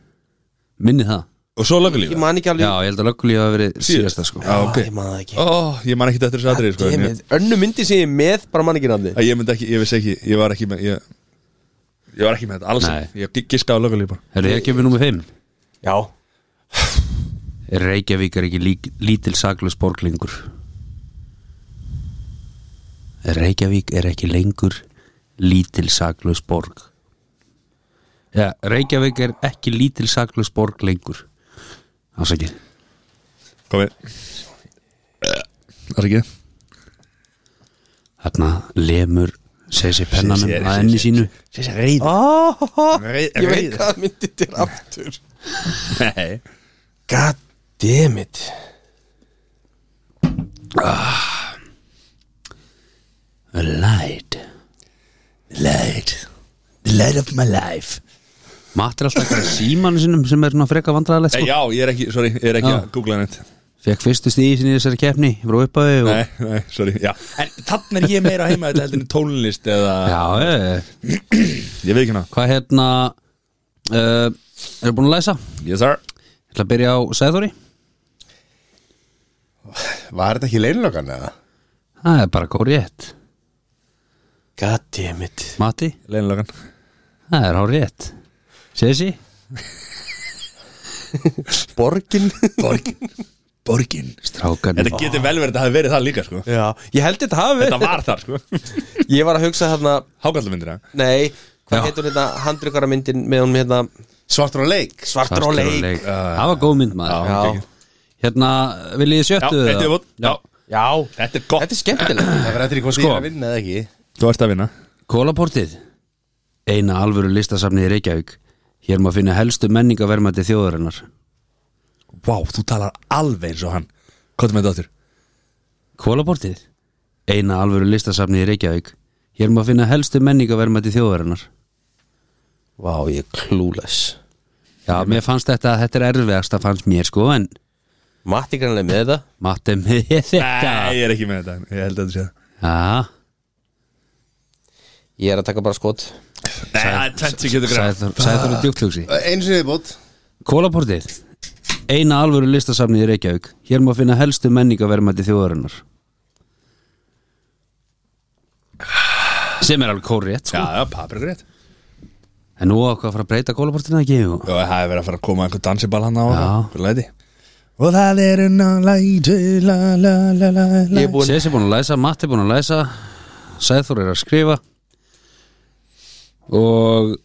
Speaker 3: Minni það?
Speaker 1: Og svo lögulíf
Speaker 2: Ég man ekki
Speaker 3: Já,
Speaker 2: alveg
Speaker 3: ég held að löggulíf hafa verið síðasta sko
Speaker 1: Já, ok
Speaker 2: Ég man það ekki
Speaker 1: Ó, ég man ekki eftir þessu atrið sko, en ég,
Speaker 2: Dammit, Önnu myndi sem ég er með, bara man ekki nafni
Speaker 1: að ég myndi ekki, ég vissi ekki Ég var ekki með, ég Ég var ekki með þetta, alls
Speaker 3: Nei.
Speaker 1: ekki. Ég gi- giskaði á lögulíf bara
Speaker 3: Herru, ég kemur nummið fimm
Speaker 2: Já,
Speaker 3: Er Reykjavík er ekki lík, lítil saklaus borglingur? Er Reykjavík er ekki lengur lítil saklaus borg Já, Reykjavík er ekki lítil saklaus borg lengur Ásækir
Speaker 1: Komi Það er ekki
Speaker 3: Þarna lemur segir sér pennanum
Speaker 1: Sér- sér-
Speaker 3: að enni sínu
Speaker 1: Sér sér reyð
Speaker 2: ah, ég veit
Speaker 1: Reyð.
Speaker 2: hvað myndi til aftur
Speaker 1: Nei
Speaker 2: God damn it
Speaker 3: A light Light The light of my life Matt er alltaf eitthvað símanu sinum sem er svona freka vandræðalegt
Speaker 1: Nei,
Speaker 3: sko.
Speaker 1: Já, ég er ekki, sorry, ég er ekki
Speaker 3: Já.
Speaker 1: að googla neitt
Speaker 3: Fekk fyrstu stíði sinni í þessari keppni Frá uppaði og
Speaker 1: Nei, nei, sorry, já En þannig er ég meira heima þetta heldur en tónlist eða
Speaker 3: Já, e,
Speaker 1: Ég veit ekki hana
Speaker 3: hvað hérna uh, Er búin að læsa? Ég
Speaker 1: Yes sir
Speaker 3: ætla að byrja á Sæðóri
Speaker 4: Var þetta ekki leinlökan eða?
Speaker 3: Það er bara góð rétt
Speaker 2: God damn it
Speaker 3: Matti,
Speaker 1: Leinlögan
Speaker 3: það er hár rétt Sessi,
Speaker 2: Borgin
Speaker 1: Borgin Borgin
Speaker 3: strákan
Speaker 1: Þetta getur vel verið að það hafi verið það líka, sko
Speaker 2: Já, ég held þetta hafi
Speaker 1: Þetta var þar, sko
Speaker 2: verið Ég var að hugsa hérna,
Speaker 1: Hákallamyndir, það
Speaker 2: nei
Speaker 3: Já.
Speaker 2: Hvað heitur hérna handrykkara myndin með honum hérna
Speaker 4: Svartur á leik
Speaker 2: Svartur og leik
Speaker 3: Það var góð mynd maður
Speaker 2: Já.
Speaker 1: ok.
Speaker 3: Hérna, viljið þið
Speaker 1: Já,
Speaker 3: sjöttu
Speaker 1: þetta er vott Já,
Speaker 2: Já,
Speaker 1: þetta er gott
Speaker 2: þetta er skemmtilegt
Speaker 4: Það var eftir í hvort
Speaker 3: Sko.
Speaker 4: ég er að vinna eða ekki
Speaker 1: Þú ert að vinna
Speaker 3: Kólaportið Eina alvöru listasafnið í Reykjavík Hér má finna helstu menningavermæti þjóðarinnar
Speaker 1: Vá, þú talar alveg eins og hann Hvað er með þetta áttur?
Speaker 3: Kólaportið Eina alvöru listasafnið í Reykjavík Hér má finna helstu menningavermæti þjóðarinnar
Speaker 2: Vá, ég er klúles
Speaker 3: Já, mér fannst þetta, þetta er erfiðast að fannst mér sko En
Speaker 2: Matti grannlega með þetta
Speaker 3: matem með þetta
Speaker 1: Nei, ég er ekki með þetta Ég held að þetta sé það
Speaker 3: Já,
Speaker 2: Ég er að taka bara skot
Speaker 1: Nei, það er tvennt sem getur greið
Speaker 3: Sæður Sæður djúktlugsi
Speaker 4: Eins og ég bótt
Speaker 3: Kólaportið Eina alvöru listasafnið í Reykjavík Hér má finna helstu menningavermæti þjóðarinnar Sem er alveg kórrétt
Speaker 1: Já,
Speaker 3: sko
Speaker 1: já, paprikur rétt
Speaker 3: En nú ákvað að fara að breyta kólaportina ekki og...
Speaker 1: Já, það er verið að fara að koma einhver dansiball hann á
Speaker 3: Já.
Speaker 1: Hver læti Og það er unna læti La la la la la
Speaker 2: Ég er búinn
Speaker 3: Sessi búin að læsa, Matti búin að læsa Sæþór er að skrifa Og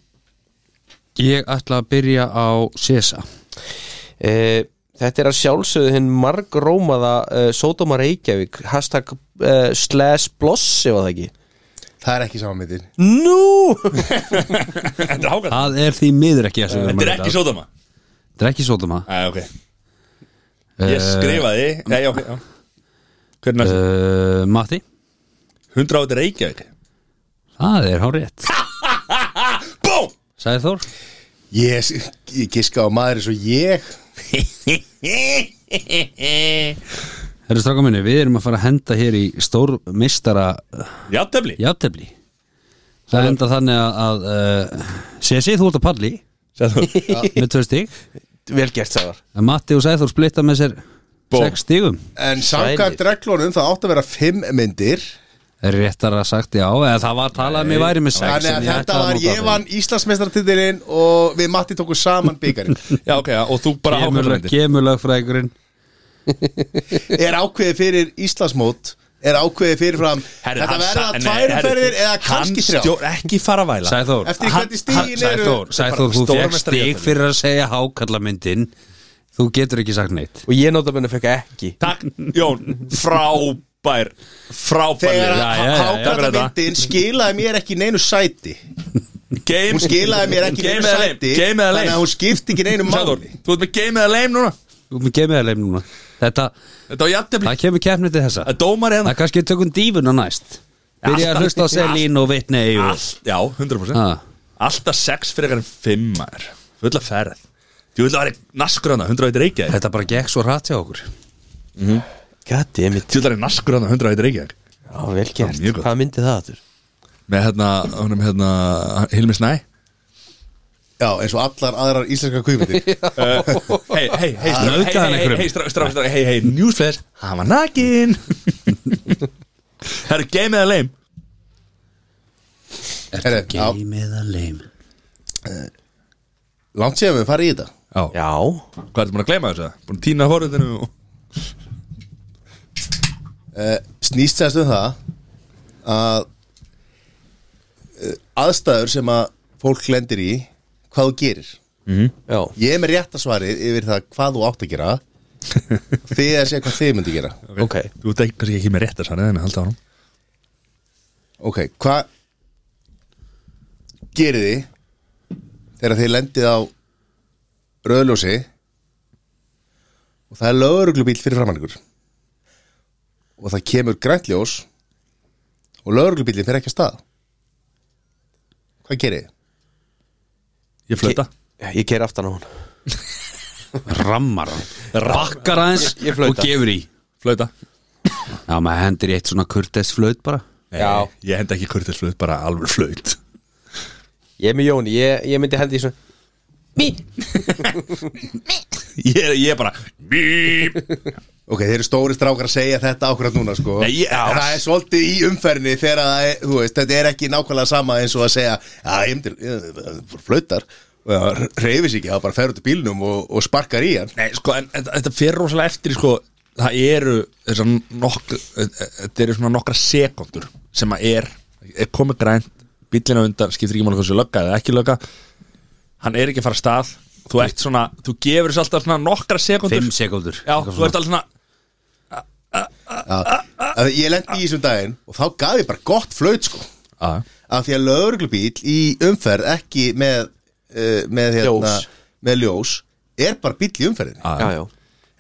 Speaker 3: Ég ætla að byrja á Sessa
Speaker 2: e, Þetta er að sjálfsögðu hinn margrómaða e, Sódóma Reykjavík Hashtag e, slash bloss Ef það ekki
Speaker 4: Það er ekki saman myndin
Speaker 2: Nú
Speaker 1: Þetta er hákall
Speaker 3: Það er því miður ekki það sem við erum að
Speaker 1: Þetta er
Speaker 3: breyta.
Speaker 1: ekki sódama
Speaker 3: Þetta er ekki sótum
Speaker 1: Æ, ok Ég skrifaði Nei, já, já Hvernig er þetta?
Speaker 3: uh, Matti
Speaker 1: 100 átt Reykjavík
Speaker 3: Það er hár rétt
Speaker 1: Búm!
Speaker 3: Sæþór
Speaker 4: Ég, ég giska á maður eins og ég
Speaker 3: Herra stráka minni, við erum að fara að henda hér í stór mistara
Speaker 1: Játtöfli
Speaker 3: játefli Það enda þannig að, að uh, Sessi, þú ert að palli
Speaker 1: Sæður
Speaker 3: með tvö stig
Speaker 2: Vel gert það var
Speaker 3: En Matti og Sæþór splitta með sér
Speaker 1: Bó.
Speaker 3: sex stigum
Speaker 4: En samkvæmt reglunum það átt að vera fimm myndir
Speaker 3: Réttara sagt já, eða það var talað að mér væri með sex
Speaker 4: Þannig
Speaker 3: en
Speaker 4: að
Speaker 3: ég
Speaker 4: þetta
Speaker 3: ætlaði að
Speaker 4: var
Speaker 3: nota
Speaker 4: ég
Speaker 3: það.
Speaker 4: vann Íslandsmeistartitilinn og við Matti tóku saman byggarinn
Speaker 1: Já, ok, já, og þú bara
Speaker 3: Kemur lög-
Speaker 1: hákallamyndir
Speaker 3: Kemur lögfræðingurinn
Speaker 4: Er ákveðið fyrir Íslandsmót Er ákveðið fyrir fram Þetta verða tvær umferðir eða kannski þrjá
Speaker 1: Ekki fara að væla
Speaker 3: Sæþór
Speaker 4: Eftir
Speaker 3: hann-
Speaker 4: hvernig stigin
Speaker 3: hann-
Speaker 4: eru-
Speaker 3: Sæþór, Sæþór, þú
Speaker 1: Stórmeistari
Speaker 3: fekk stig
Speaker 1: jafntefli.
Speaker 3: fyrir að segja hákallamyndin Þú getur ekki sagt neitt
Speaker 2: Og ég nota benni fekk ekki
Speaker 1: Takk, Jón, frábær Frábær
Speaker 4: Þegar
Speaker 1: liður.
Speaker 3: Já, já, já, já.
Speaker 4: hákvæða myndin skilaði mér ekki neinu sæti
Speaker 1: Game
Speaker 4: Hún skilaði mér ekki
Speaker 1: Game
Speaker 4: neinu
Speaker 1: eða lame,
Speaker 4: sæti
Speaker 1: game eða lame.
Speaker 4: Þannig að hún skipti ekki neinu
Speaker 1: Sæður,
Speaker 4: máli
Speaker 1: þú ert með game eða lame núna
Speaker 3: Þú með gemið að leim núna Þetta,
Speaker 1: Þetta var játtöfli
Speaker 3: það kemur keppnið til þessa
Speaker 1: Að dómar
Speaker 3: Það
Speaker 1: hérna
Speaker 3: er kannski tökum dífuna næst Byrja að
Speaker 1: Alltaf-
Speaker 3: hlusta á Selín og Vitnei og...
Speaker 1: Allt, já, 100%
Speaker 3: Ha,
Speaker 1: Alltaf sex frekar en fimm maður Fulla ferð Þú vil að vera naskurana, 100 veitir reykja
Speaker 3: Þetta bara gekk svo hratt hjá okkur
Speaker 2: Goddammit,
Speaker 1: Þú vil að vera naskurana, 100 veitir reykja
Speaker 2: já vel gert
Speaker 1: mjög gott.
Speaker 2: Hvað myndi það aftur?
Speaker 1: Með hérna, honum hérna Hilmi Snæ
Speaker 4: Já, eins og allar aðrar íslenska kvíkmyndir
Speaker 1: Hei, hei, hei, strá-
Speaker 3: Nauðgaði hann
Speaker 1: hei, hei,
Speaker 3: einhverjum?
Speaker 1: hei, strá- strá- strá- hei, hei, newsflash Hann var nakin Herru, game eða lame
Speaker 4: Herre, já,
Speaker 3: Game eða lame
Speaker 4: Langt séðum við farið í þetta
Speaker 1: Já,
Speaker 2: Já,
Speaker 1: hvað ertu búin að gleyma þessu? Búin að týna forutinu og
Speaker 4: uh, Snýst sérst um það að uh, aðstæður sem að fólk lendir í hvað þú gerir
Speaker 2: já,
Speaker 4: Ég er með rétta svarið yfir það hvað þú átt að gera Þið að segja hvað þið myndi gera
Speaker 2: ok
Speaker 1: Þú ert ekki, kannski ekki með rétt að sann eða halda á hann
Speaker 4: Ok, hvað gerir þið þegar þið lendið á rauðljósi og það er lögreglubíl fyrir framann ykkur og það kemur grænt ljós og lögreglubílinn fyrir ekki að stað hvað gerir þið?
Speaker 1: Ég flöta
Speaker 2: Ég- Ég ger aftan á hún
Speaker 3: Rammar hann Rakkar aðeins
Speaker 2: Ég- ég flauta.
Speaker 3: og gefur í
Speaker 1: Flöta
Speaker 3: Já, maður hendur í eitt svona kurteis flöt bara
Speaker 2: Já.
Speaker 1: Ég henda ekki kurtis flöt, bara alveg flöt
Speaker 2: Ég er með Jóni, ég, ég myndi hendi í svona
Speaker 1: Ég er- ég er bara Bíp
Speaker 4: Ok, þeir eru stóri strákar að segja þetta ákvæmt núna sko
Speaker 1: Nei, ég-
Speaker 4: En Það er svolítið í umferðinni þegar það er, þú veist, þetta er ekki nákvæmlega sama eins og að segja að ég myndi, ég, ég, flautar og það reyfis ekki, það bara fer út í bílnum og, og sparkar í hann
Speaker 1: Nei, sko, en þetta- þetta fer rosalega eftir, í, sko Það eru þessar nokk e- Þetta eru svona nokkra sekundur sem að er, er komið grænt bíllina undan, skiptir ekki máli hversu lögga eða ekki lögga Hann er ekki að fara af stað Þú ert svona, þú gefur þess alltaf svona nokkra sekundur
Speaker 3: 5 sekúndur
Speaker 1: Já, þú ert alltaf svona
Speaker 4: Já,
Speaker 1: Ah.
Speaker 4: að ég lendi í þessum daginn og þá gaf ég bara gott flöt sko
Speaker 1: Já,
Speaker 4: af því að lögreglubíl í umferð ekki með, uh, með, hérna,
Speaker 2: Ljós.
Speaker 4: með ljós er bara bíl í umferðinni
Speaker 1: já,
Speaker 2: Já, já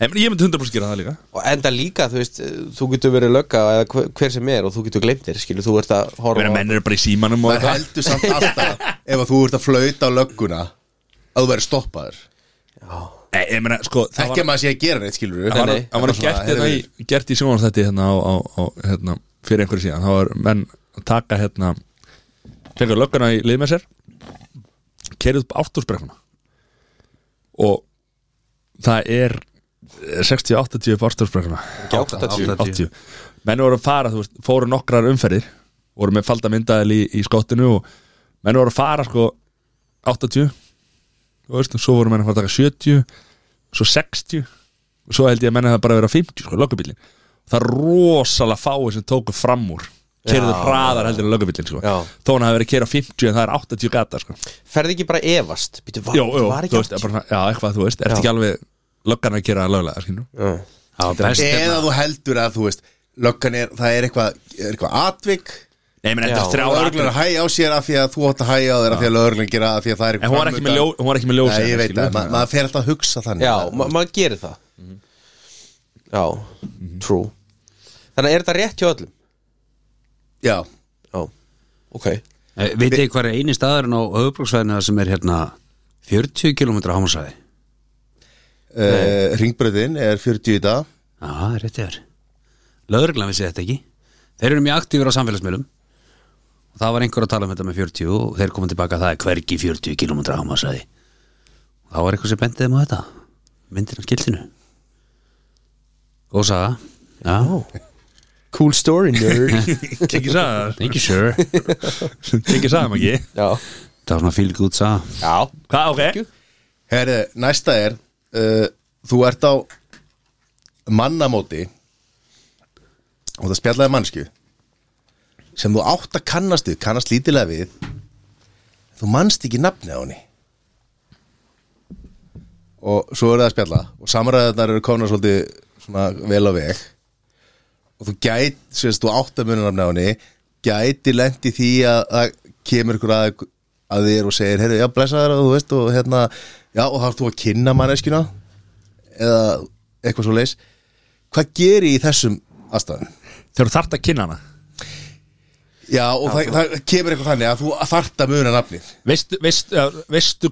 Speaker 1: En ég myndi 100% gera það líka
Speaker 2: Og enda líka, þú veist, þú getur verið lögga eða hver- hver sem er og þú getur glemt þér, skilur, þú ert að
Speaker 1: Ég
Speaker 2: horfa
Speaker 1: meina,
Speaker 2: á-
Speaker 1: menn eru bara í símanum og
Speaker 4: maður heldur samt alltaf ef að þú ert að flauta á lögguna að þú verður stoppaður
Speaker 1: Nei, ég meina, sko það var-
Speaker 4: ekki að maður sé að gera neitt skilur
Speaker 1: Það var, það var gert, hérna í, gert í sjónvarsþætti hérna, á, á, á, hérna, fyrir einhverju síðan þá var menn að taka hérna fengur lögguna í lið með sér kerið upp áttúrsbrekkuna og það er 60-80 upp áttúrsbrekkuna
Speaker 2: ekki 80
Speaker 1: 80 menn voru að fara, þú veist, fóru nokkrar umferðir voru með falda myndaðil í, í skottinu og menn voru að fara sko 80 þú veist, og svo voru menn að fara að taka 70 svo 60 og svo held ég að menn hefði bara verið að 50 sko, löggubillin það er rosalega fáið sem tóku fram úr kerðu
Speaker 2: Já.
Speaker 1: hraðar heldur en löggubillin sko.
Speaker 2: Já.
Speaker 1: þó hann hafi verið að kerða 50 en það er 80 gata sko.
Speaker 2: Ferði ekki bara að efast Býtu, var,
Speaker 1: Jó, jó,
Speaker 2: var
Speaker 1: þú
Speaker 2: ekki
Speaker 1: veist, bara, svona, já, eitthvað, þú veist, ert
Speaker 2: Já.
Speaker 1: ekki alveg löggan að kerða löglega skilurðu?
Speaker 2: Já.
Speaker 3: Já, best
Speaker 4: eða
Speaker 3: hérna.
Speaker 4: þú heldur að þú veist löggan er, það er eitthvað, er eitthvað atvik
Speaker 1: Nei, menn, þetta
Speaker 2: Já.
Speaker 1: er þrjára
Speaker 4: löglan er að hæja á sér af því að þú átt að hæja á þér af því að löglan gera af því að það er
Speaker 1: En hún var ekki með, ljó,
Speaker 4: framundan.
Speaker 1: hún var ekki með ljósi
Speaker 4: Nei, ég veit
Speaker 1: skilurðu?
Speaker 4: að ma maður fer alltaf að hugsa þannig
Speaker 2: Já, Mhm. ma maður gerir það Já,
Speaker 1: Mhm.
Speaker 2: true Þannig að er þetta rétt hjá öllum?
Speaker 4: Já,
Speaker 2: Já, ok
Speaker 3: Eh, Vitið þið hvað er eini staðurinn á höfubróksvæðinu sem er hérna 40 km hámasæði?
Speaker 4: uh, ringbröðin er 40 í dag
Speaker 3: Já, það er rétt ég er Lögreglan vissi þetta ekki Þeir eru mjög aktífur á samfélagsmiðlum og það var einhver að tala um þetta með 40 og þeir komum tilbaka að það er hvergi 40 km hámasæði og það var eitthvað sem bendið þeim á þetta myndir af skiltinu Góð saga Já,
Speaker 2: Cool story, nerd
Speaker 1: Kikki sagði
Speaker 3: thank you sir Það
Speaker 1: það Kikki sagði maður ekki
Speaker 2: Já,
Speaker 3: var svona feel good saga
Speaker 2: já
Speaker 1: Hvað, ok?
Speaker 4: Herri, næsta er uh, Þú ert á mannamóti og það spjallaði mannsku sem þú átt að kannast við kannast lítilega við þú manst ekki nafni á henni og svo er það að spjalla og samræðarnar eru komna svolítið svona vel á veg og þú gæt, sérst, þú átt að muni nafni á henni gæti lendi því að, að kemur ykkur að, að þér og segir, heyrðu, já, blessaður og þú veist og hérna, já, og þá ert þú að kynna manneskjuna eða eitthvað svo leis hvað gerir í þessum aðstæðum?
Speaker 1: Þegar þú þarft að kynna hana
Speaker 4: Já, og það, það kemur eitthvað þannig að þú þart að muna nafnið
Speaker 1: veistu, veistu, já, veistu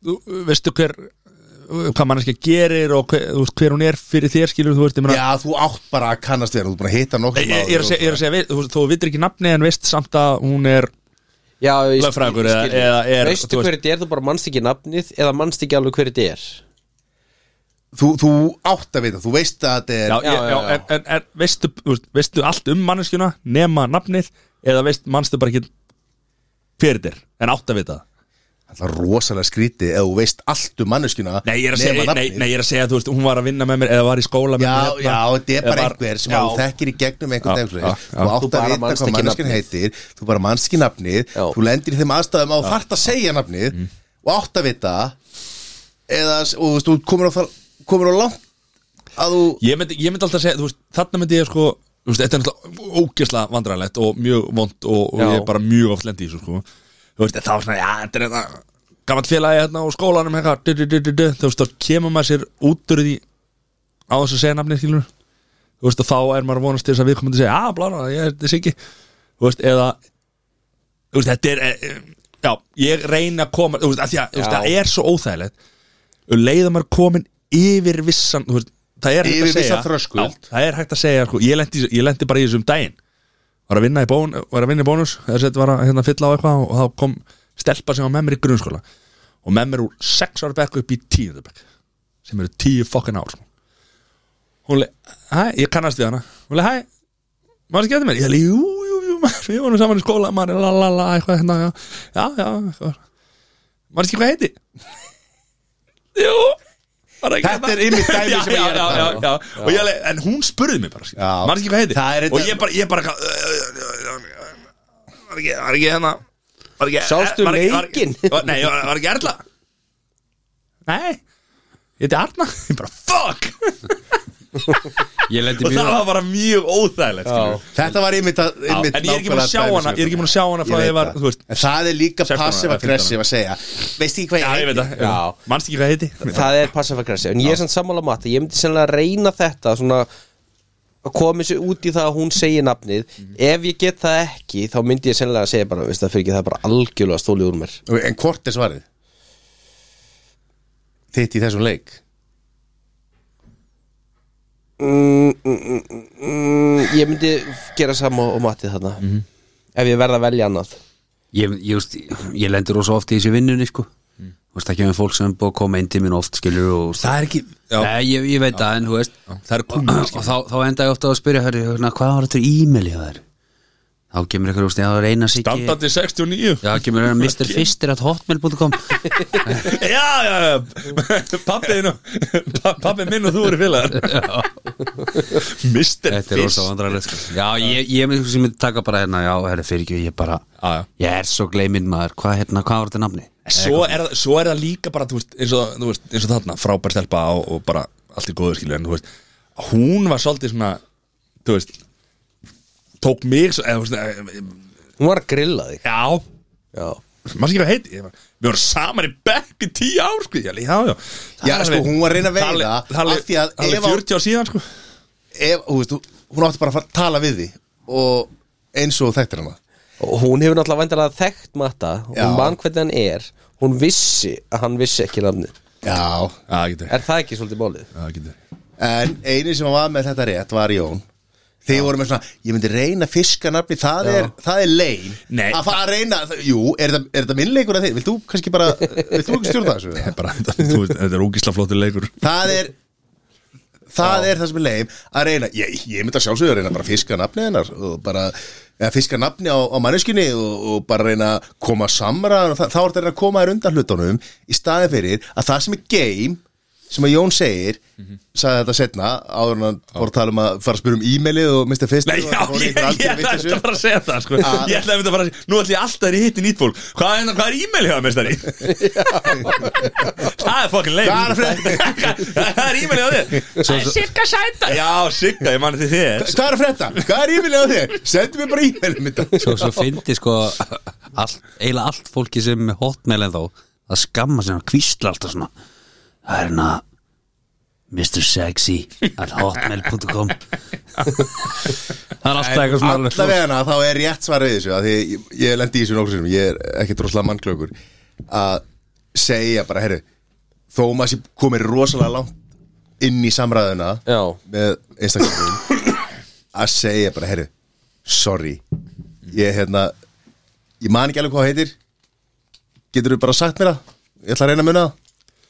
Speaker 1: þú- veistu hver eh, hvað manneskja gerir og hver, þú veist, hver hún er fyrir þér skilur þú veist ég meina-
Speaker 4: Já, þú átt bara að kannast við hann, þú er búin að hitta nokkur
Speaker 1: Nei, ég, ég, er að segja- ég er að segja, þú, þú vitir ekki nafni en veist samt að hún er
Speaker 2: Já, ég skil-
Speaker 1: Lögfræðingur
Speaker 2: ég
Speaker 1: eða-
Speaker 2: skil.
Speaker 1: eða er-
Speaker 2: Veistu
Speaker 1: þú veist-
Speaker 2: hver þetta er, þú bara manst ekki nafnið Eða manst ekki alveg hver þetta er
Speaker 4: þú, þú átt að vita, þú veist að þetta er
Speaker 1: já, já,
Speaker 2: já,
Speaker 1: já,
Speaker 2: já.
Speaker 1: En, en, en veistu, þú veist, veistu allt um manneskjuna nema nafnið eða veist, manstu bara ekki fyrir þér, en átt að vita það
Speaker 4: alltaf rosalega skrítið eða þú veist allt um manneskuna
Speaker 1: Nei, ég er að
Speaker 4: nema
Speaker 1: segja, nei,
Speaker 4: nafnið.
Speaker 1: nei, ég er að segja, þú veist, hún var að vinna með mér eða var í skóla með
Speaker 4: Já,
Speaker 1: mér hérna,
Speaker 4: já, þetta er
Speaker 1: eða
Speaker 4: bara
Speaker 1: var-
Speaker 4: einhver sko, sem
Speaker 1: Já.
Speaker 4: þú þekkir í gegnum
Speaker 1: Já,
Speaker 4: einhvern
Speaker 1: já,
Speaker 4: veginn
Speaker 1: já.
Speaker 4: þú
Speaker 2: Þú
Speaker 4: átt
Speaker 2: bara
Speaker 4: að vita
Speaker 2: manst
Speaker 4: hvað
Speaker 2: ekki
Speaker 4: manneskinn
Speaker 2: nafnið.
Speaker 4: heitir þú bara mannst ekki nafnið
Speaker 2: Já.
Speaker 4: þú lendir í þeim aðstæðum að þú þart að segja nafnið
Speaker 1: Mm.
Speaker 4: og átt að vita eða, og þú veist, þú komur á, það- komur á langt að þú
Speaker 1: Ég myndi, ég myndi alltaf að segja, þú veist, þarna myndi ég sko þú veist, Þetta er náttúrulega ógeðslega vandræðilegt og mjög vond og, og
Speaker 2: Já.
Speaker 1: ég er bara mjög oft lendi í þessu sko Þú veist, þá er svona, já, þetta er þetta Gammalt félagi hérna og skólanum hérna du, du, du, du, du. Þú veist, þá kemur maður sér út úr því á þess að segja nafnið skilur Þú veist, og þá er maður að vonast til þess að "Ah, við komum til að segja Já, blána, ég er þetta ekki Þú veist, eða Þú veist, þetta er e, e, Já, ég reyna að koma Þú veist, að því að, þú veist,
Speaker 2: Já.
Speaker 1: það er svo óþægilegt Leiða maður komin yfir vissan Þú veist, það er hægt
Speaker 4: Yfir
Speaker 1: að segja
Speaker 4: vissan þröskuld.
Speaker 1: Já, það er hægt að segja, sko Ég lendi, ég lendi bara í þessum daginn Var að vinna í, bón, var að vinna í bónus Þess að þetta var að hérna, fylla á eitthvað Og þá kom stelpa sem var með mér í grunnskóla Og með mér úr 6 ára bekk upp í 10 bekk Sem eru 10 fokkin ár sko. Hún leið, hæ, ég kannast við hana Hún leið, hæ, maður ekki eftir mér ég held, jú, jú, jú, maður, við vorum saman í skóla maður, la, la, la, eitthvað hérna já, já, já eitthvað. maður ekki hvað heiti jú maður ekki
Speaker 4: Þetta
Speaker 1: hvað-
Speaker 4: er einmitt dæmi
Speaker 1: Já,
Speaker 4: sem ég er
Speaker 1: já,
Speaker 4: að
Speaker 1: já,
Speaker 4: tala
Speaker 1: já,
Speaker 4: um.
Speaker 1: já. Og ég alveg- en hún spurði mig bara skilur.
Speaker 4: Já.
Speaker 1: maður ekki hvað heiti
Speaker 4: Það er
Speaker 1: og
Speaker 4: þetta-
Speaker 1: ég bara, ég bara eitthvað, ö, ö, ö, ö, ö, ö, var ekki, var ekki hérna var ekki,
Speaker 2: Sástu
Speaker 1: var ekki- var ekki-
Speaker 2: leikinn?
Speaker 1: var- nei, var, var ekki Erla nei ég heiti Arna ég bara, fuck
Speaker 3: Ég lendi
Speaker 1: og
Speaker 3: mjög
Speaker 1: það var bara mjög óþægilegt skilur.
Speaker 4: Þetta var einmitt að
Speaker 1: Já,
Speaker 4: einmitt
Speaker 1: en ég er ekki búin að
Speaker 4: nákvæmlega
Speaker 1: sjá
Speaker 4: dæmi sem
Speaker 1: hana ég er ekki búin að sjá hana frá
Speaker 4: Ég
Speaker 1: því
Speaker 4: veit
Speaker 1: ég var,
Speaker 4: það.
Speaker 1: þú veist
Speaker 4: En það er líka
Speaker 1: 16 ára,
Speaker 4: passive
Speaker 1: eða 15 ára.
Speaker 4: aggressive að segja Veist ekki hvað
Speaker 1: já, ég veit það,
Speaker 2: Já.
Speaker 1: mannst ekki hvað heiti
Speaker 2: Það er passive aggressive En ég er samt sammála mat Ég myndi sennilega reyna þetta Svona að koma sér út í það að hún segir nafnið Ef ég get það ekki Þá myndi ég sennilega að segja bara Veist það fyrir ekki það er bara algjörlega stólið úr mér
Speaker 4: það En hvort er svarið? Þitt í þessum leik
Speaker 2: mm, Ég myndi gera sama og matið þarna Ef ég verð að velja annað
Speaker 3: ég, ég, veist, ég lendir rosa oft í þessu vinnunni sko.
Speaker 1: Mm.
Speaker 3: þú veist ekki með fólk sem er búið að koma inn til mín oft skilur og það er ekki
Speaker 1: já.
Speaker 3: nei, ég, ég veit það en þú veist
Speaker 1: það er kúnir,
Speaker 3: og þá, þá enda ég ofta að spyrja hörru, hérna, hvað var þetta e-mail í þær þá kemur ykkur úst, já, reyna sig já,
Speaker 1: 69
Speaker 3: kemur hérna Mr. Fister at hotmail.com
Speaker 1: já, já, já pappiðinu pappið minn og þú eru félagar Mr.
Speaker 3: þetta er
Speaker 1: Fist
Speaker 3: rosa vandrarlega sko. já, ég, ég myndi sem myndi taka bara hérna já, herri, fyrir ekki, ég bara
Speaker 1: Já, já.
Speaker 3: ég er svo gleyminn maður, hvað hérna, hvað var þetta nafni
Speaker 1: svo er, það- svo er það líka bara, þú veist, eins og, þú veist, eins og þarna frábær stelpa og, og bara allt í góðu skilur en þú veist, hún var svolítið svona þú veist tók mig, svo- eða, þú veist, eh,
Speaker 2: Hún var að grilla þig
Speaker 1: já
Speaker 2: Já
Speaker 1: maður ekki hvað heiti ég var- við vorum saman í bekk í tíu ár sko, já, já, já, Það
Speaker 4: Já,
Speaker 1: er
Speaker 4: sko,
Speaker 1: alveg-
Speaker 4: hún var að reyna að
Speaker 1: það er
Speaker 4: veiða
Speaker 1: alveg- það er alveg-
Speaker 4: af því að
Speaker 1: það er alveg
Speaker 4: ef að-
Speaker 1: 40 ár síðan sko.
Speaker 4: ef, þú veist, Hún átti bara að fara að tala við því Og eins og þekktir hana
Speaker 2: Og hún hefur náttúrulega vandilega þekkt matta
Speaker 4: Já.
Speaker 2: Hún mann hvernig hann er Hún vissi að hann vissi ekki nafnið
Speaker 1: já,
Speaker 4: Já
Speaker 1: það getur
Speaker 2: Er það ekki svolítið málið?
Speaker 1: það getur
Speaker 4: En eini sem var með þetta rétt var Jón Þegar voru með svona, ég myndi reyna að fiska nafni Það er, það er lein
Speaker 1: Nei.
Speaker 4: Að fara að reyna, jú, er þetta, er þetta minnleikur að þið? Vilt þú kannski bara, vilt þú ekki stjórna þessu?
Speaker 1: Bara, þú veist, þetta er ógísla flottur leikur
Speaker 4: það er það er það sem er leim að reyna, ég, ég myndi að sjálfsögja að reyna bara að fiska nafni hennar og bara eða fiska nafni á, á manneskunni og, og bara reyna að koma samræðan og það, þá er þetta að reyna að koma þér undan hlutunum í staði fyrir að það sem er game sem að Jón segir
Speaker 1: Mhm.
Speaker 4: sagði þetta setna, áður en hann voru að tala um að fara að spyrja um e-mailið og Mr. Fist
Speaker 1: Nei, já, ég, ég, ég ætlaði
Speaker 4: um.
Speaker 1: að fara að segja það sko.
Speaker 4: Að-
Speaker 1: Ég ætlaði að mynda að fara að segja Nú ætla ég alltaf að hitti nýtt fólk Hvað er, hvað er e-mail hjá það, meistari? það er fokkin leik
Speaker 4: Hvað er að
Speaker 1: Það er e-mail hjá þér Það er Sigga Sæta Já, Sigga, ég manni til þér
Speaker 4: Hvað er að frétta? Hvað er e-mailið á þér? Sendu mér bara e-mailið mitt
Speaker 3: svo, svo fyndi sko all, eiginlega allt fólki sem er með hotmail en þá að skamma sem að kvísla alltaf svona það er hérna Mr. Sexy at hotmail.com Það er alltaf eitthvað svona alveg hlúst.
Speaker 4: Allavega þá er rétt svar við þessu af Því ég, ég lendi í þessu nokkur sinum Ég er ekki droslega mannklökur Að segja bara, herru Þó maður sé komið rosalega langt Inn í samræðuna
Speaker 2: Já,
Speaker 4: Með einstaklingum Að segja bara, herru, sorry Ég, hérna Ég man ekki alveg hvað það heitir Geturðu bara sagt mér það? Ég ætla að reyna að muna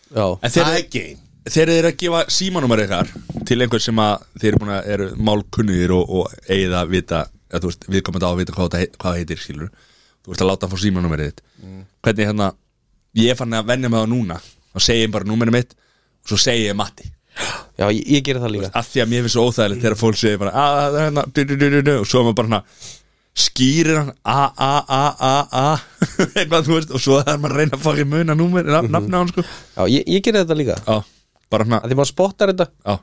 Speaker 4: það
Speaker 2: já,
Speaker 1: En þeir,
Speaker 4: Það er geim
Speaker 1: þeir eru að gefa símanúmer ykkar til einhver sem að þeir eru búin að eru málkunnugir og, og eigið að vita að þú veist, við komum þetta á að vita hvað, þetta hei- hvað það heitir skilur þú veist að láta að fá símanúmerið þitt hvernig hérna, ég er fann að venja með það núna og segja ég bara númerið mitt og svo segja ég Matti
Speaker 2: já, ég, ég gerir það líka
Speaker 1: að því að mér finnst svo óþægilegt þegar fólk segir bara að það er hérna du, du, du, du, du, og svo er maður bara hérna skýrir hann a a a a a eitthvað þú veist og svo er maður að reyna að fara í muna númer nafna mm hann sko
Speaker 2: Já, ég, ég gerir þetta líka
Speaker 1: á, bara hérna
Speaker 2: að Því maður spottar þetta
Speaker 1: á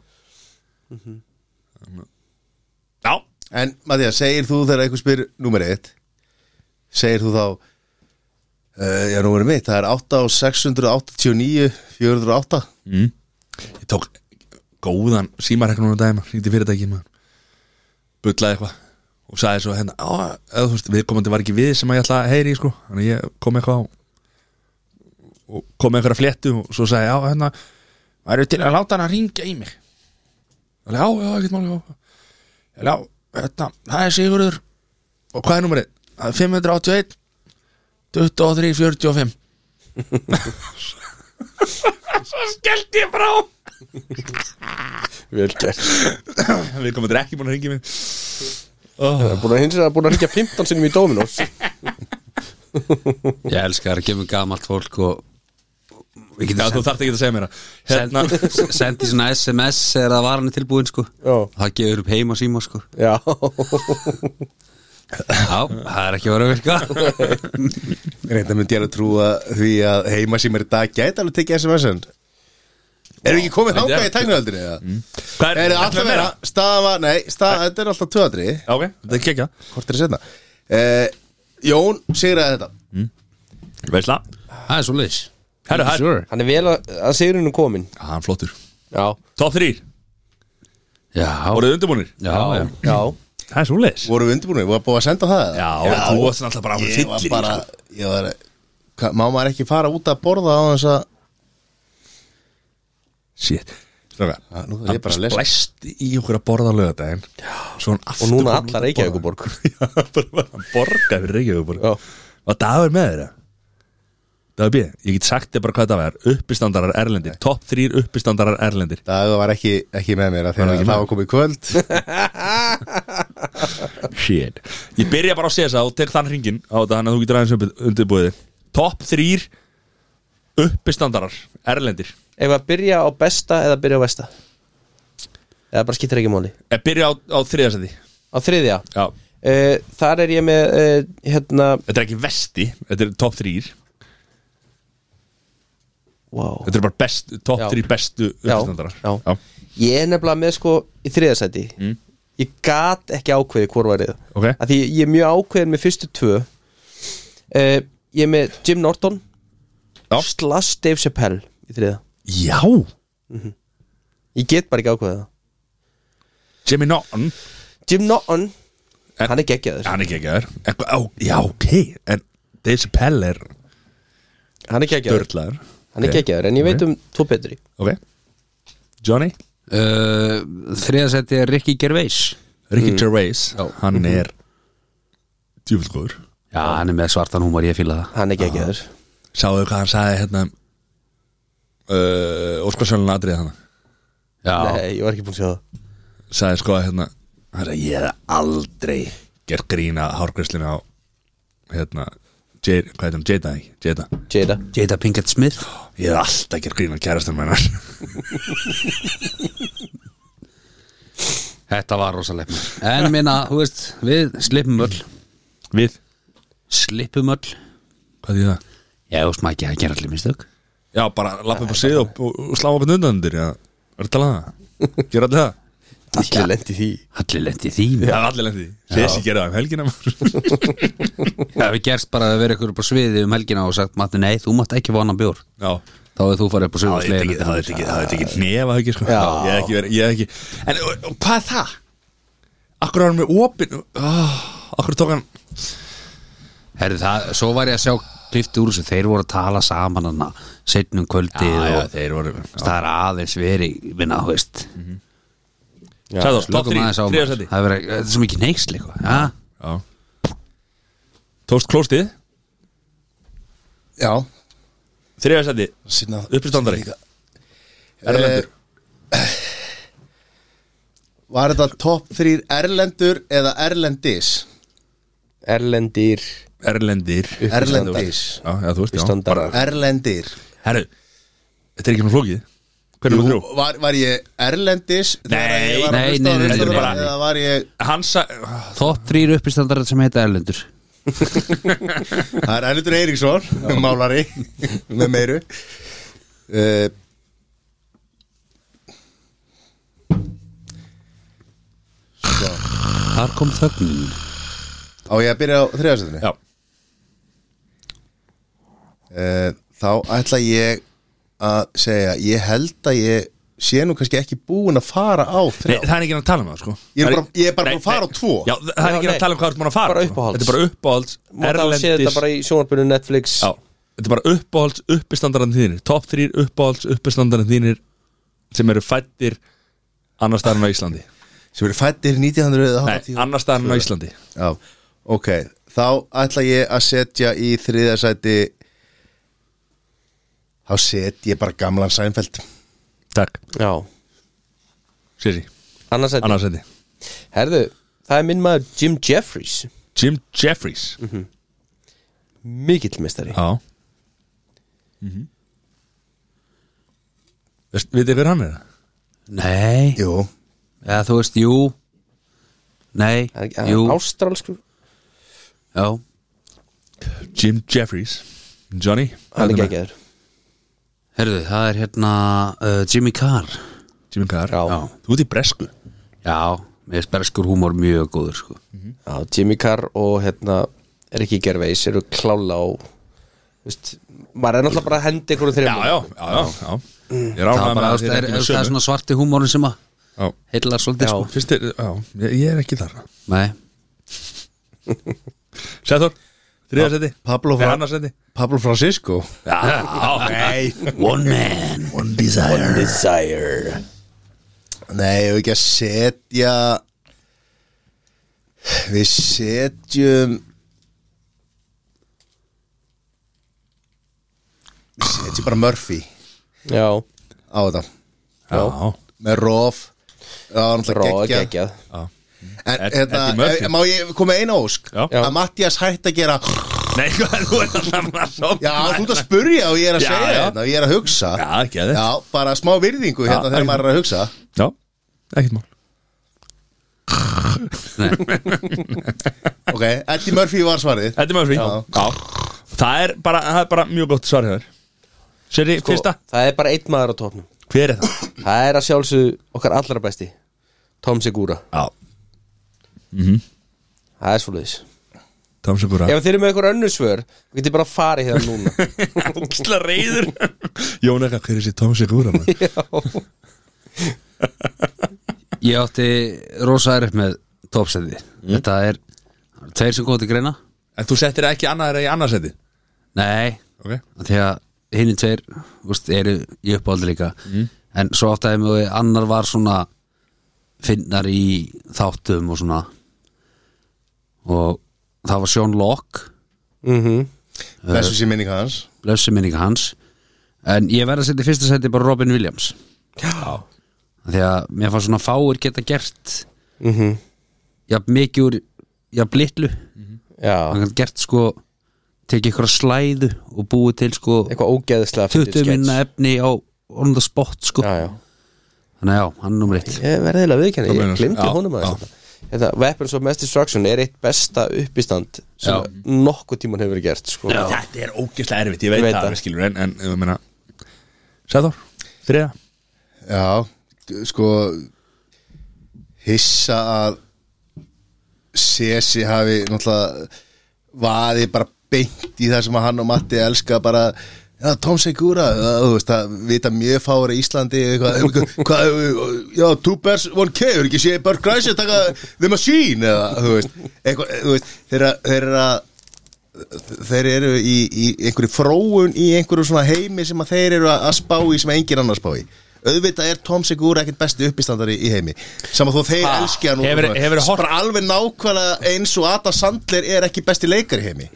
Speaker 1: já
Speaker 4: En Mattias, segir þú þegar einhver spyr númerið eitt segir þú þá uh, já, númerið mitt, það er 8 á 689 408
Speaker 1: mm. ég tók góðan símarregnum á daginn hringdi í fyrirtæki maður bullaði eitthvað og sagði svo hérna á, eða, þú veist, viðkomandi var ekki við sem að ég ætla að heyri í, sko þannig að ég kom eitthvað á og kom með einhverja fléttu og svo sagði ég, já, hérna væru til að láta hann að ringja í mig og já, já, ekkert máli já, já, hérna, það er Sigurður og hvað er númerið? Það er 581 23 45 svo skellt ég frá
Speaker 2: Vel gert
Speaker 1: við komum þetta ekki búin að ringja í mig
Speaker 2: Það er búin að hins vegar búin að hringja 15 sinnum í Dominos
Speaker 3: Ég elska það að gefa gamalt fólk og og við
Speaker 1: Já, þú
Speaker 3: getum
Speaker 1: þarft ekki að segja mér það
Speaker 3: send,
Speaker 1: hérna,
Speaker 3: send, sendi svona SMS eða það var hann tilbúin sko
Speaker 2: Já.
Speaker 3: það gefur upp heima síma sko
Speaker 2: Já
Speaker 3: Já, það er ekki að vera að virka
Speaker 4: reynda myndi ég að trúa því að heima sem er í dag gæti alveg tekið SMS-en Erum við ekki komið þáka í tæknuöldinu? Mm.
Speaker 1: Hvað
Speaker 4: Er það alltaf vera? Staða var, nei, staða, þetta er alltaf tvöðri
Speaker 1: Já, ok, þetta er kekja
Speaker 4: Hvort er þetta? Uh, Jón sigraði þetta
Speaker 1: Veisla
Speaker 3: Það er svo leis
Speaker 1: Herru, herru
Speaker 3: sure.
Speaker 2: Hann er vel að, að sigurinn er komin
Speaker 1: Já, hann er flottur
Speaker 2: Já,
Speaker 1: Top 3
Speaker 3: Já,
Speaker 1: Voruð þið undirbúinir?
Speaker 3: já, já.
Speaker 2: já
Speaker 1: Það er svo leis Já,
Speaker 4: Vorum við undirbúinu, var búið að senda það? eða?
Speaker 1: þú varst alltaf bara alveg
Speaker 4: Ég var
Speaker 1: fyllir í,
Speaker 4: bara,
Speaker 1: sko.
Speaker 4: ég var hva, Má maður ekki fara út að borða á þess að
Speaker 1: Shit Stráka,
Speaker 4: Ah, nú þarf ég
Speaker 1: Hann
Speaker 4: bara að lesa.
Speaker 1: splæst í okkur að borða á lögadaginn Svo hann aftur
Speaker 2: Og núna
Speaker 1: kominn
Speaker 2: alla
Speaker 1: út að
Speaker 2: Reykjavíkurborg.
Speaker 1: borða. Já, bara bara- hann borgaði fyrir Reykjavíkuborg
Speaker 2: Já.
Speaker 1: Og Dagur með þeirra Dagur B, ég get sagt þér bara hvað það var Uppistandarar erlendir, top 3 uppistandarar erlendir
Speaker 4: Það var ekki, ekki með mér að
Speaker 1: Var
Speaker 4: þegar
Speaker 1: ekki
Speaker 4: það
Speaker 1: með.
Speaker 4: var komið kvöld
Speaker 1: Shit Ég byrja bara á CSA og tek þann hringin á þetta Þannig að þú getur aðeins upp- undirbúið þig. Top 3 uppistandarar Erlendir
Speaker 2: Ef að byrja á besta eða byrja á besta Eða bara skiptir ekki máli
Speaker 1: Ég byrja á, á þriðasendi
Speaker 2: Á þriðja
Speaker 1: Já
Speaker 2: uh, Þar er ég með uh, hérna
Speaker 1: Þetta er ekki vesti, þetta er top 3
Speaker 2: wow.
Speaker 1: Þetta er bara best, top
Speaker 2: Já.
Speaker 1: 3 bestu
Speaker 2: Já,
Speaker 1: uppistandarar
Speaker 2: já. Ég er nefnilega með sko í þriðasæti mm. Ég gat ekki ákveði hvort værið
Speaker 1: Ok.
Speaker 2: Af Því ég er mjög ákveðin með fyrstu tvö uh, Ég er með Jim Norton
Speaker 1: Já.
Speaker 2: Slash Dave Chappelle í þriða
Speaker 1: Já,
Speaker 2: Ég get bara ekki ákveðið það
Speaker 1: Jimmy Norton
Speaker 2: Jim Norton,
Speaker 1: En-
Speaker 2: hann er geggjaður
Speaker 1: Hann er ekki ekki þér Já, ok En Dave Chappelle er
Speaker 2: Hann er geggjaður,
Speaker 1: dörlaður
Speaker 2: hann er geggjaður En ég veit um tvo betri
Speaker 1: Ok Johnny
Speaker 3: Uh, Þriðasætti er Ricky Gervais
Speaker 1: Ricky
Speaker 2: Mm.
Speaker 1: Gervais Hann
Speaker 2: Mm-hmm.
Speaker 1: er Djúvill góður
Speaker 3: Já, hann er með svartan húmar, ég fíla það
Speaker 1: Ah.
Speaker 2: Hann er geggjaður
Speaker 1: Sáðu hvað hann sagði hérna um, uh, Óskarsjálun atrið hann Ah.
Speaker 3: Já,
Speaker 2: Nei, ég var ekki búin að sjá það
Speaker 1: Sagði sko að hérna Hann sagði ég hef aldrei Gert grína hárgrislinu á Hérna Jada, hvað heitum, Jada, ekki? Jada
Speaker 2: Jada
Speaker 3: Jada Pinkett Smith
Speaker 1: Ég hef alltaf gert grína kærastan með hennar
Speaker 3: Þetta var rosalega En minna, þú veist, við slipum öll
Speaker 1: Við,
Speaker 3: Slipum öll
Speaker 1: hvað því það?
Speaker 3: Já, þú veist maður ekki að gera allir mistök
Speaker 1: Já, bara lappa upp á sið og, og, og slá okkur undanundir Er það talaða? Gerðu allir um það?
Speaker 2: Allir lendi því
Speaker 3: Allir lendi því
Speaker 1: Það
Speaker 3: Já,
Speaker 1: er allir lendið Sessi gerði það um helgina maður.
Speaker 3: við gerst bara að vera ykkur upp á sviði um helgina og sagt Matti, nei, þú mátt ekki vona bjór
Speaker 1: Já,
Speaker 3: þá hefur þú farið upp á
Speaker 1: Það hefði
Speaker 3: sögurslegin
Speaker 1: ekki- það hefði ekki, það hefði ekki nefa ekki sko
Speaker 2: Já.
Speaker 1: Ég hef ekki verið, ég hef ekki En og, og, hvað er það? Akkur var hann með opin oh, Akkur tók hann
Speaker 3: Herri, það, svo var ég að sjá klifti úr þessu, þeir voru að tala saman hana setnum kvöldi og
Speaker 1: þeir voru
Speaker 3: það er aðeins verið minna, þú veist
Speaker 1: Sæður, top
Speaker 3: Slökum
Speaker 1: 3,
Speaker 3: aðeins á maður.
Speaker 1: 3 seti
Speaker 3: Það er verið- þetta er svo mikið neyksl eitthvað ja.
Speaker 1: Tókst klóstið,
Speaker 4: Já,
Speaker 1: 3 seti
Speaker 4: sinna
Speaker 1: Uppistandari
Speaker 4: Erlendur Eh, Var þetta topp þrýr Erlendur eða Erlendis?
Speaker 2: Erlendir
Speaker 1: Erlendir
Speaker 4: Erlendis
Speaker 1: Já, já, þú veist, já
Speaker 2: Uppistandar.
Speaker 4: Erlendir
Speaker 1: Herru, þetta er ekki svona flókið Hvernig var
Speaker 4: Jú,
Speaker 1: þrjú?
Speaker 4: var, var ég Erlendis þegar
Speaker 1: Nei,
Speaker 4: ég var að
Speaker 3: nei,
Speaker 4: hlusta á
Speaker 3: nei, nei,
Speaker 4: Ristara
Speaker 3: þetta er bara-
Speaker 4: eða var ég,
Speaker 1: Hann sa
Speaker 3: Top 3 uppistandar sem heita Erlendur
Speaker 4: það er Erlendur Eiríksson málari með meiru uh,
Speaker 3: Þar kom þögnin
Speaker 4: á ég að byrja á þriðarsöðinu
Speaker 1: Já,
Speaker 4: uh, þá ætla ég að segja ég held að ég sé nú kannski ekki búin að fara á
Speaker 1: Nei,
Speaker 4: þrjá
Speaker 1: það er ekki að tala um það sko
Speaker 4: Ég er bara- ég er bara
Speaker 1: Nei,
Speaker 4: búin að fara
Speaker 1: nei.
Speaker 4: á tvo.
Speaker 1: Já, það er ekki
Speaker 2: Já,
Speaker 1: að
Speaker 2: nei.
Speaker 1: tala um hvað þú ert búin að fara
Speaker 2: Bara
Speaker 1: sko.
Speaker 2: uppáhalds.
Speaker 1: Þetta er bara uppáhalds
Speaker 2: Má það sé þetta
Speaker 1: Erlendis
Speaker 2: bara í sjónvarpunum Netflix
Speaker 1: Já, þetta er bara uppáhalds uppistandarinn þínir Top 3 uppáhalds uppistandarinn þínir sem eru fættir annar staðarinn á Íslandi
Speaker 4: sem eru fættir 1900
Speaker 1: Nei, annar staðarinn á Íslandi
Speaker 4: Já, ok Þá ætla ég að setja í þriðasæti Þá set ég bara gamlan sænfeld
Speaker 1: Takk,
Speaker 2: Já.
Speaker 1: Siri,
Speaker 2: Annars að
Speaker 1: annars sendi
Speaker 2: Herðu, það er minn maður Jim Jeffries
Speaker 1: Jim Jeffries
Speaker 4: Mhm.
Speaker 2: Mikill mistari
Speaker 1: Já
Speaker 2: Mhm.
Speaker 1: Veist, vitið þið hver hann er?
Speaker 3: Nei,
Speaker 4: Jú,
Speaker 3: eða þú veist, jú Nei,
Speaker 2: Það er ekki-
Speaker 3: jú
Speaker 2: hann er Ástralskur
Speaker 3: Já,
Speaker 1: Jim Jeffries Johnny
Speaker 2: Hann er geggjaður
Speaker 3: herðu, það er hérna uh, Jimmy Carr
Speaker 1: Jimmy Carr
Speaker 2: Já.
Speaker 3: Já,
Speaker 1: Þú ert í bresku
Speaker 3: já mér er sperskur húmor mjög góður sko.
Speaker 2: Já, Jimmy Carr og hérna Ricky Gervais eru klála og þú veist, maður er náttúrulega bara að henda
Speaker 1: Já,
Speaker 2: einhverjum þreymur
Speaker 1: já, já, já, já. Ég er
Speaker 3: Það
Speaker 1: ánægð með
Speaker 3: er bara,
Speaker 1: að
Speaker 3: það
Speaker 1: þið ekki
Speaker 3: er, er,
Speaker 1: með
Speaker 3: það er
Speaker 1: sömu.
Speaker 3: svona svarti húmorinn sem að
Speaker 1: Já.
Speaker 3: heillar svolítið sko.
Speaker 1: Fyrst er, já, ég, ég er ekki þar
Speaker 3: Nei,
Speaker 1: Sæður, þriða seti
Speaker 4: Pablo
Speaker 1: Nei,
Speaker 4: Fra-
Speaker 1: annars seti
Speaker 4: Pablo Francisco
Speaker 1: Nei,
Speaker 3: One Man
Speaker 4: One Desire One Desire Nei, ég ekki að setja Við setjum Við setjum bara Murphy
Speaker 2: Já,
Speaker 4: á þetta
Speaker 1: já,
Speaker 4: með Rof
Speaker 2: rá,
Speaker 4: Rof
Speaker 2: geggjað
Speaker 1: já.
Speaker 4: En
Speaker 1: Ed- Eddie
Speaker 4: hérna,
Speaker 1: Murphy.
Speaker 4: e- má ég koma með eina ósk?
Speaker 1: Já.
Speaker 4: Að Mattias hætti að gera
Speaker 1: Nei, hvað, þú ert alltaf að sopna
Speaker 4: Já, þú ert að spurja og ég er að
Speaker 1: Já,
Speaker 4: segja
Speaker 1: já.
Speaker 4: þetta og ég er að hugsa
Speaker 1: Já, ekki að þið
Speaker 4: Já, bara smá virðingu hérna
Speaker 1: Já,
Speaker 4: þegar
Speaker 1: ekki.
Speaker 4: maður er að hugsa
Speaker 1: Já, ekkert mál
Speaker 4: Ok, Eddie Murphy var svarið
Speaker 1: Þetta er maður frí
Speaker 4: Já.
Speaker 1: já. Það er bara, það er bara mjög gott svar hefur Seri,
Speaker 2: Sko,
Speaker 1: fyrsta
Speaker 2: Það er bara einn maður á topnum
Speaker 1: Hver er það?
Speaker 2: Það er að sjálfsögðu okkar allra besti Tom Segura,
Speaker 1: Já,
Speaker 2: það er svoleiðis
Speaker 1: Tamsugura
Speaker 2: Ef þeir eru með einhver önnur svör, þú getur bara að fara hérna núna
Speaker 1: Óksla reyður Jón eitthvað, hver er þessi Tamsugura?
Speaker 2: Já,
Speaker 3: Ég átti rosa erf með topsæti Þetta er tveir sem komið til greina
Speaker 1: En þú settir ekki annað er í annarsæti
Speaker 3: Nei,
Speaker 1: Ok
Speaker 3: því að hinn er tveir úst, eru í uppáldi líka
Speaker 2: Mm.
Speaker 3: en svo áttaði mig á því að annar var svona finnar í þáttum og svona og það var Sean Locke
Speaker 2: Mhm.
Speaker 4: Þessu sem minning hans
Speaker 3: blessi minninga hans en ég verð að setja í fyrsta seti bara Robin Williams
Speaker 1: Já
Speaker 3: því að mér fannst svona fáir geta gert
Speaker 2: Mhm.
Speaker 3: jafn mikið úr jafn litlu
Speaker 2: já
Speaker 3: hann gætt gert sko tekið ykkur slæðu og búið til sko
Speaker 2: eitthvað ógeðislega
Speaker 3: 20 minna efni á on the spot sko
Speaker 2: Já, já
Speaker 3: þannig að já, hann er nummer eitt
Speaker 2: Ég verði eiginlega viðkenni,
Speaker 1: Hvað meinar?
Speaker 2: ég glemdi
Speaker 1: Já,
Speaker 2: honum
Speaker 1: já.
Speaker 2: að þetta Weapons of Mass Destruction er eitt besta uppistand sem
Speaker 3: Já.
Speaker 2: nokkuð tíman hefur verið gert sko.
Speaker 1: Þetta er ógeðslega erfitt, ég veit,
Speaker 2: Ég veit
Speaker 1: það,
Speaker 2: það.
Speaker 1: skilur, en, en ég meina, Sæður, þriða
Speaker 4: Já, sko hissa að Sesi hafi náttúrulega vaði bara beint í það sem að hann og Matti elska bara já, Tom Segura já, þú veist, það vita mjög fáur í Íslandi eitthvað, hvað, já, two bears, one cave er ekki sé Burt Kreischer taka the machine eða, þú veist, eitthvað, þú veist þeirra, þeirra þeir eru í, í einhverju fróun í einhverju svona heimi sem að þeir eru að að spá í sem engin annar spá í auðvitað er Tom Segura ekkert besti uppistandari í heimi saman þó þeir
Speaker 1: Ha,
Speaker 4: elski hann og-
Speaker 1: hefur- hefur horft-
Speaker 4: bara alveg nákvæmlega eins og Adam Sandler er ekki besti leikar í heimi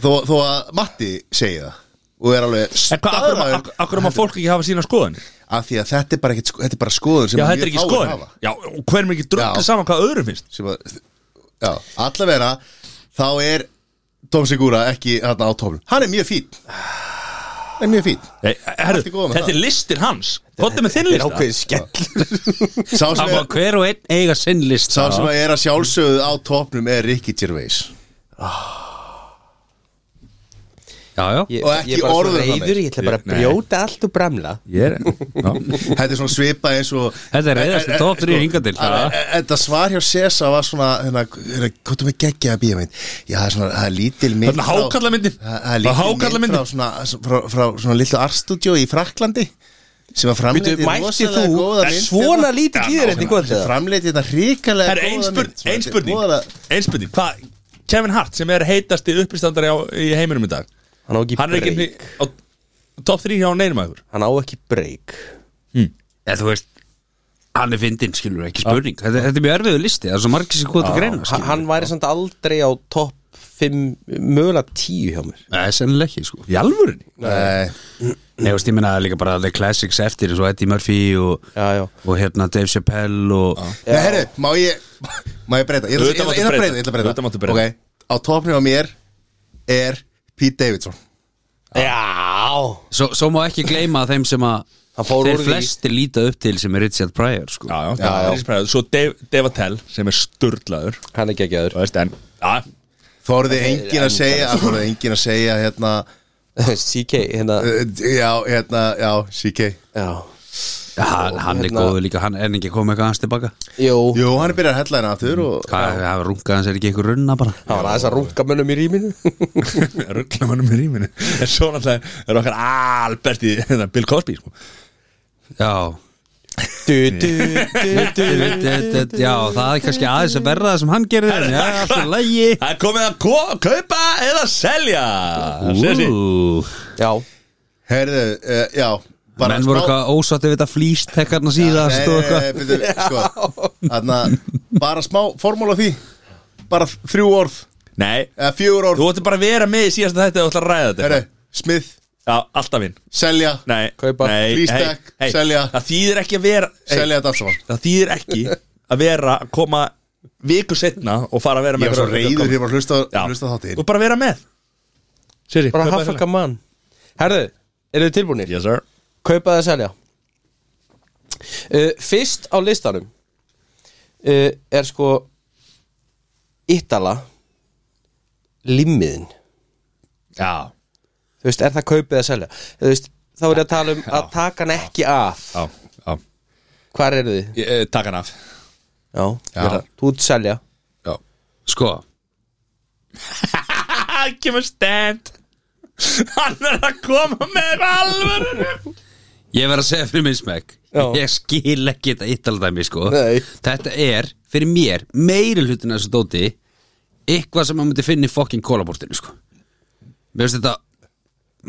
Speaker 4: þó, þó að Matti segi það og er alveg
Speaker 1: En hvað, akkur,
Speaker 4: staðraður
Speaker 1: akkur, akkur má fólk ekki hafa sína skoðanir?
Speaker 4: af því að þetta er bara, ekkit, þetta er bara skoðun sem
Speaker 1: Já,
Speaker 4: mjög
Speaker 1: þetta er ekki
Speaker 4: fáir
Speaker 1: skoðanir
Speaker 4: hafa.
Speaker 1: Já, og hver mér ekki drögglega
Speaker 4: Já.
Speaker 1: saman hvað öðrum finnst
Speaker 4: sem að, já, allavega þá er Tom Segura ekki þarna á tóflum, hann er mjög fín hann er mjög fín
Speaker 1: Nei, herru,
Speaker 4: Allt í góðu með
Speaker 1: Þetta
Speaker 4: það.
Speaker 1: er listin hans Kottu með þinn lista
Speaker 2: skell
Speaker 4: sá sem,
Speaker 3: Það má
Speaker 4: er,
Speaker 3: hver og einn eiga sinn list
Speaker 4: sá sem að er að sjálfsögðu á tófnum er Ricky Gervais
Speaker 3: Já, já
Speaker 2: Ég,
Speaker 4: Og ekki
Speaker 2: ég er bara
Speaker 4: orð um
Speaker 2: svo
Speaker 4: það
Speaker 2: reyður,
Speaker 4: meir.
Speaker 2: ég ætla bara að
Speaker 1: Nei.
Speaker 2: brjóta allt og bramla
Speaker 3: Ég er já.
Speaker 4: þetta er svona svipa eins og Sko,
Speaker 3: Þetta er reyðasti topp þrír hingað til.
Speaker 4: að- að- Þetta svar hjá Sesa var svona hérna, hérna, hvað þú með geggjaða bíómynd já, það er svona, það er lítil mynd
Speaker 1: Þarna
Speaker 4: frá-
Speaker 1: hákarlamyndin.
Speaker 4: Það það er
Speaker 1: Það
Speaker 4: lítil mynd
Speaker 1: hákarlamyndin.
Speaker 4: frá svona, frá, frá svona litlu artstudio í Fraklandi sem að framleiti
Speaker 2: Býtu, mætti þú svona lítið tíðrætt í gott
Speaker 4: hérna. sem framleiti þetta ríkalega
Speaker 1: Það er einspurning Einspurning, einspurning Hvað, Kevin Hart sem er heitasti uppistandari á, í heiminum í dag
Speaker 2: Hann á ekki
Speaker 1: Hann er ekki
Speaker 2: break
Speaker 1: á top 3 hjá neinum aður
Speaker 2: Hann á ekki break
Speaker 3: Eða þú veist Hann er fyndinn, skilur ekki spurning þetta, þetta er mjög erfiðu listi, það er svo margir sem hvað til greina
Speaker 2: Ha- Hann væri samt aldrei á topp 5, mögulega 10 hjá mér
Speaker 3: Nei, sennilega ekki, sko
Speaker 1: Í alvörinni?
Speaker 4: Nei,
Speaker 3: Nei, veist, ég minna líka bara The Classics eftir eins og Eddie Murphy og,
Speaker 2: Já, já.
Speaker 3: og hérna Dave Chappelle og
Speaker 4: herru, má ég má ég breyta, ég
Speaker 1: Auðvitað
Speaker 4: ætla ég
Speaker 1: máttu
Speaker 4: ætla að
Speaker 1: breyta.
Speaker 4: breyta, ég ætla að
Speaker 1: Auðvitað máttu
Speaker 4: breyta
Speaker 1: breyta.
Speaker 4: Ok, á topnum á mér er Pete Davidson
Speaker 2: Já
Speaker 3: svo, svo má ekki gleyma þeim sem að
Speaker 2: Hann fór úr
Speaker 3: þeir
Speaker 2: því.
Speaker 3: flesti líta upp til sem er Richard Pryor, sko
Speaker 1: Já, já, já, já. Spæður. Svo Dave, Dave Attell sem er sturlaður
Speaker 2: Hann er ekki ekki aður
Speaker 1: Þú veist, en Já,
Speaker 4: Þorði engin að segja Þorði engin að segja hérna
Speaker 2: CK, hérna
Speaker 4: uh, Já, hérna, já, CK
Speaker 2: Já
Speaker 3: Já, hann, hann er
Speaker 2: hérna-
Speaker 3: góður líka, hann er ekki komið eitthvað hans tilbaka
Speaker 2: Jú,
Speaker 4: Jú, hann er byrjað að hella hérna aftur og
Speaker 3: Hvað, hann rungaði hans er ekki eitthvað runna bara
Speaker 2: hann var aðeins að runga mönnum í rýminu
Speaker 1: ruggla mannum í rýminu En svo náttúrulega er okkar albert í hérna, Bill Cosby sko.
Speaker 3: Já,
Speaker 2: Du, du, du, du
Speaker 3: já það er kannski aðeins að verða það sem hann gerði en Já, allt er lægi
Speaker 1: Það er komið að ko- kaupa eða selja Sessi.
Speaker 2: Já,
Speaker 4: Herðu, uh, já bara
Speaker 3: Menn voru
Speaker 4: smá-
Speaker 3: eitthvað ósátti við þetta flýstekkarna
Speaker 4: Nei,
Speaker 3: síðast og
Speaker 4: nei, nei,
Speaker 3: eitthvað
Speaker 4: byrju, sko, þarna, Bara smá formúla á því Bara þrjú orð
Speaker 1: Nei,
Speaker 4: Eða fjögur orð
Speaker 1: þú ætti bara að vera með í síðasta þetta og ætla að ræða þetta
Speaker 4: Herru, Smith,
Speaker 1: Já, alltaf vinn
Speaker 4: selja
Speaker 1: Nei,
Speaker 2: Kaupa,
Speaker 1: nei,
Speaker 4: flístak, selja.
Speaker 1: Það þýðir ekki að vera hey,
Speaker 4: Selja þetta allt saman
Speaker 1: Það þýðir ekki að vera að koma viku setna og fara að vera
Speaker 4: Ég
Speaker 1: með
Speaker 4: var svo reyður þegar ég var að hlusta,
Speaker 1: Já.
Speaker 4: hlusta á þáttinn
Speaker 1: Þú bara vera með Sessi,
Speaker 2: bara
Speaker 1: kaupa eða
Speaker 2: hafðaka mann Herðu, eru þið tilbúinir?
Speaker 1: Yes sir
Speaker 2: Kaupa það að selja uh, Fyrst á listanum uh, er sko Ítala Limmiðin
Speaker 1: Já,
Speaker 2: Þú veist, er það kaupið að selja? Þú veist, þá er ég að tala um að taka hann ekki af
Speaker 1: já, já
Speaker 2: Hvar eru þið?
Speaker 1: Ég, eh, Takk hann af
Speaker 2: Já,
Speaker 1: Já.
Speaker 2: þú ert selja
Speaker 1: Já
Speaker 3: Sko,
Speaker 1: Hann kemur stand Hann er að koma með alvöru
Speaker 3: Ég verð að segja fyrir minn smekk
Speaker 2: Já.
Speaker 3: Ég skil ekki þetta yttaldæmi sko
Speaker 2: Nei.
Speaker 3: Þetta er fyrir mér meiri hlutin af þessu dóti eitthvað sem maður myndi finna í fokkin kólabortinu sko Mér finnst þetta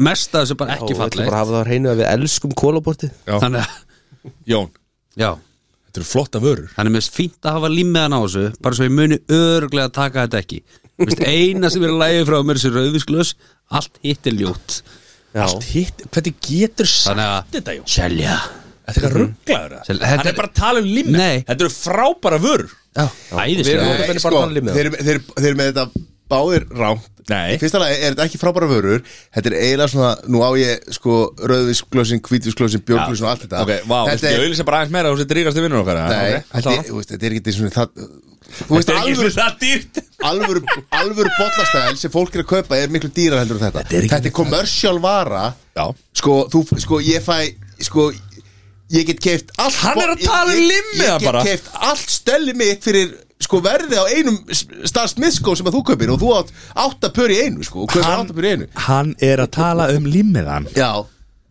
Speaker 3: mest af þessu bara ekki
Speaker 2: Og við ætlum
Speaker 3: fallegt
Speaker 2: bara að hafa það á hreinu að við elskum kólabortið
Speaker 3: Þannig að,
Speaker 1: Jón,
Speaker 3: já
Speaker 1: þetta eru flotta vörur
Speaker 3: Þannig mér finnst fínt að hafa límiðan á þessu bara svo ég muni örglega að taka þetta ekki Mér finnst eina sem er að lægi frá mér þessu rauðvisklaus, allt hitt er ljótt
Speaker 2: Já,
Speaker 1: Allt hitt, hvernig getur sagt
Speaker 3: Þannig að,
Speaker 1: þetta Jón?
Speaker 3: selja
Speaker 1: Þetta er eitthvað rugglaður
Speaker 3: Sel-
Speaker 1: það
Speaker 3: þetta
Speaker 1: Hann er
Speaker 3: er-
Speaker 1: bara að tala um limmi
Speaker 3: Nei.
Speaker 1: Þetta eru frábæra vörur
Speaker 3: Já,
Speaker 2: Við erum-
Speaker 3: æðislega
Speaker 2: Þetta
Speaker 4: Nei,
Speaker 2: er bara
Speaker 4: sko,
Speaker 2: að tala um
Speaker 4: þeir,
Speaker 2: það.
Speaker 4: þeir, þeir, eru með þetta báðir rámt
Speaker 1: Nei.
Speaker 4: Í fyrsta lagi er þetta ekki frábæra vörur Þetta er eiginlega svona, nú á ég sko Rauðvisklösin, hvítvisklösin, björglösin og allt þetta
Speaker 1: Ok, vá,
Speaker 4: þetta
Speaker 1: þetta
Speaker 4: er,
Speaker 1: er auðvitað bara aðeins meira og þetta er ríkast í vinnur okkar eða?
Speaker 4: nei,
Speaker 1: Ok,
Speaker 4: þetta,
Speaker 1: alltaf.
Speaker 4: er, þú veist, þetta er ekki svona það Þú veist,
Speaker 1: Þetta er ekki
Speaker 4: alvöru
Speaker 1: alveg það dýrt
Speaker 4: alvöru, alvöru bollastæl sem fólk er að kaupa er miklu dýrar heldur en þetta
Speaker 1: Þetta er ekki-
Speaker 4: Þetta er kommersiál vara
Speaker 1: Já.
Speaker 4: sko, þú, sko, ég fæ sko, ég get keift allt
Speaker 1: Hann er að tala um
Speaker 4: Ég-
Speaker 1: limmiða
Speaker 4: Ég
Speaker 1: bara.
Speaker 4: get keift allt stelli mitt fyrir sko verði á einum starf smiðskó sem að þú kaupir og þú átt átta pör í einu sko og kaupir
Speaker 5: Hann-
Speaker 4: átta pör í einu
Speaker 5: Hann er að tala um limmiðan
Speaker 4: Já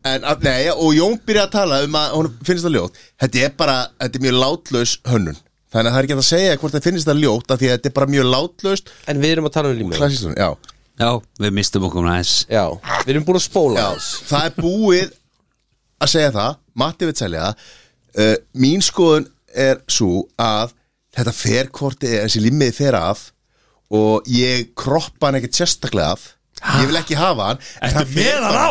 Speaker 4: En, að, nei, og Jón byrja að tala um að hún finnst það ljótt Þetta er bara, þetta er mjög látlaus hönnun Þannig að það er ekki hægt að segja hvort það finnst það ljótt af Því að þetta er bara mjög látlaust
Speaker 2: En við erum að tala um límið
Speaker 4: Klassist hún, já
Speaker 3: Já, við mistum okkur næs
Speaker 2: Já, við erum búin að spóla
Speaker 4: Já, það er búið að segja það Matti vil selja það uh, Mín skoðun er svo að þetta ferkorti er þessi limmiði fer af og ég kroppa hann ekkert sérstaklega af ég vil ekki hafa hann en hann fer
Speaker 5: með hann
Speaker 4: bara-
Speaker 5: á?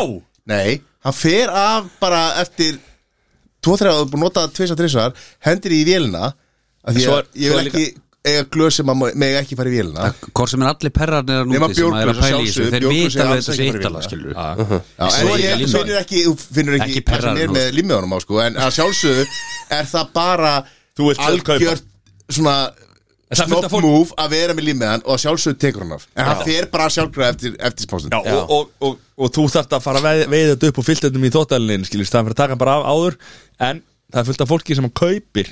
Speaker 4: Nei, hann fer af bara eftir tvo þrjá, þú er búin að nota það tvisar, þrisvar hendir í vélina af því
Speaker 1: Svo
Speaker 4: að
Speaker 1: er-
Speaker 4: ég
Speaker 1: svo er
Speaker 4: vil ekki eiga glöð sem að meg ekki fara í vélina
Speaker 3: Hvort sem er allir perrarnir að
Speaker 4: Nema
Speaker 3: núti sem að er að
Speaker 4: bjórglös,
Speaker 3: pæla í þessu
Speaker 4: sjálfsögðu,
Speaker 3: Þeir
Speaker 4: bjórglös
Speaker 3: vita
Speaker 4: er
Speaker 3: alveg
Speaker 4: alls
Speaker 3: þessu
Speaker 4: ekki bara
Speaker 3: eittala
Speaker 4: vélina.
Speaker 3: skilur
Speaker 4: Já, en
Speaker 3: Svo er
Speaker 4: ég,
Speaker 3: ekki
Speaker 4: þú finnur ekki, þú finnur ekki,
Speaker 3: Ekki
Speaker 4: ekki það sem
Speaker 3: perrar
Speaker 4: er
Speaker 3: nú.
Speaker 4: með limmiðunum á sko en að sjálfsögðu er það bara
Speaker 1: Þú vilt kaupa.
Speaker 4: algjört svona
Speaker 1: En það er fullt
Speaker 4: snob
Speaker 1: af fólk-
Speaker 4: move að vera með limmiðan og að sjálfsögðu tekur hann af en hann fer bara sjálfsögðu eftir, eftir spásin
Speaker 1: Já, Og, og, og, og þú þarft að fara að veið, veiða þetta upp og fyllt þetta í þóttælinin skiljist, það er fyrir að taka hann bara af áður en það er fullt af fólki sem að kaupir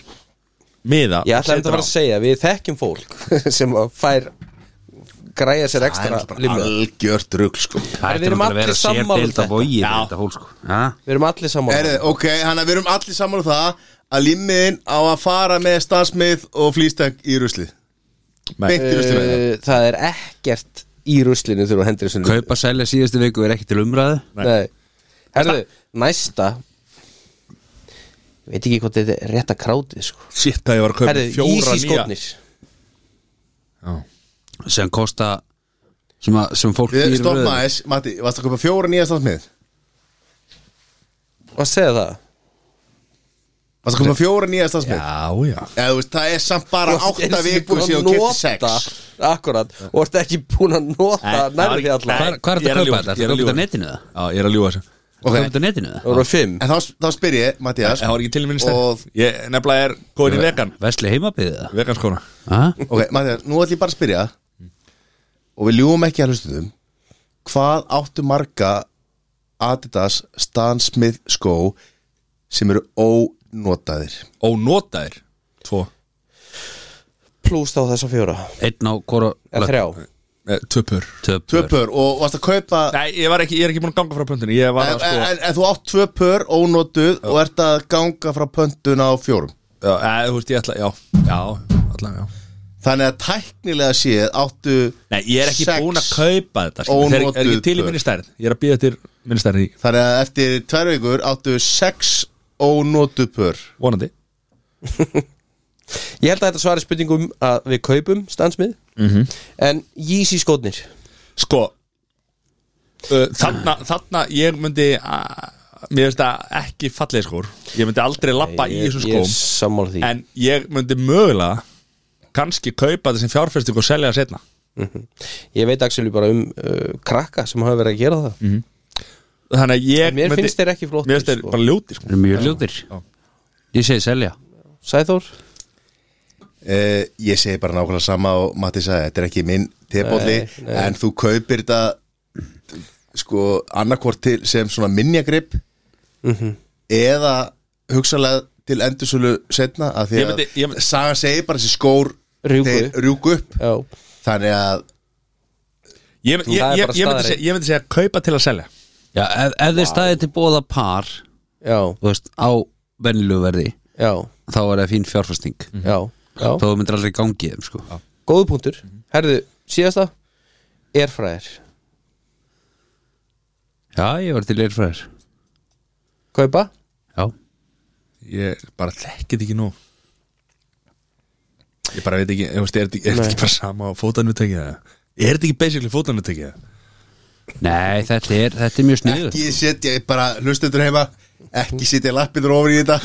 Speaker 1: miða
Speaker 2: Ég
Speaker 1: og
Speaker 2: ætla þetta
Speaker 1: setur
Speaker 2: bara
Speaker 1: á.
Speaker 2: að segja, við þekkjum fólk sem að fær græja sér
Speaker 4: það
Speaker 2: ekstra
Speaker 4: er bara
Speaker 2: limið
Speaker 4: algjört rugl sko
Speaker 3: Það
Speaker 2: við
Speaker 3: ætti
Speaker 2: erum allir
Speaker 3: náttúrulega að vera
Speaker 2: sammála um
Speaker 3: sérdeild
Speaker 2: þetta.
Speaker 3: að vogi
Speaker 1: Já.
Speaker 3: Þetta fólk sko Ha?
Speaker 2: Við erum allir saman
Speaker 4: Erið, ok, hann að við erum allir saman um það að limmiðin á að fara með stansmið og flýstak í ruslið
Speaker 1: Nei.
Speaker 4: beint í ruslið með það
Speaker 2: Eh, Það er ekkert í ruslinu þegar þú hendur þessu límmiða.
Speaker 3: Kaupa selja síðustu viku er ekki til umræðu
Speaker 2: Nei Herðu, næsta Ég veit ekki hvort þetta er rétt að kráti sko.
Speaker 1: Shit, það ég var að kaupa
Speaker 2: Herðu,
Speaker 1: fjóra
Speaker 2: Easy
Speaker 1: nýja
Speaker 2: skotnir
Speaker 1: Já.
Speaker 3: sem kosta sem, að, sem fólk
Speaker 4: Við-
Speaker 3: býr í
Speaker 4: Stopp
Speaker 3: röð.
Speaker 4: maður, Matti, varst að köpa fjóra nýja stansmið?
Speaker 2: Hvað segja það?
Speaker 4: Varst að köpa fjóra nýja stansmið?
Speaker 1: Já, já
Speaker 4: Eða, þú veist, það er samt bara átta vikur síðan
Speaker 2: þú ert
Speaker 4: kefti
Speaker 2: ekki búin að
Speaker 4: sex
Speaker 2: nota Akkurat, og ert ekki búin að nota
Speaker 1: Nei,
Speaker 2: nærði því
Speaker 1: það var-
Speaker 2: alla
Speaker 3: Hvar, hvar
Speaker 1: Ég
Speaker 3: er
Speaker 1: er að
Speaker 3: þetta að kaupa
Speaker 1: ljúga, ég
Speaker 3: þetta?
Speaker 1: er
Speaker 3: Þetta
Speaker 1: að
Speaker 3: kaupa
Speaker 1: ljúga.
Speaker 3: þetta á netinu það?
Speaker 1: Já, ég er að ljúa þessu Eh,
Speaker 4: Ok.
Speaker 3: Kaupa þetta á netinu
Speaker 2: Það
Speaker 3: það?
Speaker 2: voru fimm
Speaker 4: En þá, þá spyr ég, Mattias
Speaker 1: Það var ekki til minn
Speaker 4: Og-
Speaker 1: stæð Ég nefnilega er góðin í vegan
Speaker 3: Vesli heimabyðið það?
Speaker 1: Veganskona
Speaker 3: Ha?
Speaker 4: Ok, Mattias, nú ætlum ég bara að spyrja Og við ljúum ekki að hlustuðum Hvað áttu marga Adidas Stan Smith skó Sem eru ónotaðir
Speaker 1: Ónotaðir Tvo
Speaker 2: Plús þá þessa fjóra
Speaker 3: Einn á hvora
Speaker 2: Eða þrjá
Speaker 1: eh, Töpur
Speaker 4: Tvö
Speaker 3: Töpur
Speaker 4: pör og varst að kaupa
Speaker 1: Nei, ég, var ekki, ég er ekki búin að ganga frá pöntinu Ég var
Speaker 4: en,
Speaker 1: að sko
Speaker 4: en, en þú átt tvö pör ónotuð Og ert að ganga frá pöntun á fjórum
Speaker 1: Já, eh, þú veist, ég ætla Já, já, allan, já
Speaker 4: Þannig að tæknilega séð áttu
Speaker 1: Nei, ég er ekki
Speaker 4: sex.
Speaker 1: búin að kaupa þetta skilur. Þeir er ekki
Speaker 4: Ónotuð
Speaker 1: til í
Speaker 4: pör.
Speaker 1: minni stærð Ég er að býða til minni stærð í
Speaker 4: Þannig að eftir tvær vikur áttu sex ónotuð pör
Speaker 1: vonandi
Speaker 2: Ég held að þetta svari spurningum að við kaupum stansmið
Speaker 1: Mhm.
Speaker 2: -hmm. En Yeezy skotnir
Speaker 1: Sko uh, þarna, þarna ég myndi uh, Mér finnst það ekki fallið skór Ég myndi aldrei lappa í
Speaker 2: Ég-
Speaker 1: þessum
Speaker 2: Ég er
Speaker 1: skóm
Speaker 2: sammála því
Speaker 1: En ég myndi mögulega kannski kaupa þetta sem fjárfesting og selja það setna
Speaker 2: Ég veit Axel bara um uh, krakka sem hafa verið að gera það
Speaker 1: Þannig að ég
Speaker 2: Mér
Speaker 1: Mhm. myndi,
Speaker 2: finnst þeir ekki flottir,
Speaker 1: Mér finnst þeir
Speaker 2: sko.
Speaker 1: bara ljóti sko.
Speaker 3: Eru mjög ljótir Ég segi selja
Speaker 2: Sæþór
Speaker 4: Uh, ég segi bara nákvæmlega sama og Matti sagði, þetta er ekki minn tebóli
Speaker 2: Nei, nei.
Speaker 4: en þú kaupir þetta sko annarkvort til sem svona minjagrip eða hugsalega til endursölu setna að því
Speaker 1: Ég
Speaker 4: að
Speaker 1: myndi- ég myndi-
Speaker 4: sagan segir bara þessi skór
Speaker 2: Rjúku
Speaker 4: þeir rjúku upp
Speaker 2: Já
Speaker 4: þannig að
Speaker 1: ég, ég,
Speaker 2: það
Speaker 1: ég,
Speaker 2: er bara
Speaker 1: ég, myndi
Speaker 2: staðreynd.
Speaker 1: segja, ég myndi segja kaupa til að selja
Speaker 3: Já, ef, ef þeir staðið til bóða par
Speaker 2: Já
Speaker 3: þú veist, á venlu verði
Speaker 2: Já
Speaker 3: þá er það fín fjárfesting mm.
Speaker 2: Já Já
Speaker 1: Mhm.
Speaker 3: þá þú myndir aldrei gangi í þeim sko.
Speaker 2: Góðu punktur Herðu, síðasta Airfryer
Speaker 3: Já, ég var til eirfræðir
Speaker 2: Kaupa
Speaker 3: Já,
Speaker 1: Ég bara þekkið ekki nú Ég bara veit ekki, ég veist, er þetta ekki- er þetta
Speaker 2: Nei.
Speaker 1: ekki bara sama á fótanutækið eða? Er þetta ekki basically fótanutækið eða?
Speaker 3: nei, þetta er, þetta er mjög sniður
Speaker 4: ekki setja, ég bara hlustendur heima ekki setja lappinur ofur í þetta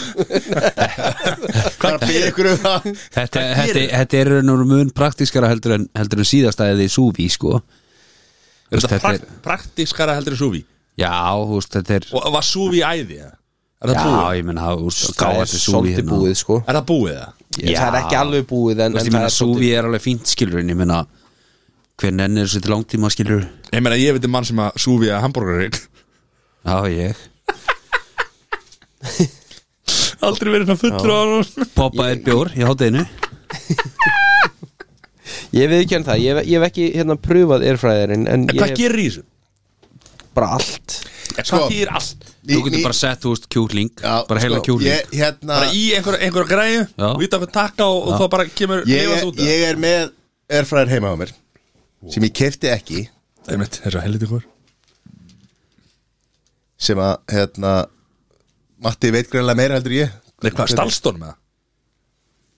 Speaker 4: bara byrja ykkur um það
Speaker 3: Þetta, þetta, þetta er raun og veru mun praktískara heldur en, heldur en síðastæði súfi sko. Þú
Speaker 1: Er
Speaker 3: veist,
Speaker 1: þetta
Speaker 3: þetta
Speaker 1: prakt, praktískara heldur en súvi?
Speaker 3: Já, þú veist, þetta er
Speaker 1: Og var súvi æði? eða? Er það búið?
Speaker 3: Já, ég menna, þú veist,
Speaker 2: Það
Speaker 3: gáða
Speaker 2: er
Speaker 3: til súfi
Speaker 2: svolítið búið sko
Speaker 1: Er það búið það?
Speaker 3: Já.
Speaker 2: Það er ekki alveg búið en,
Speaker 3: hérna. Þú veist,
Speaker 2: en
Speaker 3: ég menna,
Speaker 2: það er
Speaker 3: súfi er alveg fínt skilur en ég menna, hver nennir þessu til langtíma skilur
Speaker 1: Ég meina, ég veit um mann sem að súvi að hambúrgarir
Speaker 3: Já, ég
Speaker 1: Aldrei verið svona fullur á hann
Speaker 3: Poppa er bjór í hátæðinu
Speaker 2: Ég við ekki hann það, ég, hef- ég hef ekki hérna pröfað erfræðirinn En
Speaker 3: En
Speaker 2: ég
Speaker 3: hvað
Speaker 2: hef
Speaker 3: gerir í þessu?
Speaker 2: bara allt
Speaker 4: Sko,
Speaker 3: Hvað gerir allt?
Speaker 4: Ný-
Speaker 3: Þú
Speaker 4: ný-
Speaker 3: getur bara sett, þú veist, kjúling
Speaker 4: Já,
Speaker 3: Bara heila
Speaker 4: sko,
Speaker 3: kjúling
Speaker 4: ég, hérna,
Speaker 1: bara í einhver, einhver græju,
Speaker 3: Já.
Speaker 1: vita fyrir takka og, og þá bara kemur lifandi
Speaker 4: ég,
Speaker 1: út
Speaker 4: ég er með erfræðir heima á mér sem ég kefti ekki
Speaker 1: Það er mitt, þessu helviti hver
Speaker 4: sem að hérna, Matti veit greinlega meira heldur en ég
Speaker 1: Nei, hvað, stalstón með það?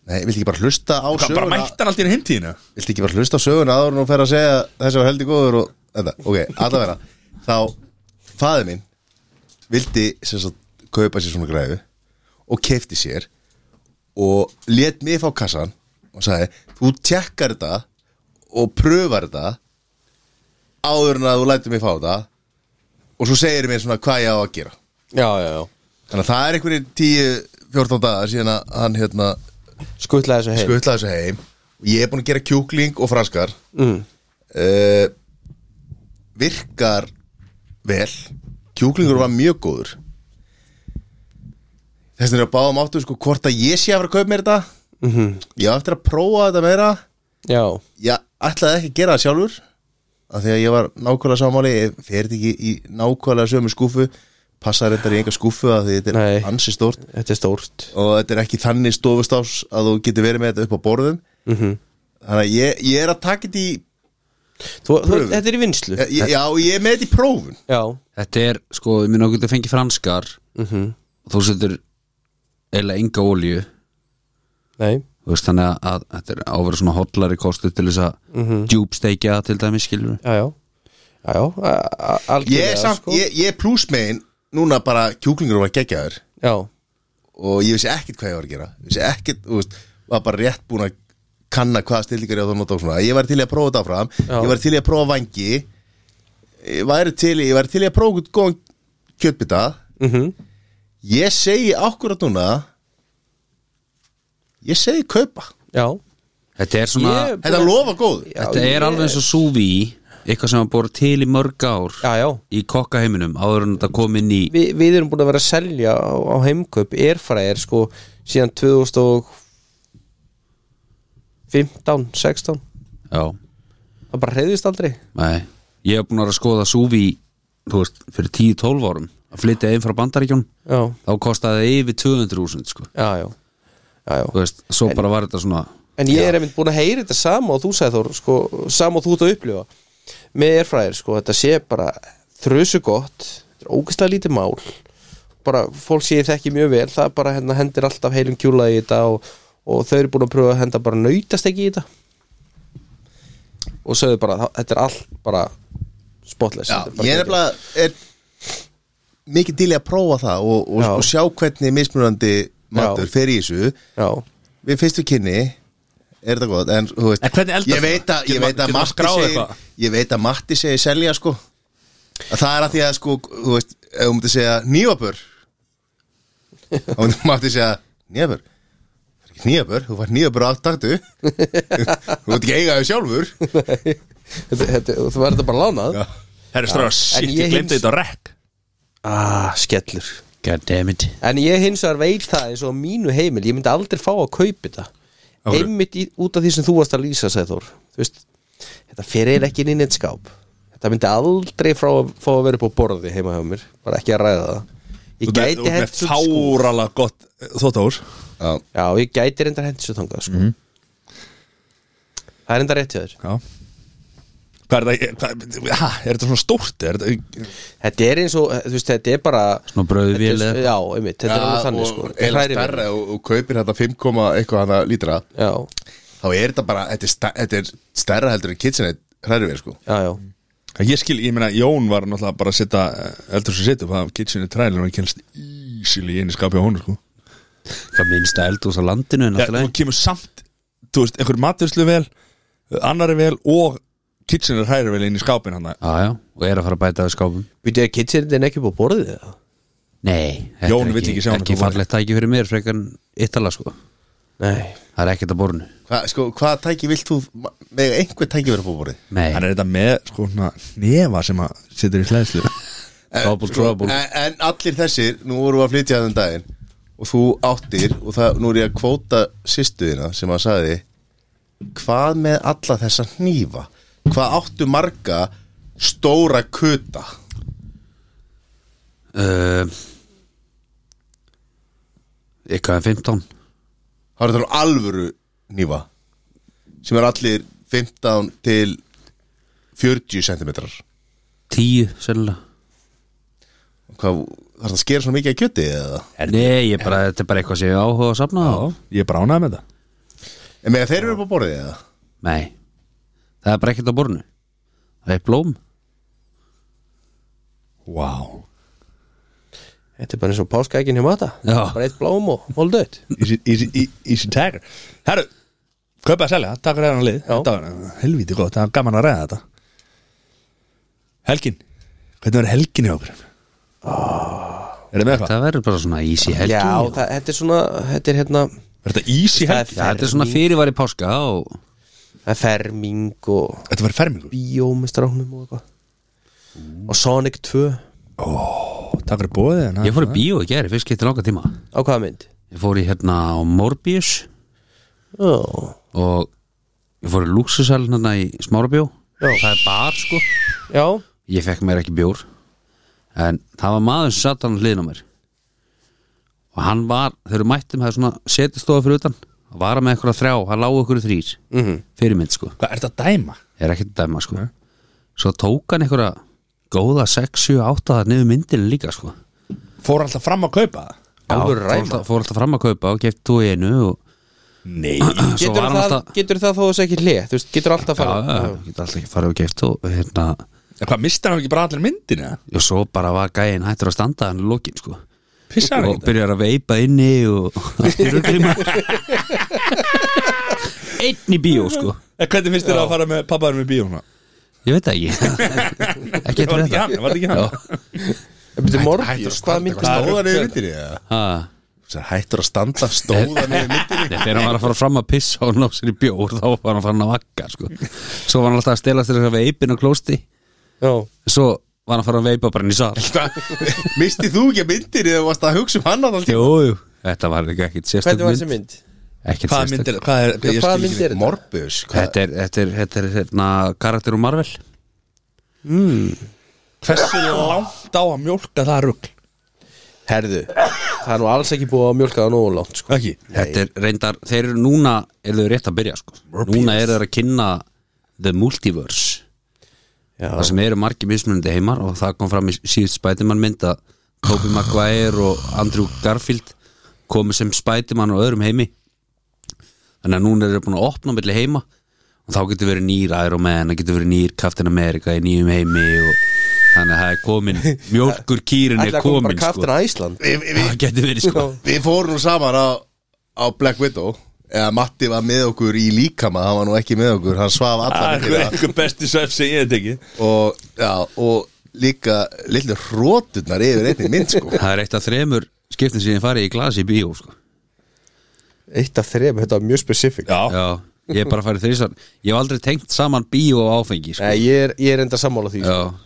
Speaker 4: Nei, viltu ekki bara hlusta á
Speaker 1: Hvað, bara
Speaker 4: söguna
Speaker 1: mættan allt í einu heimtíðinu?
Speaker 4: Viltu ekki bara hlusta á söguna áður en þú fer að segja þessi var heldur góður og þetta, ok, allavega þá faði minn vildi sem sagt kaupa sér svona græðu og kefti sér og let mig fá kassan og sagði, þú tjekkar þetta og pröfar þetta áður en að þú lætur mig fá þetta og svo segir mér svona hvað ég á að gera
Speaker 2: Já, já, já
Speaker 4: þannig að það er einhverjir 10-14 dagar síðan að hann hérna
Speaker 2: Skuttla þessu heim
Speaker 4: skutla þessu heim og ég er búin að gera kjúkling og franskar mm. Eh, virkar vel kjúklingur var mjög góður þess vegna er að báðum áttu sko hvort að ég sé að vera að kaupa mér þetta -hmm. ég á eftir að prófa þetta meira
Speaker 2: mhm. Já,
Speaker 4: ég ætlaði ekki að gera það sjálfur af því að ég var nákvæmlega samáli ég fer þetta ekki í nákvæmlega sömu skúfu passar þetta í enga skúfu af því þetta
Speaker 2: Nei.
Speaker 4: er ansi stórt
Speaker 2: þetta er stórt
Speaker 4: og þetta er ekki þannig stofustás að þú getur verið með þetta upp á borðum
Speaker 2: Mhm.
Speaker 4: -hmm. þannig að ég, ég er að taka þetta í
Speaker 2: þú, þú,
Speaker 4: Pröfun.
Speaker 2: Þetta er í vinslu
Speaker 4: ég, ég- já, ég er með þetta í prófun
Speaker 2: Já,
Speaker 3: Þetta er, sko, ég minna okkur að fengi franskar og þú setur eila enga olíu
Speaker 2: nei
Speaker 3: þú veist, þannig að, að þetta er áverið svona hollari kostu til þess að mm -hmm. til dæmis skilur
Speaker 2: Já, já Já, já, a- a-
Speaker 4: ég
Speaker 2: algjörlega
Speaker 4: er samt,
Speaker 2: sko.
Speaker 4: ég, ég er plusmein núna bara kjúklingur var geggjaður
Speaker 2: Já,
Speaker 4: og ég vissi ekkert hvað ég var að gera vissi ekkert, þú veist, var bara rétt búin að kanna hvaða stillingar ég á það nota og svona ég var til í að prófa þetta áfram,
Speaker 2: Já.
Speaker 4: ég var til í að prófa vangi ég var til, í- ég var til í að prófa einhvern góðan kjötbita
Speaker 2: mhm,
Speaker 4: ég segi akkurat núna ég segi kaupa
Speaker 2: já
Speaker 3: Þetta er svona,
Speaker 2: Ég-
Speaker 4: þetta lofa góðu
Speaker 2: Já,
Speaker 3: þetta
Speaker 2: ég-
Speaker 3: er alveg eins og súvi eitthvað sem að bóra til í mörg ár
Speaker 2: Já, já
Speaker 3: í kokkaheiminum áður en þetta kom inn í
Speaker 2: Vi, Við erum búin að vera að selja á, á heimkaup erfræðir sko síðan 2015, 16
Speaker 3: Já,
Speaker 2: Það bara reyðist aldrei
Speaker 3: nei Ég hef búin að vera að skoða súvi þú veist, fyrir 10-12 árum að flytja einn frá Bandaríkjum
Speaker 2: Já,
Speaker 3: þá kostaði það yfir 200.000 sko.
Speaker 2: já, já, já, já.
Speaker 3: þú veist, svo bara var þetta svona
Speaker 2: En ég er einmitt búin að heyra þetta sama og þú sagði Þór sko, sama og þú ert að upplifa með erfræðir, sko, þetta sé bara þrösu gott, þetta er ógeðslega lítið mál bara fólk sé ég þekki mjög vel það bara hérna, hendir alltaf heilum kjúla í þetta og, og þau eru búin að pröfa að henda bara nautast ekki í þetta og sögðu bara, "Þa- þetta er allt bara spotless
Speaker 4: Já,
Speaker 2: þetta bara
Speaker 4: ég er
Speaker 2: geggjað."
Speaker 4: nefnilega er mikið til í að prófa það og, og,
Speaker 2: Já.
Speaker 4: og sjá hvernig mismunandi matur
Speaker 2: Já.
Speaker 4: fer í þessu
Speaker 2: Já,
Speaker 4: við fyrstu kynni er þetta gott en, þú veist,
Speaker 1: En hvernig eldast
Speaker 4: ég veit
Speaker 1: það?
Speaker 4: að, ég
Speaker 1: Getur
Speaker 4: veit
Speaker 1: maður- getur
Speaker 4: að,
Speaker 1: maður
Speaker 4: Matti
Speaker 1: skráð
Speaker 4: segir,
Speaker 1: eitthvað?
Speaker 4: ég veit að Matti segir selja sko að það er að því að sko þú veist, ef þú myndir segja nýjabör þá myndir Matti segja nýjabör nýjabör, þú fær nýjabör aftaktu þú veit ekki eiga þau sjálfur
Speaker 2: þetta, þetta, þú verður þetta bara lánað
Speaker 4: Já.
Speaker 1: Herri stráð, shit,
Speaker 2: ég
Speaker 1: ég glemdi
Speaker 2: heims-
Speaker 1: þetta á rekk
Speaker 2: Ah, skellur
Speaker 3: God damn it
Speaker 2: En ég hins vegar veit það eins og á mínu heimil Ég myndi aldrei fá að kaupa þetta
Speaker 1: hverju?
Speaker 2: Einmitt í, út af því sem þú varst að lýsa sagði Þór Þú veist, Þetta fer eiginlega ekki inn í neitt skáp Þetta myndi aldrei frá, að- fá að vera upp á borði heima hjá mér Bara ekki að ræða það
Speaker 1: Þú
Speaker 2: Ég
Speaker 1: ert
Speaker 2: gæti sko.
Speaker 1: með
Speaker 2: hent svo skúr
Speaker 1: fárala gott þóttahús
Speaker 4: Já.
Speaker 2: Já, ég gæti reyndar hent svo þangað
Speaker 1: Mhm.
Speaker 2: sko. Það er reyndar rétt hjá þér
Speaker 1: Já Hvað er það, hvað- ha, er þetta svona stórt? Er þetta,
Speaker 2: Þetta er eins og, þú veist, þetta er bara
Speaker 3: Svona brauðvél
Speaker 2: Þetta er-
Speaker 3: eða-
Speaker 2: Já, einmitt, þetta er
Speaker 4: Já,
Speaker 2: alveg þannig
Speaker 4: og
Speaker 2: sko
Speaker 4: eiginlega
Speaker 2: Hrærivél.
Speaker 4: stærra og, og kaupir þetta 5, komma eitthvað hana lítra
Speaker 2: Já,
Speaker 4: þá er þetta bara, þetta er, sta, þetta er stærra heldur en kitchenette hræri við sko
Speaker 2: já, já
Speaker 1: ég skil, ég meina Jón var náttúrulega bara að setja eh, eldur sem setja, það kitchen er træl og hann kennst easily inn í skapi á hún sko.
Speaker 3: Hvað minnsta eldús á landinu en
Speaker 1: Já,
Speaker 3: allt í
Speaker 1: þú
Speaker 3: lagi.
Speaker 1: kemur samt, þú veist, einhver matvislu vel annari vel og kitchen er træl vel inn í skapin hann
Speaker 3: Já, já, og er að fara að bæta við skápum
Speaker 2: Við þau að kitchenindin ekki upp á borðið það
Speaker 3: Nei, þetta
Speaker 1: Jón
Speaker 3: er
Speaker 1: vill ekki sjá hann
Speaker 3: Ekki
Speaker 1: upp á borði.
Speaker 3: fallegt tæki fyrir mér, frekar en Ítala sko
Speaker 2: Nei
Speaker 3: Það er ekkert að borinu
Speaker 4: Hva, sko, hvað tæki vilt þú með einhver tæki verið búið
Speaker 3: Nei,
Speaker 1: hann er þetta með sko svona nefa sem að setur í hlæðslu
Speaker 3: Double trouble.
Speaker 4: en, en allir þessir, nú vorum við að flytja um þann daginn og þú áttir og það, nú er ég að kvóta sýstuðina sem að sagði hvað með alla þessa hnífa hvað áttu marga stóra kuta
Speaker 3: uh, Eitthvað um en 15
Speaker 4: það eru þannig alvöru hnífa sem er allir 15 til 40 cm
Speaker 3: 10 sennilega
Speaker 4: hvað, þarf það að skera svona mikið að kjöti eða?
Speaker 3: Nei, ég bara, þetta er bara eitthvað sem ég áhuga að safna á
Speaker 1: Ég bránaði með þetta
Speaker 4: en með þeir eru upp á borðið eða?
Speaker 3: Nei, það er bara ekkert á borðinu Það er blóm
Speaker 1: Vá
Speaker 2: Þetta er bara eins og páskaækin hjá mata
Speaker 3: Já.
Speaker 2: Bara eitt blóm og holdauð
Speaker 1: Easy, easy, e- easy tagger Herru, kaupa að selja, takk fyrir hérna lið Þetta var helvíti gott, það var gaman að ræða þetta Helgin Hvernig verður helgin í okkur? Oh. Er það með eitthvað?
Speaker 3: Það verður bara svona easy helgi
Speaker 2: Já, það, þetta er svona Þetta er hérna
Speaker 1: Er þetta easy
Speaker 2: Það er
Speaker 1: helgin?
Speaker 3: Já, þetta er svona fyrirvar í páska og
Speaker 2: það er ferming og
Speaker 1: Þetta var fermingur
Speaker 2: bíó með stráknum og eitthvað
Speaker 3: Mm.
Speaker 2: Og Sonic 2
Speaker 1: Takk fyrir hérna. bóðið en það-
Speaker 3: ég fór í bíó í gæri, fyrst getur langa tíma
Speaker 2: Á hvaða mynd?
Speaker 3: Ég fór í hérna á Morbius
Speaker 2: Já,
Speaker 3: og ég fór í Luxusal hérna í Smárabjó Það er bar sko
Speaker 2: já
Speaker 3: Ég fekk mér ekki bjór En það var maður sem satt hann hliðin á mér Og hann var Þeir eru mættum, það er svona setustofa fyrir utan Það var hann með einhverja þrjá, hann lágu okkur þrýr mm
Speaker 2: Mhm.
Speaker 3: -hmm. Fyrirmynd sko,
Speaker 1: Hvað, er þetta að dæma?
Speaker 3: ég er ekkert að dæma sko Svo tók hann einhverja Góða 6, 7, 8 Það niður myndin líka sko
Speaker 1: Fór alltaf fram að kaupa það?
Speaker 3: Já,
Speaker 2: Alvöru
Speaker 3: fór
Speaker 2: ræma.
Speaker 3: alltaf, fór alltaf fram að kaupa og kefti tvo í einu og
Speaker 1: Nei
Speaker 3: svo
Speaker 2: Getur
Speaker 3: var hann
Speaker 2: það,
Speaker 3: alltaf
Speaker 2: getur það þó þessi ekki hlið Þú veist, getur alltaf
Speaker 3: Já,
Speaker 2: fara
Speaker 3: já, getur alltaf ekki farið og keft og hérna,
Speaker 1: En Hvað, misti hann ekki bara allir myndinu?
Speaker 3: og svo bara var gæinn hættur að standa hann í lokin sko
Speaker 1: Pissa hann
Speaker 3: og
Speaker 1: ekki?
Speaker 3: byrjar að veipa inni og einn í bíó sko
Speaker 1: En hvernig finnst þér að fara með pappaðurum í bíó?
Speaker 3: ég veit það ekki ekki
Speaker 1: Var
Speaker 3: eftir
Speaker 1: þetta ekki hann? Var þetta ekki hann?
Speaker 2: Þetta er
Speaker 4: hættur að
Speaker 2: Morbius, hvaða
Speaker 4: standa
Speaker 2: mynd
Speaker 4: eitthvað stóðan yfir myndinni eða?
Speaker 3: þetta
Speaker 4: Þú sagði, hættur að standa stóðan yfir myndinni
Speaker 3: þegar hann var að fara fram að pissa og ná sér í bjór þá var hann farin að vakka sko svo var hann alltaf að stelast þess að veipin og klósti
Speaker 2: Já,
Speaker 3: svo var hann að fara að veipa bara inn í sal
Speaker 4: Mistið þú ekki af myndinni eða varst að hugsa um hann allan tíma?
Speaker 3: jú, jú. þetta var ekki ekkit sérstök
Speaker 2: hvernig var þessi
Speaker 3: mynd
Speaker 2: mynd?
Speaker 3: ekkit
Speaker 1: Hvað
Speaker 3: sérstök
Speaker 1: myndir, hvað er,
Speaker 2: Já,
Speaker 1: ég
Speaker 2: hvaða
Speaker 1: skil
Speaker 2: mynd
Speaker 1: ekki
Speaker 2: er þetta?
Speaker 4: Morbius hvað-
Speaker 3: þetta er, þetta er, þetta er hérna, karakter úr Marvel
Speaker 1: Hversu langt á að mjólka það rugl?
Speaker 2: Herðu, það er nú alls ekki búið að mjölka það nógu langt sko.
Speaker 1: Ekki
Speaker 3: Þetta er reyndar, þeir eru núna eru þau rétt að byrja sko Núna eru þeir að kynna The Multiverse
Speaker 2: Já,
Speaker 3: Það sem eru margir mismunandi heimar og það kom fram í síðust Spiderman mynd að Tobey Maguire og Andrew Garfield komu sem Spiderman og öðrum heimi Þannig að núna eru þeir búin að opna milli heima og þá getur verið nýr Iron Man, það getur verið nýr Captain America í nýjum heimi og þannig að það er komin mjólkur kýrin
Speaker 2: ætla
Speaker 3: er
Speaker 2: að koma bara
Speaker 3: komin
Speaker 2: kaftin
Speaker 3: sko.
Speaker 2: að Ísland
Speaker 4: Við- við-
Speaker 3: Það getur verið sko
Speaker 4: Við fórum saman á, á Black Widow eða Matti var með okkur í líkama hann var nú ekki með okkur, hann
Speaker 2: Ah,
Speaker 4: svaf allan
Speaker 1: Það er einhver besti söf sem ég hef tekið
Speaker 4: og, já, og líka lillu hróturnar yfir einni mynd sko
Speaker 3: Það er eitt af þremur skiptin sem ég farið í glasi í bíó sko.
Speaker 2: Eitt af þrejum, þetta var mjög spesifik
Speaker 1: Já
Speaker 3: Já, ég er bara farið þrísar Ég hef aldrei tengt saman bíó og áfengi sko.
Speaker 2: Nei, ég er, ég er enda sammála því sko.
Speaker 3: Já,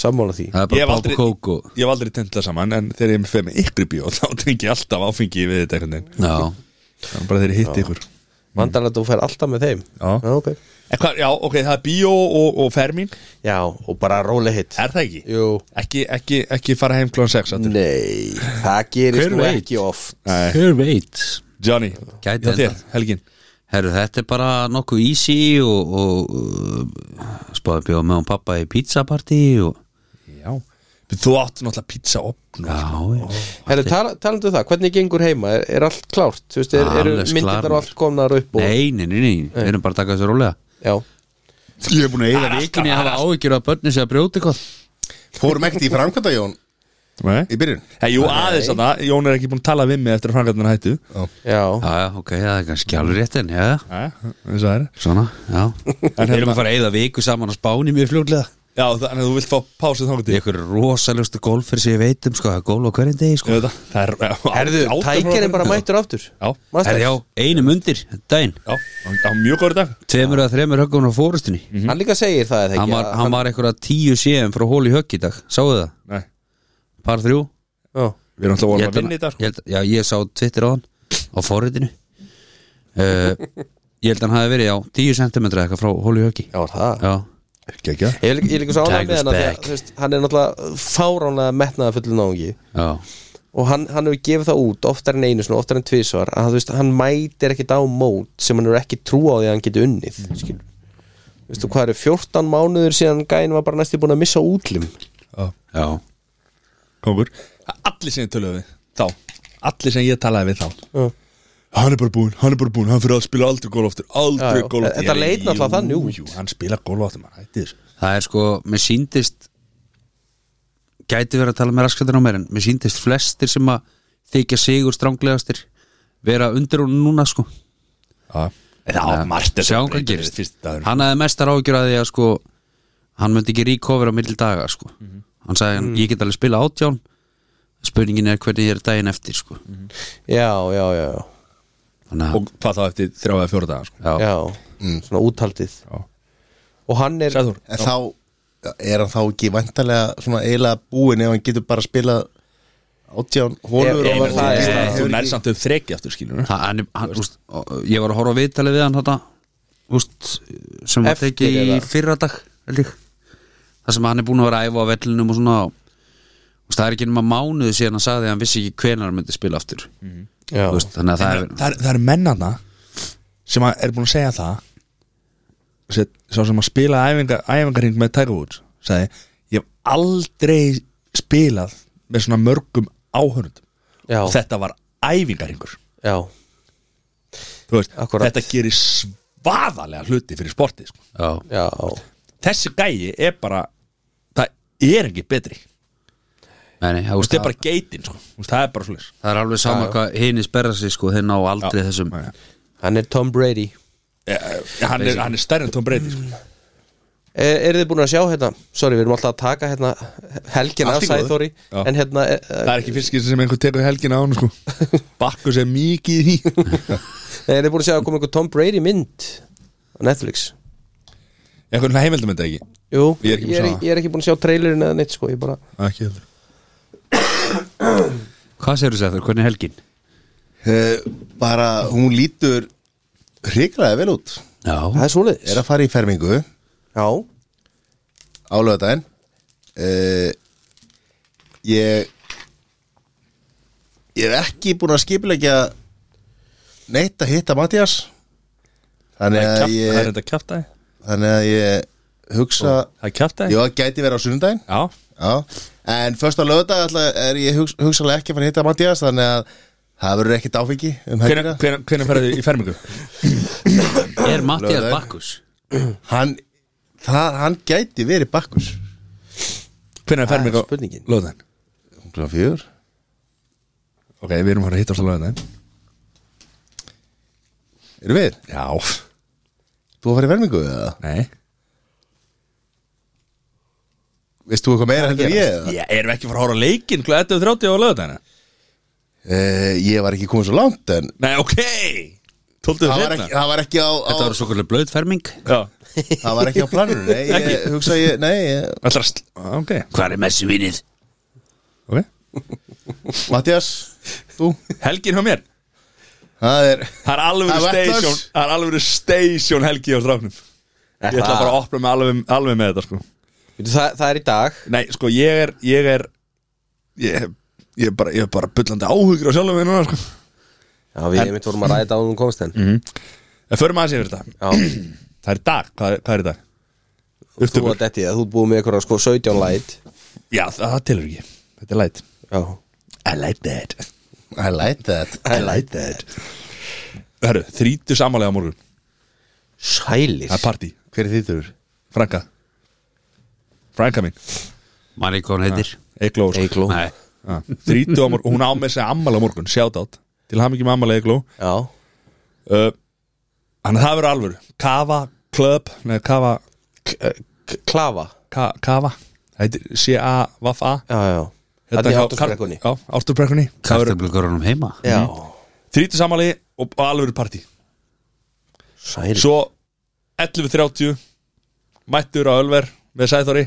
Speaker 2: Sammála því
Speaker 3: það er
Speaker 1: Ég hef
Speaker 3: bara pop
Speaker 1: aldrei-
Speaker 3: og kók og
Speaker 1: Ég hef aldrei tendlað saman En þegar ég er með fyrir með ykkur í bíó Þá tengi ég alltaf áfengi við þetta einhvern veginn
Speaker 3: Já,
Speaker 1: Það er bara þegar ég hitti ykkur
Speaker 2: Vandarlega þú fær alltaf með þeim
Speaker 1: Já.
Speaker 2: Já, ok.
Speaker 1: En hvað, já, ok, það er bíó og, og fermín
Speaker 2: Já og bara róli hitt
Speaker 1: Er það ekki?
Speaker 2: Jú,
Speaker 1: Ekki, ekki, ekki fara heim klón 6 aftur.
Speaker 2: nei, það gerist
Speaker 3: Hver
Speaker 2: nú
Speaker 3: veit?
Speaker 2: ekki oft
Speaker 1: Nei.
Speaker 3: hver veit
Speaker 1: Johnny,
Speaker 3: Gæti
Speaker 1: hjá þér,
Speaker 3: endað.
Speaker 1: helgin
Speaker 3: Herru, þetta er bara nokkuð easy og, og uh, spáði bjóða með hún pappa í pizzapartí og
Speaker 1: Já Þú átt náttúrulega pizza opn
Speaker 3: Já, já.
Speaker 2: Herru, tala, talandu um það, hvernig gengur heima? Er, er allt klárt? Þú veist, er, eru
Speaker 3: Ah, Alveg
Speaker 2: myndirnar
Speaker 3: klárt.
Speaker 2: og allt komnar upp og,
Speaker 3: Nei, nei, nei, nei, við erum bara að taka þessu rólega
Speaker 2: Já,
Speaker 4: Ég hef búin að eyða við
Speaker 3: Vikunni hafa áhyggjur að börnum sé að brjóta eitthvað
Speaker 4: Fórum ekkert í framkvæmda Jón
Speaker 1: Nei
Speaker 4: í byrjun
Speaker 1: Hei, jú, aðeins að það, Jón er ekki búin að tala við mig eftir að frangarnar hættu
Speaker 2: já,
Speaker 3: Já, já, ok, það er kannski alveg rétt en, já, já,
Speaker 1: eins og það er
Speaker 3: svona, já Við erum að fara að eyða viku saman á spáni mjög fljótlega
Speaker 1: Já, þannig að þú vilt fá pásið þangur
Speaker 3: Í
Speaker 1: til
Speaker 3: ykkur rosalustu golf fyrir sem ég veit um, sko, það er golf á hverjum degi, sko
Speaker 1: Ég veit það, það er já,
Speaker 2: herðu,
Speaker 1: átján
Speaker 2: tækir er
Speaker 1: prósent.
Speaker 2: bara mættur aftur
Speaker 1: Já,
Speaker 2: Masters.
Speaker 3: Herra, já, einum undir, daginn
Speaker 1: já, já, mjög góður dag
Speaker 3: Tveimur að þreimur höggum á fórustinni
Speaker 2: Hann líka segir það eða
Speaker 3: Mhm. Hann
Speaker 2: ekki
Speaker 3: var,
Speaker 2: að-
Speaker 3: hann var einhverja tíu séum frá hól í högg í dag Sáðu það?
Speaker 1: Nei,
Speaker 3: Par þrjú?
Speaker 2: Já,
Speaker 1: við erum alltaf vorum
Speaker 3: Ég held
Speaker 1: að vinna í
Speaker 3: að-
Speaker 1: dag sko.
Speaker 3: ég held- Já, ég sá Twitter á hann Á forritinu uh, Ég held að hann hafi verið á 10 cm eitthvað frá hólu höggi
Speaker 2: Já, það
Speaker 3: Já,
Speaker 4: Gekja
Speaker 2: Ég er líka- ég er líka svo ánægð með
Speaker 3: Tiger's
Speaker 2: hann af því að,
Speaker 3: back.
Speaker 2: þú veist, Hann er náttúrulega fáránlega metnaða fullur náungi
Speaker 3: já,
Speaker 2: og hann, hann hefur gefið það út oftar en einu svona, oftar en tvisvar að hann, þú veist, hann mætir ekkit á mót sem hann er ekki trú á því að hann geti unnið skilur. veistu hvað eru 14 mánuður síðan gæin var bara næstu búin að missa útlim
Speaker 3: já
Speaker 1: kongur Allir sem ég töluði við þá Allir sem ég talaði við þá
Speaker 2: Já.
Speaker 1: Hann er bara búinn, hann er bara búinn Hann fyrir að spila aldrei gólf aftur
Speaker 2: Já,
Speaker 1: Aldrei
Speaker 2: já.
Speaker 1: gólf aftur
Speaker 2: Þetta
Speaker 1: Ég-
Speaker 2: leit náttúrulega
Speaker 1: jú,
Speaker 2: þannig út.
Speaker 1: Jú, hann spila gólf aftur maður Hætti þessu
Speaker 3: Það er sko, mér síndist Gæti verið að tala með raskættin á mér En mér síndist flestir sem að Þykja sigur stránglegastir Vera undir hún núna sko
Speaker 1: Það á margt
Speaker 3: Sjáum hvað gerist
Speaker 1: sko.
Speaker 3: Hann hafði mestar ágjur að því að sko Hann myndi ekki recover á mill daga sko
Speaker 1: Mhm.
Speaker 3: Hann sagði, mm ég get alveg spila átján Spurningin er hvernig ég er daginn eftir sko
Speaker 2: já, já, já, já,
Speaker 3: Þannig að,
Speaker 1: Mhm. Og hvað þá eftir þrjá eða fjóra daga sko.
Speaker 3: já,
Speaker 2: já. svona úthaldið
Speaker 1: Já.
Speaker 2: og hann er
Speaker 1: Sæður
Speaker 4: En þá er hann þá ekki vantarlega svona eiginlega búin ef hann getur bara spilað átján holur
Speaker 2: Ef- ef
Speaker 4: og-
Speaker 2: það er-
Speaker 4: Hefur
Speaker 1: Þú
Speaker 4: ekki-
Speaker 1: nærsamt upp þreki aftur skilur
Speaker 3: Þa- hann, hann, úst, ég var að horfa á viðtalið við hann þetta, úst, sem var
Speaker 2: Eftir
Speaker 3: tekið í
Speaker 2: eða?
Speaker 3: fyrradag held ég. það sem hann er búin að vera að æfa á vellinum og svona úst, það er ekki nema mánuðu síðan hann sagði að hann vissi ekki hvenær hann myndi spila aftur
Speaker 2: já,
Speaker 3: úst, þannig að það er
Speaker 1: það, er, það er mennana sem að er búin að segja það sem- sá sem að spila æfingar, æfingarring með Tiger Woods sagði, ég hef aldrei spilað með svona mörgum áhörnum
Speaker 2: já,
Speaker 1: þetta var æfingarringur
Speaker 2: já,
Speaker 1: Þú veist,
Speaker 2: Akkúrat.
Speaker 1: þetta gerir svaðalega hluti fyrir sportið sko.
Speaker 3: já,
Speaker 2: já
Speaker 1: þessi gæi er bara það er ekki betri Þú
Speaker 3: nei, nei,
Speaker 1: veist,
Speaker 3: úst,
Speaker 1: það er
Speaker 3: það,
Speaker 1: bara geitin sko. Þú veist, það er bara svolítið
Speaker 3: það er alveg sama hvað hinn sperra sig sko, þeir ná aldrei þessum
Speaker 1: nei.
Speaker 2: hann er Tom Brady
Speaker 1: Eh, hann er, hann er stærri en Tom Brady sko.
Speaker 2: er, er E, þið búin að sjá hérna sorry, við erum alltaf að taka hérna helgin
Speaker 4: Allt
Speaker 2: af
Speaker 4: í góðu.
Speaker 2: Sæþóri
Speaker 1: Já.
Speaker 2: en hérna, eh,
Speaker 1: það
Speaker 2: eh,
Speaker 1: er ekki fyrst skil sem einhver tekur helgin á hann sko. bakku sem mikið í
Speaker 2: er þið búin að sjá að koma einhver Tom Brady mynd á Netflix
Speaker 1: einhvern heimildum þetta ekki
Speaker 2: Jú,
Speaker 1: Ég er ekki búinn að
Speaker 2: ég er,
Speaker 1: sjá það.
Speaker 2: ég er ekki búin að sjá trailerin eða neitt sko, ég bara
Speaker 1: ekki heldur
Speaker 3: hvað segir þú þetta, hvernig er helgin
Speaker 4: Eh, bara hún lítur hrikraði vel út
Speaker 3: já,
Speaker 2: Það er svoleiðis
Speaker 4: er að fara í fermingu
Speaker 2: Já,
Speaker 4: álöðdæðin uh, ég ég er ekki búin að skipilegja neitt að hitta Mattias þannig
Speaker 1: það
Speaker 4: að
Speaker 1: er
Speaker 4: ég,
Speaker 1: þetta kjaftaði
Speaker 4: þannig að ég hugsa
Speaker 1: það er kjaftaði
Speaker 4: já, gæti verið á sunnudaginn
Speaker 1: já
Speaker 4: Já, en först á lögdag ætla- er ég hugs, hugsalega ekki að fara að hitta Mattias þannig að það verður ekkert áfengi um helgina
Speaker 1: hvernig ferðu í fermingu?
Speaker 3: er Mattias
Speaker 4: Laugardaginn.
Speaker 3: Bakkus
Speaker 4: hann, það, hann gæti verið bakkus
Speaker 1: hvernig er fermingu?
Speaker 2: spurningin.
Speaker 1: löðan
Speaker 4: Klokkan fjör
Speaker 1: ok, við erum að fara að hitta alltaf löðan
Speaker 4: Erum við?
Speaker 1: já
Speaker 4: Þú að fara í vermingu eða?
Speaker 1: nei
Speaker 4: Veist þú eitthvað meira heldur en ég eða?
Speaker 1: Já, erum við ekki að fara að horfa á leikinn kl. 11.30 á löðan
Speaker 4: Uh, ég var ekki komið svo langt en
Speaker 1: nei, ok 12.
Speaker 4: það var
Speaker 1: setna
Speaker 4: ekki, það var ekki á, á
Speaker 3: þetta var svo kvöldlega blöðferming
Speaker 1: já
Speaker 4: það var ekki á planinu Nei, ég hugsa ég, nei ég,
Speaker 1: allra sl Já, ok
Speaker 3: hvað er messi vinnið
Speaker 1: ok
Speaker 4: Mattias, þú
Speaker 1: helgin hjá mér
Speaker 4: Það
Speaker 1: það
Speaker 4: er,
Speaker 1: er
Speaker 4: Það
Speaker 1: alveg
Speaker 4: var
Speaker 1: station
Speaker 4: verklags.
Speaker 1: það er alveg station helgi á stráknum ég ætla bara að opna mig alveg, alveg með þetta sko
Speaker 2: Veitu, það, það er í dag
Speaker 1: Nei, sko, ég er ég er ég, ég er bara, ég er bara bullandi áhugur á sjálfum við núna, sko
Speaker 2: Já, við einmitt vorum að ræða á hún komst henn
Speaker 1: En förum aðeins yfir þetta
Speaker 2: Já,
Speaker 1: Það er í dag, hvað, er- hvað er í dag?
Speaker 2: þú
Speaker 1: Upptökur
Speaker 2: var detti það, þú ert búið með eitthvað sko 17 light
Speaker 1: Já, það, það telur ekki Þetta er light
Speaker 2: Já,
Speaker 1: I like that
Speaker 4: I like that
Speaker 1: I like that Herru, þrítu samanlega á morgun
Speaker 2: sælis
Speaker 1: Það er partí
Speaker 4: Hver er þýttur?
Speaker 1: Franka Franka mín
Speaker 3: Marík hvað hann heitir
Speaker 1: Egló sko.
Speaker 2: Eigló
Speaker 3: Nei,
Speaker 1: Ah, Þrítu á morgun Hún á með sig ammala á morgun Shoutout Til hann ekki með ammala Egló
Speaker 2: Já,
Speaker 1: uh, Þannig að það verður alvöru Kava Club Nei, Kava
Speaker 2: K- k- klafa
Speaker 1: Ka- Kava Það heitir C-A-V-A
Speaker 2: Já, já Þetta er áttursbrekkunni
Speaker 1: Já, átturbrekkunni
Speaker 3: kartablugarunum heima
Speaker 2: Já,
Speaker 1: Þrítu samali og, og alvöru partí
Speaker 2: sælis
Speaker 1: Svo 11.30 Mættur á Ölver með Sæþóri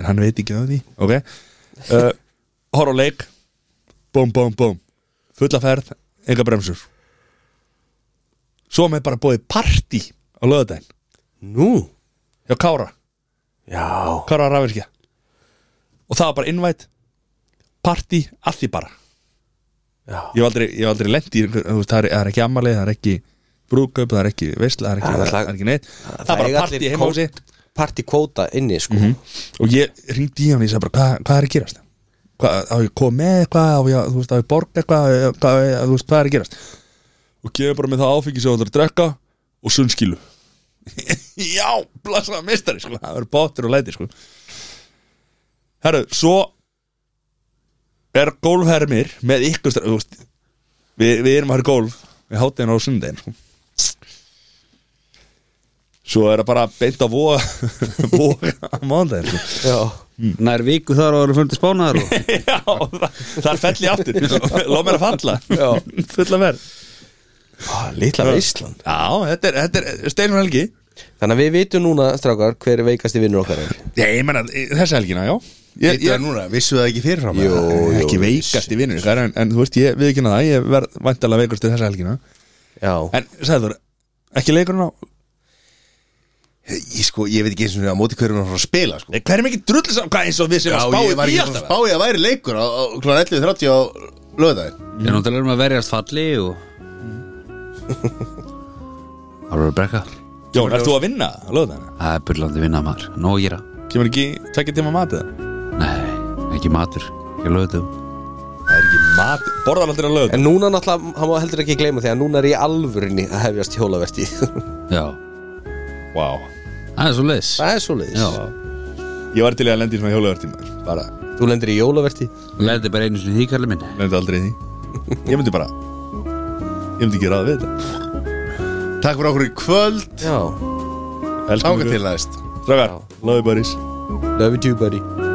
Speaker 1: En hann veit ekki það því Ok uh, Horf á leik Búm, búm, búm Fulla ferð, enga bremsur Svo með bara bóðið partí á löðadaginn
Speaker 2: Nú,
Speaker 1: Hjá Kára,
Speaker 2: já
Speaker 1: Kára Rafirkja Og það var bara invite Partí, allt í bara
Speaker 2: Já.
Speaker 1: Ég hef aldrei, ég hef aldrei lent í einhver- þú veist, Það er, það er ekki ammalið, það er ekki brúðkaup Það er ekki veistla, það er ekki,
Speaker 2: Það er
Speaker 1: það
Speaker 2: slag-
Speaker 1: er ekki neitt Það, er bara partí heima á sig
Speaker 2: Partikvóta inni, sko
Speaker 1: Og ég ringdi í hann og ég sagði bara Hvað, hvað er að gerast? Hvað, á ég kom með eitthvað, á ég, að- þú veist, á ég borga eitthvað á ég- hvað, á ég- Þú veist, hvað er að gerast? Og gefur bara með það áfengi sem þú ætlar að drekka Og sunnskilu Já, blassaða mistari, sko Það verður bátur og læti, sko Herru, svo Er gólfhermir Með ykkur, strákar, þú veist Við, við erum að herra gólf Við hátum á sundegin, sko Svo er það bara beint að voga Voga á mándaginn, sko
Speaker 2: Já,
Speaker 3: Nær viku þar og eru fyrir spánaðar og
Speaker 1: Já, það, það er felli aftur Lá mér að falla Fulla verð Ah,
Speaker 2: Á, litla Ísland
Speaker 1: Já, þetta er, þetta er Steinur Helgi
Speaker 2: Þannig að við vitum núna, strákar, hver er veikasti vinnur okkar er.
Speaker 1: Já, ég menna, þessi helgina, já Ég,
Speaker 4: Þetta er
Speaker 1: ég
Speaker 4: núna, vissu það ekki fyrirfram
Speaker 2: Jú,
Speaker 4: eða?
Speaker 2: jú.
Speaker 1: ekki veikast í vinnur ykkar en, en þú veist, ég við ekki það Ég verð væntalega veikast í þessa helgina
Speaker 2: Já,
Speaker 1: En, sagði þú, ekki leikurinn á
Speaker 4: Ég, sko, ég veit ekki eins og á móti hverjum hann frá að spila sko.
Speaker 1: Hver er mikið drull saman, hvað eins og við sem að
Speaker 4: ég var
Speaker 1: spáum í
Speaker 4: ekki frá að
Speaker 1: alltaf
Speaker 4: spá ég að væri leikur á, á kl. 11.30 á lögðaði
Speaker 3: Ég er náttúrulega erum að verjast falli og Það voru að brekka
Speaker 1: Jón, ert þú að vinna á lögðana?
Speaker 3: Það er burlandi vinna maður, nóg að gera
Speaker 1: Kemur ekki tvekja tíma matið?
Speaker 3: Nei, ekki matur, ekki lögutum
Speaker 1: Það er ekki matið, borðar aldrei á lögðana
Speaker 2: en núna náttúrulega, hann má heldur ekki gleyma því að núna er ég alvörinni að hefjast hjólaverti
Speaker 3: Já,
Speaker 1: Vá
Speaker 3: það er svo leis
Speaker 2: Það er svoleiðis
Speaker 3: Já,
Speaker 1: Ég var til í að lendi í svona hjólavertíma Bara,
Speaker 2: Þú lendir í jólaverti
Speaker 3: lendi bara einu sinni í því kalli minn
Speaker 1: lendi aldrei í því Ég myndi bara Ég myndi ekki ráða við þetta
Speaker 4: Takk fyrir okkur í kvöld
Speaker 2: Já,
Speaker 1: Elskum
Speaker 4: Ánga
Speaker 1: ykkur.
Speaker 4: til næst
Speaker 1: Strákar, love you buddies
Speaker 2: love you too buddy